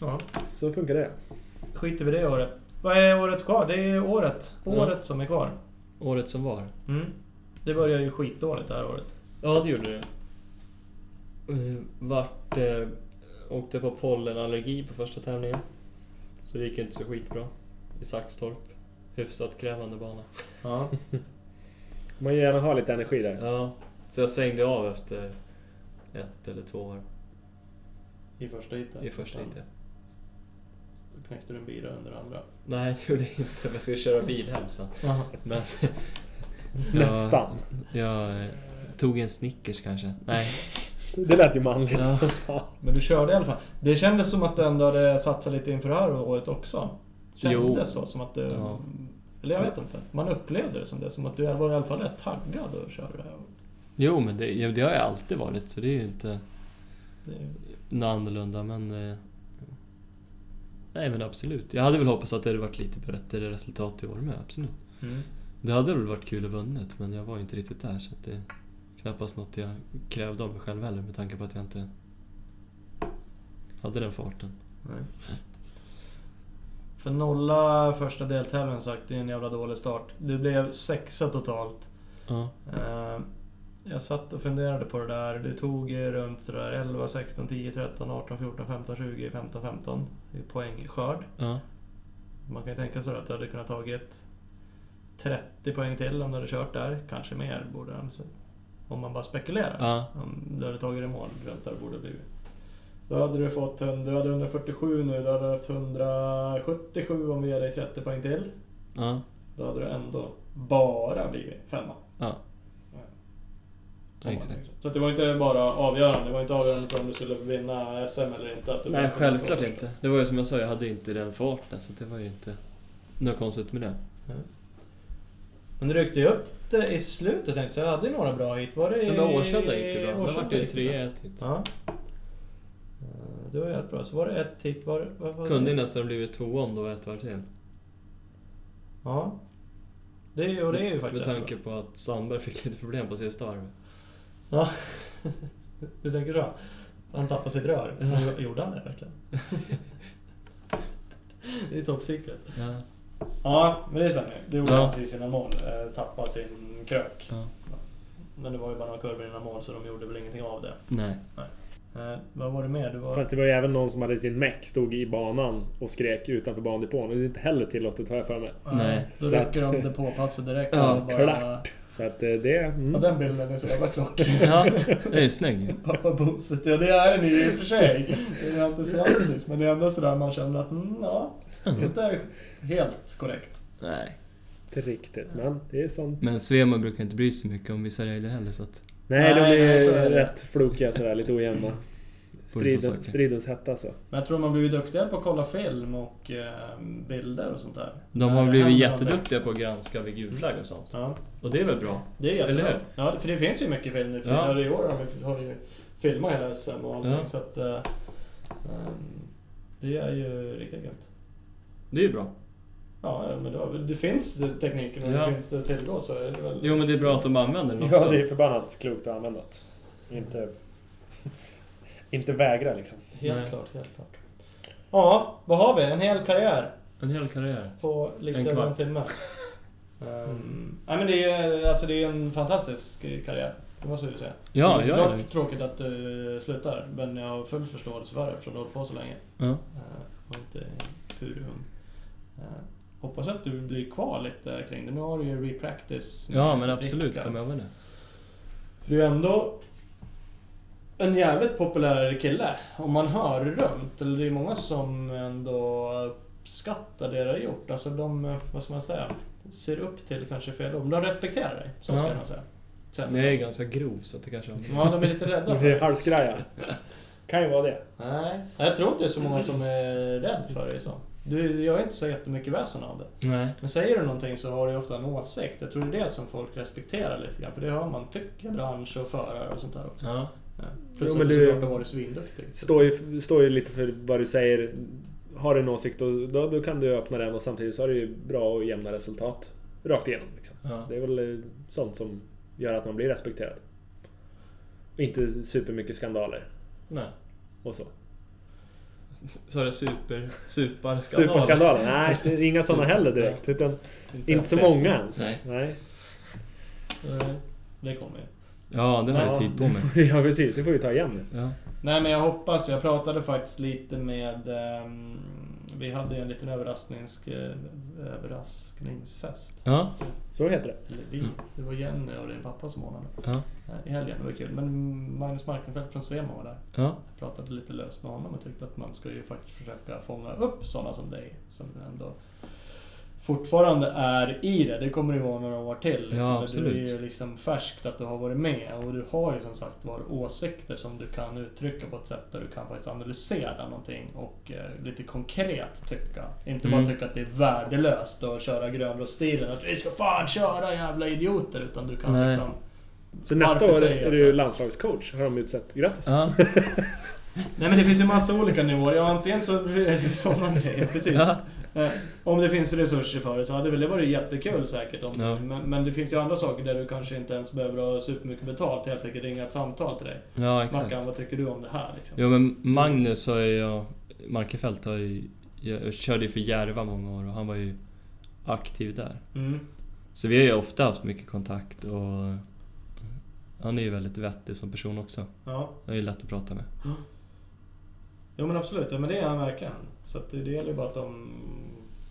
S2: Ja,
S3: Så funkar det.
S2: skiter vi det året. Vad är året kvar? Det är året.
S4: Ja.
S2: Året som är kvar.
S4: Året som var.
S2: Mm. Det börjar ju skitdåligt det här året.
S4: Ja, det gjorde det. Eh, Vart... Eh, åkte på pollenallergi på första tävlingen. Så det gick inte så skitbra. I Saxtorp. Hyfsat krävande bana.
S2: Ja.
S3: Man vill gärna ha lite energi där.
S4: Ja, så jag svängde av efter ett eller två år
S2: I första heatet.
S4: i första heatet.
S2: Då knäckte du en bira under andra.
S4: Nej, jag gjorde inte. Men jag skulle köra bil hem sen. Men, Ja.
S3: Nästan.
S4: Jag eh, tog en Snickers kanske. Nej.
S3: Det lät ju manligt
S4: Ja.
S3: som fan.
S2: Men du körde i alla fall. Det kändes som att du ändå hade satsat lite inför det här året också. Kändes
S4: Jo.
S2: så. Som att du...
S4: Ja.
S2: Eller jag vet inte. Man upplevde det som det. Som att du var i alla fall rätt taggad och körde det här.
S4: Jo, men det, ja, det har jag alltid varit. Så det är ju inte
S2: Det är ju-
S4: något annorlunda. Men... eh, Nej, men absolut. Jag hade väl hoppats att det hade varit lite bättre resultat i år med. Absolut. Det hade väl varit kul att vunnit, men jag var inte riktigt där. Så att det är knappast något jag krävde av mig själv heller med tanke på att jag inte hade den farten.
S2: Nej. För nolla första deltävlingen sagt, det är en jävla dålig start. Du blev sexa totalt.
S4: Ja.
S2: Eh, Jag satt och funderade på det där. Du tog eh, runt sådär 11, 16, 10, 13, 18, 14, 15, 20, 15, 15 i poängskörd.
S4: Ja.
S2: Man kan ju tänka sig att du hade kunnat tagit 30 poäng till om du hade kört där. Kanske mer borde han se- Om man bara spekulerar.
S4: Ja.
S2: Om du hade tagit i mål runt där borde det blivit. Då hade du fått hund- du hade 147 nu, då hade du haft 177 om vi ger dig 30 poäng till.
S4: Ja.
S2: Då hade du ändå bara blivit femma.
S4: Ja.
S2: Ja.
S4: ja exakt.
S2: Så att det var inte bara avgörande, det var inte avgörande för om du skulle vinna SM eller inte. att du
S4: Nej,
S2: fick
S4: självklart
S2: första.
S4: inte. Det var ju som jag sa, jag hade inte den farten så det var ju inte något konstigt med det.
S2: Men du ryckte ju upp det i slutet tänkte jag, så jag hade ju några bra hit. Var det i...
S4: Men med Årsunda gick det bra. Där
S2: Årsunda
S4: vart det ju
S2: gick det bra.
S4: 3-1 hit.
S2: Ja. Eh, Det var jävligt bra. Så var det ett hit. Var det, vad var
S4: Kunde ju
S2: det?
S4: nästan blivit två om det var ett varv till.
S2: Ja. Det är, ju- och det är ju faktiskt
S4: Med tanke
S2: jättebra.
S4: på att Sandberg fick lite problem på sista varvet.
S2: Ja. du tänker så? Han tappade sitt rör. Men Gjorde han det verkligen? det är top secret.
S4: Ja.
S2: Ja, men det stämmer. Det gjorde
S4: Ja.
S2: han till sina mål. Eh, Tappade sin krök.
S4: Ja.
S2: Men det var ju bara några kurvor innan mål så de gjorde väl ingenting av det.
S4: Nej.
S2: Eh, vad var det mer? Du var...
S3: Fast det var ju även någon som hade sin meck, stod i banan och skrek utanför bandepån. Och det är inte heller tillåtet har jag för mig.
S4: Nej.
S2: Då
S3: Så
S2: rycker
S3: att-
S2: de det påpasset direkt.
S4: Ja,
S2: och
S3: klart. Så att eh, det... Mm.
S2: Ja, den bilden är så jävla klockren.
S4: Ja, det är snygg.
S2: Pappa Boset, ja det är den ju i och för sig. Den är entusiastisk. Men det är ändå sådär man känner att, mm, ja. Inte helt korrekt.
S4: Nej.
S3: Inte riktigt, men det är sånt.
S4: Men Svema brukar inte bry sig mycket om vissa regler heller så att...
S3: Nej, de
S2: Nej, så
S3: är
S2: är det.
S3: rätt flokiga sådär, lite ojämna. Striden,
S4: saker.
S3: stridens hetta alltså.
S2: Men jag tror man blir duktigare på att kolla film och eh, bilder och sånt där.
S4: De
S2: När
S4: har
S2: det
S4: blivit
S2: händer
S4: jätteduktiga på att granska vid gul flagg och sånt.
S2: någonting. Ja,
S4: Och det är väl bra?
S2: det är
S4: Eller
S2: jättebra.
S4: hur?
S2: Ja, för det finns ju mycket film nu. För
S4: Ja.
S2: I år har vi, har vi ju filmat hela SM och allting.
S4: Ja.
S2: Så att, eh, ehm, det är ju riktigt grymt.
S4: Det är ju bra.
S2: Ja, ja, men det, var, väl- det finns eh, tekniken och
S4: Ja.
S2: det finns det tillgå så är det väl...
S4: Jo men det är bra att de använder den också.
S3: Ja, det är förbannat klokt att använda det. Inte... Inte vägra liksom.
S2: Helt
S4: Nej.
S2: klart, helt klart. Ja, vad har vi? En hel karriär
S4: En hel karriär.
S2: på lite
S4: En
S2: över en
S4: kvart.
S2: timme. Ehm, Nej men det är ju alltså det är en fantastisk karriär. Det måste vi säga.
S4: Ja,
S2: det är
S4: jag
S2: såklart
S4: är nöjd.
S2: tråkigt att du slutar. Men jag har full förståelse för det eftersom du har hållit på så länge.
S4: Ja.
S2: Eh, Och inte är purung. Eh, Hoppas att du blir kvar lite kring det. Nu har du ju repractice.
S4: Ja
S2: med
S4: men absolut,
S2: Rickard.
S4: kom över det.
S2: För du är ändå en jävligt populär kille. Om man hör runt. Eller det är många som ändå uppskattar det du har gjort. Alltså de, vad ska man säga, ser upp till kanske fel ord. Men de respekterar dig. Så ska
S4: Ja.
S2: jag nog säga. Känns
S4: Men
S2: det
S4: jag är
S2: som.
S4: ganska grov så att det kanske...
S2: Ja, de är lite rädda för
S3: Det är
S2: det.
S3: halsgraja. Kan ju vara det.
S2: Nej, jag tror inte det är så många som är rädda för dig så. Du gör inte så jättemycket väsen av det.
S4: Nej.
S2: Men säger du någonting så har du ju ofta en åsikt. Jag tror det är det som folk respekterar lite grann. För det hör man tycker bransch och förare och sånt där också.
S4: Ja.
S2: Ja.
S3: Jo,
S2: Plus
S3: men
S2: att du
S3: du-
S2: såklart har varit svinduktig. Så-
S3: Står ju, står ju lite för vad du säger. Har du en åsikt då, då, då kan du öppna den och samtidigt så har du ju bra och jämna resultat. Rakt igenom liksom.
S4: Ja.
S3: Det är väl eh, sånt som gör att man blir respekterad. Och inte supermycket skandaler
S4: Nej.
S3: och så.
S4: Sa du super... Superskandal?
S3: Superskandaler? Nej, det är inga sådana heller direkt. Utan inte så många ens.
S4: Nej.
S2: Nej, Det kommer ju.
S4: Ja, det har jag
S3: Ja.
S4: tid på mig.
S3: Ja precis, det får vi ta igen nu.
S4: Ja.
S2: Nej men jag hoppas, jag pratade faktiskt lite med ehm, Vi hade ju en liten överrasknings, överraskningsfest.
S4: Ja,
S3: Så heter det.
S2: Eller vi.
S4: Mm.
S2: Det var Jenny och din pappa som ordnade
S4: ja,
S2: eh, i helgen. Det var kul. Men Magnus Markenfeldt från Svema var där.
S4: ja.
S2: Jag pratade lite löst med honom och tyckte att man ska ju faktiskt försöka fånga upp sådana som dig. Som ändå fortfarande är i det. Det kommer ju vara några år till. Liksom.
S4: Ja,
S2: Du är
S4: absolut.
S2: ju liksom färskt att du har varit med. Och du har ju som sagt var åsikter som du kan uttrycka på ett sätt där du kan faktiskt analysera någonting. Och eh, lite konkret tycka. Inte bara
S4: Mm.
S2: tycka att det är värdelöst att köra grönrosstilen. Att vi ska fan köra jävla idioter. Utan du kan
S4: Nej.
S2: liksom...
S3: Så nästa
S2: Varför
S3: år
S2: säger jag
S3: är
S2: så?
S3: du landslagscoach, har de utsett. Grattis!
S4: ja.
S2: Nej men det finns ju massa olika nivåer. Ja, antingen så är det sådana grejer, precis.
S4: Ja.
S2: Eh, Om det finns resurser för det så hade väl det varit jättekul säkert. Om
S4: Ja.
S2: men, men det finns ju andra saker där du kanske inte ens behöver ha supermycket betalt. Helt enkelt ringa ett samtal till dig.
S4: ja exakt.
S2: Mackan, vad tycker du om det här? Liksom?
S4: Jo men Magnus har jag, Markefelt har ju, jag körde ju för Järva många år och han var ju aktiv där.
S2: Mm.
S4: Så vi har ju ofta haft mycket kontakt och han är ju väldigt vettig som person också.
S2: Ja.
S4: Han är ju lätt att prata med.
S2: Jo men absolut, ja, men det är han verkligen. Så att det, det gäller ju bara att de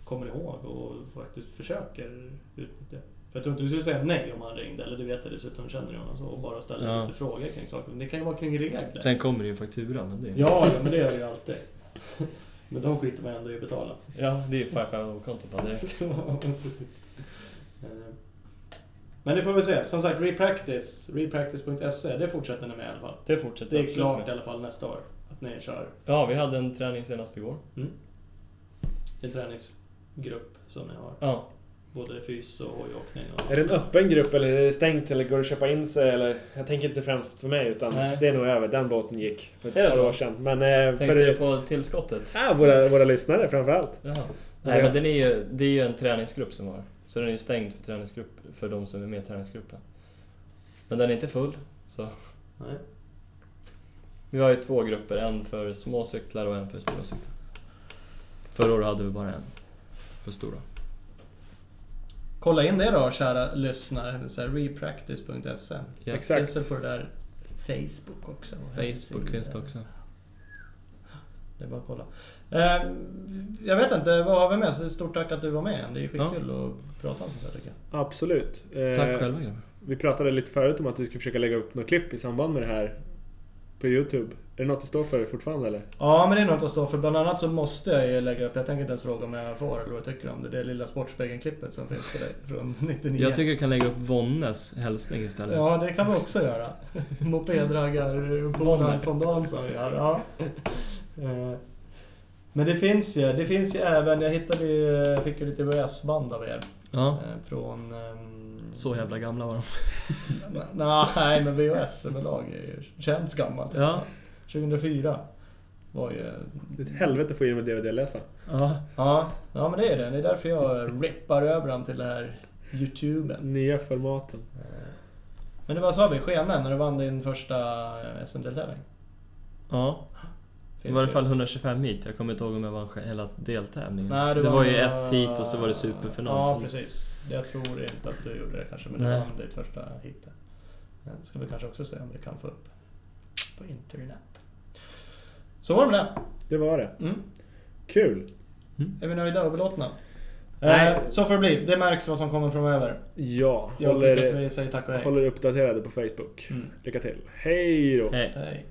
S2: kommer ihåg och faktiskt försöker utnyttja. För jag tror inte du skulle säga nej om han ringde, eller du vet det dessutom, känner du honom så, och bara ställer
S4: Ja.
S2: lite frågor kring saker. Men det kan ju vara kring regler.
S4: Sen kommer det ju en faktura men det är
S2: Ja, ja, men det gör det ju alltid. Men de skiter man ändå i att betala.
S4: ja det är 550-konto bara direkt.
S2: Eh, Men det får vi se. Som sagt, repractice. Repractice.se, det fortsätter ni med i alla fall.
S4: Det fortsätter
S2: Det är
S4: absolut
S2: klart i
S4: med.
S2: alla fall nästa år att ni kör
S4: Ja, vi hade en träning senast igår.
S2: en träningsgrupp som ni har.
S4: Ja.
S2: Både fys och hojåkning och...
S3: Är det en öppen grupp eller är det stängt eller går det att köpa in sig? Eller? Jag tänker inte främst för mig utan
S4: Nej.
S3: det är nog över. Den båten gick för ett
S4: Är det
S3: par
S4: så?
S3: år sedan. Men eh,
S4: Tänkte
S3: för
S4: du på tillskottet?
S3: ja, våra, våra lyssnare framförallt.
S4: Jaha. Nej
S3: Ja.
S4: men den är ju, det är ju en träningsgrupp som har. Så den är stängd för träningsgrupp, för de som är med i träningsgruppen. Men den är inte full. Så.
S2: Nej.
S4: Vi har ju två grupper, en för små cyklar och en för stora cyklar. Förra året hade vi bara en för stora.
S2: Kolla in det då, kära lyssnare. Så här, Repractice.se.
S4: Ja.
S3: Exakt.
S2: Finns det på det där Facebook också?
S4: Facebook finns det också.
S2: Det är bara att kolla. Eh, jag vet inte, vad har vi med? Så stort tack att du var med igen. Det är skitkul att prata om sånt här tycker jag.
S3: Absolut. Eh,
S4: Tack själva grabbar.
S3: Vi pratade lite förut om att du skulle försöka lägga upp något klipp i samband med det här på Youtube. Är det något du står för fortfarande eller?
S2: Ja, men det är något att stå för. Bland annat så måste jag ju lägga upp, jag tänker inte ens fråga om jag får eller vad jag tycker om det, det lilla Sportspegeln-klippet som finns på dig från 99.
S4: Jag tycker du kan lägga upp Vonnes hälsning istället.
S2: Ja, det kan vi också göra. Mopedraggar på från dagen som vi gör. Ja. Eh, Men det finns ju, det finns ju även, jag hittade ju, jag fick ju lite VHS-band av er.
S4: Ja,
S2: eh, Från... ehm,
S4: Så jävla gamla var de.
S2: N- Nej, men VHS överlag är ju, känns gammalt.
S4: Ja.
S2: 2004 var ju...
S3: Det är ett helvete att få in med DVD-läsaren.
S4: Ja.
S2: Ja, ja, men det är det. Det är därför jag rippar över dem till det här YouTuben.
S3: Nya formaten.
S2: Men det var så vi, Skene, när du vann din första eh, SM-deltävling.
S4: ja. Det
S2: Finns
S4: var i alla
S2: ju.
S4: fall 125 hit. Jag kommer inte ihåg om jag vann hela deltävlingen.
S2: Nej,
S4: det var ju
S2: några-
S4: ett hit och så var det superfinal.
S2: Ja,
S4: sen.
S2: precis. Jag tror inte att du gjorde det kanske, men
S4: Nej.
S2: du vann ditt första hit. där. Det ska vi kanske också se om vi kan få upp på internet. Så var det med
S3: Det var det.
S2: det. Mm.
S3: Kul!
S2: Är vi nöjda och belåtna?
S3: Nej.
S2: Eh, så får det bli. Det märks vad som kommer framöver.
S3: Ja,
S2: Jag tycker
S3: håller,
S2: att vi säger tack och hej.
S3: håller uppdaterade på Facebook.
S2: Mm.
S3: Lycka till. Hej då!
S4: Hej.
S2: Hej.